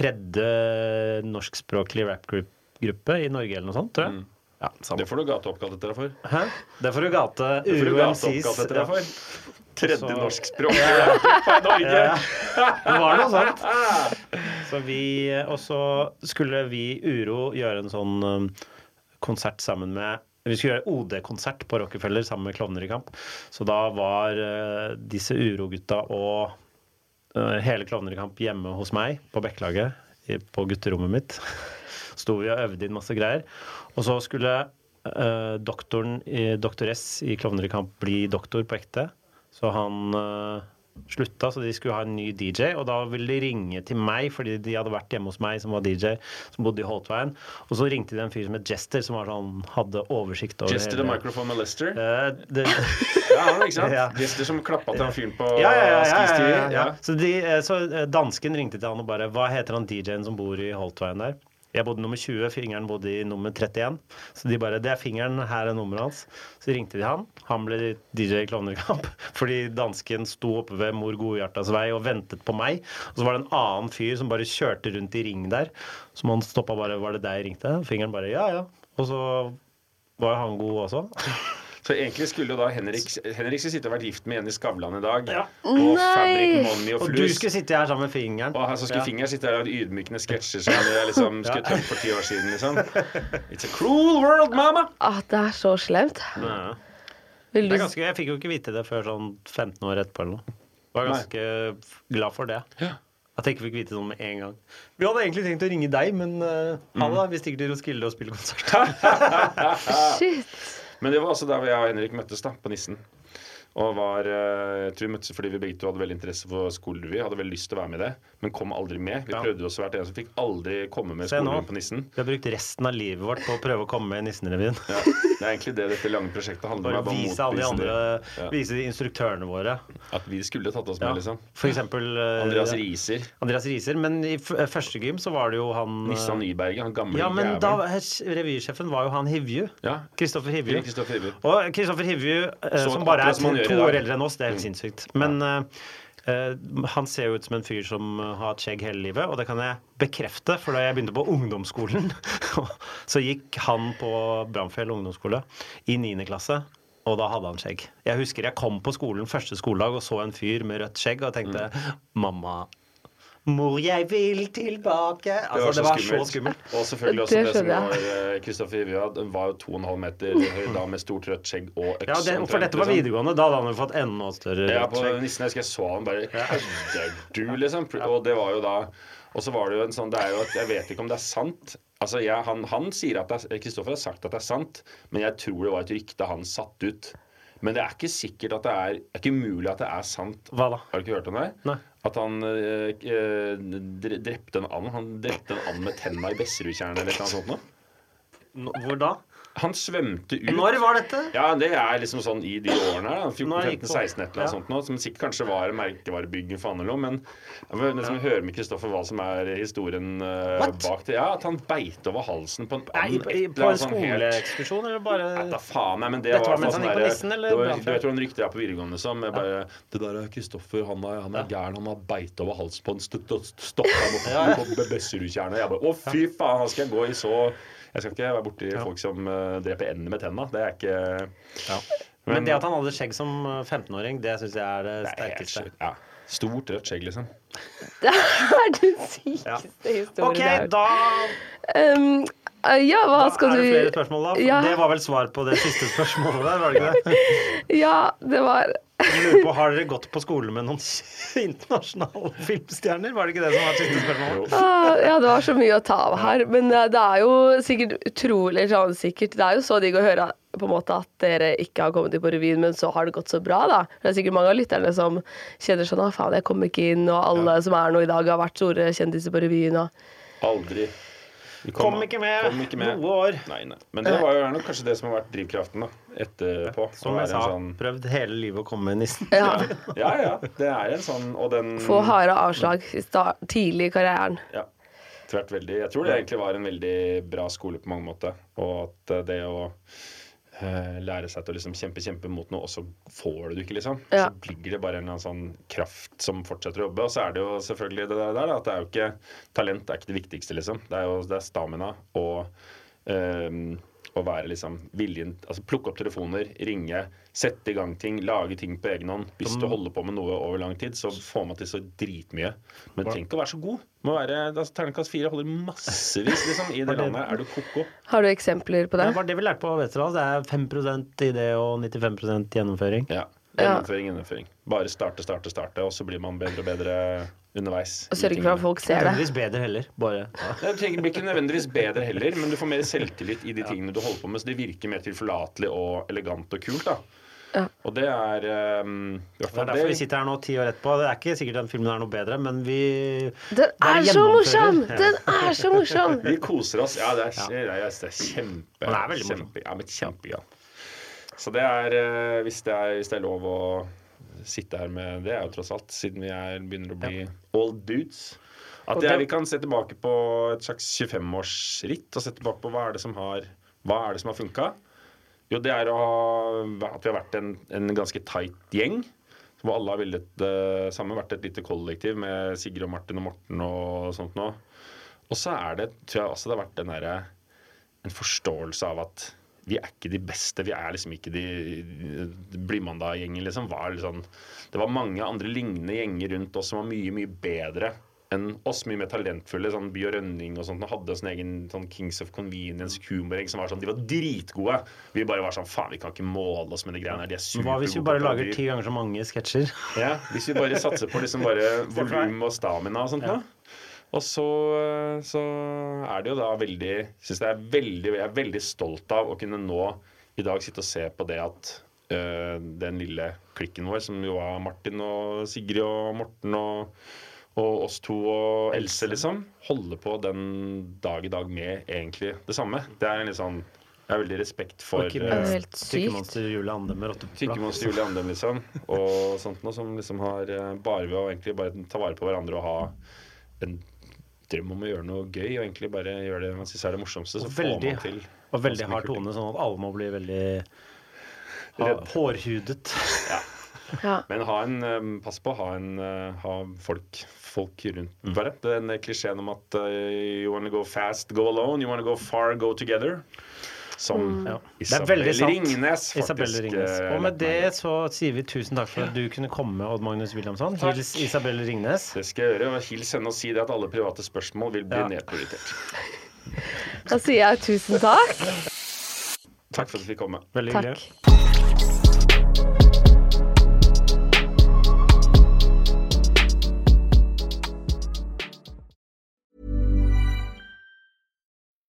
[SPEAKER 3] Tredje norskspråklig rappgruppe i Norge eller noe sånt, tror jeg. Ja,
[SPEAKER 2] Mm. det får du gateoppkalt etter deg for.
[SPEAKER 3] Hæ? Det får du gate
[SPEAKER 2] Det får du
[SPEAKER 3] Uro
[SPEAKER 2] gateoppkalt
[SPEAKER 3] MCs.
[SPEAKER 2] etter deg for.
[SPEAKER 3] Så-
[SPEAKER 2] Tredje norskspråk [LAUGHS] i Norge!
[SPEAKER 3] Ja. Det var noe sånt. Så vi, og så skulle vi Uro gjøre en sånn um, konsert sammen med vi skulle gjøre OD-konsert på Rockefeller sammen med Klovner i kamp. Så da var eh, disse Uro-gutta og eh, hele Klovner i kamp hjemme hos meg på Bekkelaget, i- på gutterommet mitt. [LAUGHS] Sto vi og øvde inn masse greier. Og så skulle eh, doktoren, i- doktor S i Klovner i kamp bli doktor på ekte. Så han eh, slutta, så de skulle ha en ny DJ. Og da ville de ringe til meg, fordi de hadde vært hjemme hos meg, som var DJ, som bodde i Holtveien. Og så ringte de en fyr som het Jester, som var sånn, hadde oversikt over Eh,
[SPEAKER 2] Jester the microphone molester.
[SPEAKER 3] det... [LAUGHS]
[SPEAKER 2] ja, han, ikke sant?
[SPEAKER 3] Ja.
[SPEAKER 2] Jester som klappa til han fyren på
[SPEAKER 3] ja, ja, ja, ja,
[SPEAKER 2] Skis
[SPEAKER 3] ja,
[SPEAKER 2] TV.
[SPEAKER 3] ja, ja. Så, de, eh, så eh, dansken ringte til han og bare Hva heter han DJ-en som bor i Holtveien der? Jeg bodde nummer 20, fingeren bodde i nummer 31. Så de bare Det er fingeren, her er nummeret hans. Så ringte de han. Han ble DJ i Klovnekamp. [LAUGHS] Fordi dansken sto oppe ved Mor Godhjertas vei og ventet på meg. Og så var det en annen fyr som bare kjørte rundt i ring der. Som han stoppa bare Var det deg jeg ringte? Fingeren bare Ja, ja. Og så var jo han god også.
[SPEAKER 2] Så egentlig skulle jo da Henrik Henrik skulle sitte og vært gift med Jenny Skavlan i dag.
[SPEAKER 3] Nei!
[SPEAKER 2] Og Fabric Money og
[SPEAKER 3] Og
[SPEAKER 2] Flus.
[SPEAKER 3] du skulle sitte her sammen med fingeren.
[SPEAKER 2] Og her så skulle
[SPEAKER 3] Ja.
[SPEAKER 2] fingeren sitte her og lage ydmykende sketsjer som jeg liksom skulle
[SPEAKER 3] [LAUGHS] Ja.
[SPEAKER 2] tømt for ti år siden, liksom. It's a cruel world, mama!
[SPEAKER 1] Ah, det er så slemt.
[SPEAKER 3] Ja.
[SPEAKER 1] Vil
[SPEAKER 3] Det
[SPEAKER 1] du
[SPEAKER 3] er ganske, jeg fikk jo ikke vite det før sånn 15 år etterpå eller noe. Var ganske f- glad for det. At jeg ikke fikk vite det sånn med en gang. Vi hadde egentlig tenkt å ringe deg, men eh, ha det, da. Vi stikker til Roskilde og spiller konsert.
[SPEAKER 1] Shit.
[SPEAKER 2] Men det var også der hvor jeg og Henrik møttes, da, på Nissen. Og var, eh, jeg tror vi møttes fordi vi begge to hadde veldig interesse for skolerevy. Hadde veldig lyst til å være med i det, men kom aldri med. Vi
[SPEAKER 3] Ja.
[SPEAKER 2] prøvde oss hvert eneste, fikk aldri komme med
[SPEAKER 3] Se nå.
[SPEAKER 2] skolerevyen på Nissen.
[SPEAKER 3] Vi har brukt resten av livet vårt på å prøve å komme med i Nissenrevyen.
[SPEAKER 2] Ja, det er egentlig det dette lange prosjektet handler
[SPEAKER 3] Bare
[SPEAKER 2] om. er å
[SPEAKER 3] vise alle de
[SPEAKER 2] motbevise
[SPEAKER 3] andre,
[SPEAKER 2] det. Ja.
[SPEAKER 3] vise de instruktørene våre.
[SPEAKER 2] At vi skulle tatt oss med,
[SPEAKER 3] Ja.
[SPEAKER 2] liksom.
[SPEAKER 3] For eksempel eh,
[SPEAKER 2] Andreas Riiser.
[SPEAKER 3] Andreas Riiser, men i f første gym så var det jo han eh,
[SPEAKER 2] Nissan Nyberget, han gamle
[SPEAKER 3] Ja, men
[SPEAKER 2] jævelen.
[SPEAKER 3] da, revysjefen var jo han Hivju. Kristoffer Hivju.
[SPEAKER 2] Ja, Kristoffer Hivju.
[SPEAKER 3] Og Kristoffer Hivju, eh,
[SPEAKER 2] Så
[SPEAKER 3] som bare
[SPEAKER 2] akkurat
[SPEAKER 3] er
[SPEAKER 2] som
[SPEAKER 3] to,
[SPEAKER 2] han gjør i
[SPEAKER 3] to
[SPEAKER 2] dag. Mm.
[SPEAKER 3] år eldre enn oss, det er helt sinnssykt. Men eh, eh, han ser jo ut som en fyr som eh, har hatt skjegg hele livet, og det kan jeg bekrefte, for da jeg begynte på ungdomsskolen, [LAUGHS] så gikk han på Bramfjell ungdomsskole i 9. klasse. Og da hadde han skjegg. Jeg husker jeg kom på skolen første skoledag og så en fyr med rødt skjegg og tenkte
[SPEAKER 2] Mm.
[SPEAKER 3] mamma, mor, jeg vil tilbake. Altså, det var så skummelt.
[SPEAKER 2] Og selvfølgelig også
[SPEAKER 3] Det
[SPEAKER 2] det, som
[SPEAKER 3] skjønner Mm.
[SPEAKER 2] var eh, Kristoffer Hivju. at Den var jo 2,5 meter høy da med stort rødt skjegg og øks.
[SPEAKER 3] Ja, det, for
[SPEAKER 2] omtrent,
[SPEAKER 3] dette var
[SPEAKER 2] liksom.
[SPEAKER 3] videregående. Da hadde han jo fått enda større
[SPEAKER 2] Ja,
[SPEAKER 3] rødt
[SPEAKER 2] på
[SPEAKER 3] skjegg.
[SPEAKER 2] nissen jeg husker jeg så han bare Kødder du, liksom? Og det var jo da Og så var det jo en sånn Det er jo at jeg vet ikke om det er sant. Altså, jeg, han, han sier at det er Kristoffer har sagt at det er sant, men jeg tror det var et rykte han satt ut. Men det er ikke sikkert at det er Det er ikke mulig at det er sant.
[SPEAKER 3] Hva da?
[SPEAKER 2] Har du ikke hørt om det?
[SPEAKER 3] Nei.
[SPEAKER 2] At han eh, eh, dre- drepte en and. Han drepte en and med tenna i Besserudtjernet eller noe sånt. Nå.
[SPEAKER 3] Hvor da?
[SPEAKER 2] Han svømte ut
[SPEAKER 3] Når var dette?
[SPEAKER 2] Ja, det er liksom sånn i de årene her. da,
[SPEAKER 3] Når han gikk
[SPEAKER 2] 14, 15,
[SPEAKER 3] på.
[SPEAKER 2] 16 et eller
[SPEAKER 3] Ja.
[SPEAKER 2] annet sånt nå, Som sikkert kanskje var merkevarebygget for Annelo, men jeg vil nesten høre med Kristoffer hva som er historien eh,
[SPEAKER 3] What?
[SPEAKER 2] bak det. Ja, At han beit over halsen på en
[SPEAKER 3] Nei,
[SPEAKER 2] and.
[SPEAKER 3] i- i- på en
[SPEAKER 2] sånn
[SPEAKER 3] skoleekskursjon, eller bare
[SPEAKER 2] Da faen, nei, men det
[SPEAKER 3] Dette
[SPEAKER 2] var,
[SPEAKER 3] var mens
[SPEAKER 2] sånn
[SPEAKER 3] han gikk på
[SPEAKER 2] der-
[SPEAKER 3] nissen, eller
[SPEAKER 2] det var-
[SPEAKER 3] brannfakkel?
[SPEAKER 2] Du vet hvordan rykter er på videregående som jeg bare Det der er Kristoffer, han er, han er gæren, han har beit over halsen på en stutt og stoppa
[SPEAKER 3] Ja, ja.
[SPEAKER 2] på, på Besserudtjernet. Jeg bare Å, fy faen, han skal jeg gå i så Jeg skal ikke være borti folk som eh, dreper ender med tenna. Det er ikke
[SPEAKER 3] Men, det at han hadde skjegg som eh, 15-åring, det syns jeg er det sterkeste.
[SPEAKER 2] Stort rødt skjegg, liksom.
[SPEAKER 1] [LAUGHS] Det er den sykeste historien
[SPEAKER 3] Ok,
[SPEAKER 1] jeg har hørt.
[SPEAKER 3] da
[SPEAKER 1] Um, eh, ja, hva skal
[SPEAKER 3] er
[SPEAKER 1] du
[SPEAKER 3] det flere spørsmål, da. For
[SPEAKER 1] Ja,
[SPEAKER 3] Det var vel svar på det siste spørsmålet der, var det ikke
[SPEAKER 1] [LAUGHS]
[SPEAKER 3] det?
[SPEAKER 1] ja, det var
[SPEAKER 3] Jeg lurer på, Har dere gått på skole med noen [LAUGHS] internasjonale filmstjerner? Var det ikke det som var siste spørsmål?
[SPEAKER 1] Ah, ja, det var så mye å ta av her. Men eh, det er jo sikkert utrolig sånn sikkert Det er jo så digg å høre på en måte at dere ikke har kommet inn på revyen, men så har det gått så bra, da. Det er sikkert mange av lytterne som kjenner sånn 'Å, faen, jeg kom ikke inn', og alle som er nå i dag, har vært store kjendiser på revyen og
[SPEAKER 2] Aldri. Vi
[SPEAKER 3] Kom ikke med
[SPEAKER 2] kom ikke med.
[SPEAKER 3] noe år.
[SPEAKER 2] Nei, nei. Men det var jo er nok kanskje det som har vært drivkraften da, etterpå.
[SPEAKER 3] Som
[SPEAKER 2] Å
[SPEAKER 3] jeg
[SPEAKER 2] være
[SPEAKER 3] sa,
[SPEAKER 2] en sånn-
[SPEAKER 3] prøvd hele livet å komme med nissen.
[SPEAKER 1] Ja.
[SPEAKER 2] Ja, ja. Det er en sånn Og den
[SPEAKER 3] Mm.
[SPEAKER 1] få harde avslag i sta- tidlig i karrieren.
[SPEAKER 2] Ja. Tvert veldig. Jeg tror det egentlig var en veldig bra skole på mange måter. Og at eh, det å eh, lære seg til å liksom kjempe, kjempe mot noe, og så får du det ikke, liksom.
[SPEAKER 1] Ja.
[SPEAKER 2] Så ligger det bare en eller annen sånn kraft som fortsetter å jobbe. Og så er det jo selvfølgelig det der, der da, at det er jo ikke Talent er ikke det viktigste, liksom. Det er jo det er stamina og eh, å være liksom viljen Altså plukke opp telefoner, ringe, sette i gang ting, lage ting på egen hånd. Hvis du holder på med noe over lang tid, så får man til så dritmye. Men
[SPEAKER 3] Hva-
[SPEAKER 2] trenger ikke å være så god. Må være, altså, Terningkast fire holder massevis liksom, [LAUGHS] i det landet. her. Er du ko-ko?
[SPEAKER 1] Har du eksempler på
[SPEAKER 3] Det
[SPEAKER 1] det?
[SPEAKER 3] var det vi lærte på Westerdals. Det er 5 idé og 95 gjennomføring.
[SPEAKER 2] Ja.
[SPEAKER 1] Ja.
[SPEAKER 2] Gjennomføring, gjennomføring. Bare starte, starte, starte, og så blir man bedre og bedre underveis.
[SPEAKER 1] Og sørge for at folk ser det.
[SPEAKER 3] Nødvendigvis bedre heller.
[SPEAKER 1] [LAUGHS]
[SPEAKER 3] Bare ja.
[SPEAKER 2] [LAUGHS] Nei, Du trenger blir ikke nødvendigvis bedre heller, men du får mer selvtillit i de tingene du holder på med, så det virker mer tilforlatelig og elegant og kult. da.
[SPEAKER 1] Ja.
[SPEAKER 2] Og det er ehm, i hvert
[SPEAKER 3] Det
[SPEAKER 2] fall
[SPEAKER 3] er derfor vi
[SPEAKER 2] det-
[SPEAKER 3] sitter her nå ti år etterpå. Det er ikke sikkert den filmen er noe bedre, men vi
[SPEAKER 1] Den
[SPEAKER 3] bare
[SPEAKER 1] er så
[SPEAKER 3] gjennomfører.
[SPEAKER 1] morsom!
[SPEAKER 3] Ja.
[SPEAKER 1] Den er så morsom!
[SPEAKER 2] Vi koser oss. Ja, det er, det er, det er kjempe,
[SPEAKER 3] Men det er veldig morsom.
[SPEAKER 2] kjempe, ja, men kjempegøy. Så det er, eh, hvis det er Hvis det er lov å sitte her med Det er jo tross alt, siden vi er, begynner å bli old dudes. At
[SPEAKER 3] Og
[SPEAKER 2] det, er-
[SPEAKER 3] det-
[SPEAKER 2] vi kan se tilbake på et slags 25-årsritt og se tilbake på hva er det som har Hva er det som har funka. Jo, det er å ha, at vi har vært en, en ganske tight gjeng. Hvor alle har villet det samme. Vært et lite kollektiv med Sigrid og Martin og Morten og sånt noe. Og så er det, tror jeg også det har vært den derre en forståelse av at vi er ikke de beste. Vi er liksom ikke de Blimanda-gjengen, liksom. Var litt sånn- det var mange andre lignende gjenger rundt oss som var mye, mye bedre enn oss. Mye mer talentfulle. sånn By og Rønning og sånt. og Hadde sin egen sånn Kings of Convenience-humorgjeng som var sånn De var dritgode. Vi bare var sånn Faen, vi kan ikke måle oss med de greiene her. De er
[SPEAKER 3] Men Hva hvis vi
[SPEAKER 2] supergode
[SPEAKER 3] bare
[SPEAKER 2] på
[SPEAKER 3] lager
[SPEAKER 2] parodier.»
[SPEAKER 3] ti ganger så mange sketsjer?
[SPEAKER 2] Ja, hvis vi bare satser på liksom [LAUGHS] bare volum og stamina og sånt nå. Og så, eh, så er det jo da veldig Synes jeg er veldig Jeg er veldig stolt av å kunne nå i dag sitte og se på det at øh, den lille klikken vår, som jo var Martin og Sigrid og Morten og, og oss to og Else, liksom, holder på den dag i dag med egentlig det samme. Det er en litt sånn Jeg har veldig respekt for
[SPEAKER 3] Og ikke
[SPEAKER 2] øh,
[SPEAKER 1] Det er helt sykt.
[SPEAKER 3] Tykkemonster Julie Ande med rotteplass.
[SPEAKER 2] Tykkemonster Julie Andem, liksom. Og sånt noe som liksom har eh, Bare ved å egentlig bare ta vare på hverandre og ha en drøm om å gjøre noe gøy, og egentlig bare gjøre det man syns er det morsomste, så
[SPEAKER 3] Og
[SPEAKER 2] får
[SPEAKER 3] veldig,
[SPEAKER 2] man til
[SPEAKER 3] og veldig
[SPEAKER 2] ganske mye
[SPEAKER 3] hard
[SPEAKER 2] kult.
[SPEAKER 3] tone, sånn at alle må bli veldig ha,
[SPEAKER 2] Redd.
[SPEAKER 3] hårhudet.
[SPEAKER 1] Ja.
[SPEAKER 2] Men ha en, eh, pass på å ha, en, eh, ha folk, folk
[SPEAKER 3] Mm.
[SPEAKER 2] rundt bare. Den klisjeen om at eh, you wanna go fast, go alone. You wanna go far, go together. Som
[SPEAKER 3] Ja. Det er
[SPEAKER 2] Isabel
[SPEAKER 3] veldig sant.
[SPEAKER 2] Ringnes faktisk
[SPEAKER 3] Isabel Ringnes.
[SPEAKER 2] eh,
[SPEAKER 3] Og med
[SPEAKER 2] lærte meg.
[SPEAKER 3] det så sier vi tusen takk for at du kunne komme, Odd Magnus Williamson.
[SPEAKER 2] Takk.
[SPEAKER 3] Hils Isabel Ringnes.
[SPEAKER 2] Det skal jeg gjøre. og Hils henne og si det at alle private spørsmål vil bli
[SPEAKER 3] Ja.
[SPEAKER 2] nedprioritert.
[SPEAKER 1] Da sier jeg tusen takk.
[SPEAKER 2] Takk for at vi fikk komme.
[SPEAKER 3] Veldig hyggelig.
[SPEAKER 1] Takk.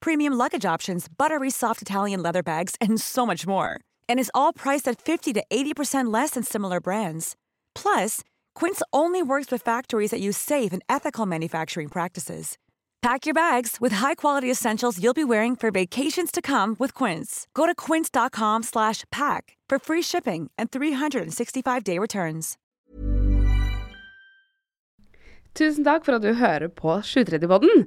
[SPEAKER 9] premium luggage options, buttery soft Italian leather bags, and so much more. And is all priced at 50 to 80% less than similar brands. Plus, Quince only works with factories that use safe and ethical manufacturing practices. Pack your bags with high-quality essentials you'll be wearing for vacations to come with Quince. Go to quince.com slash pack for free shipping and 365-day returns.
[SPEAKER 8] Tusen takk for at du hører på 730-podden.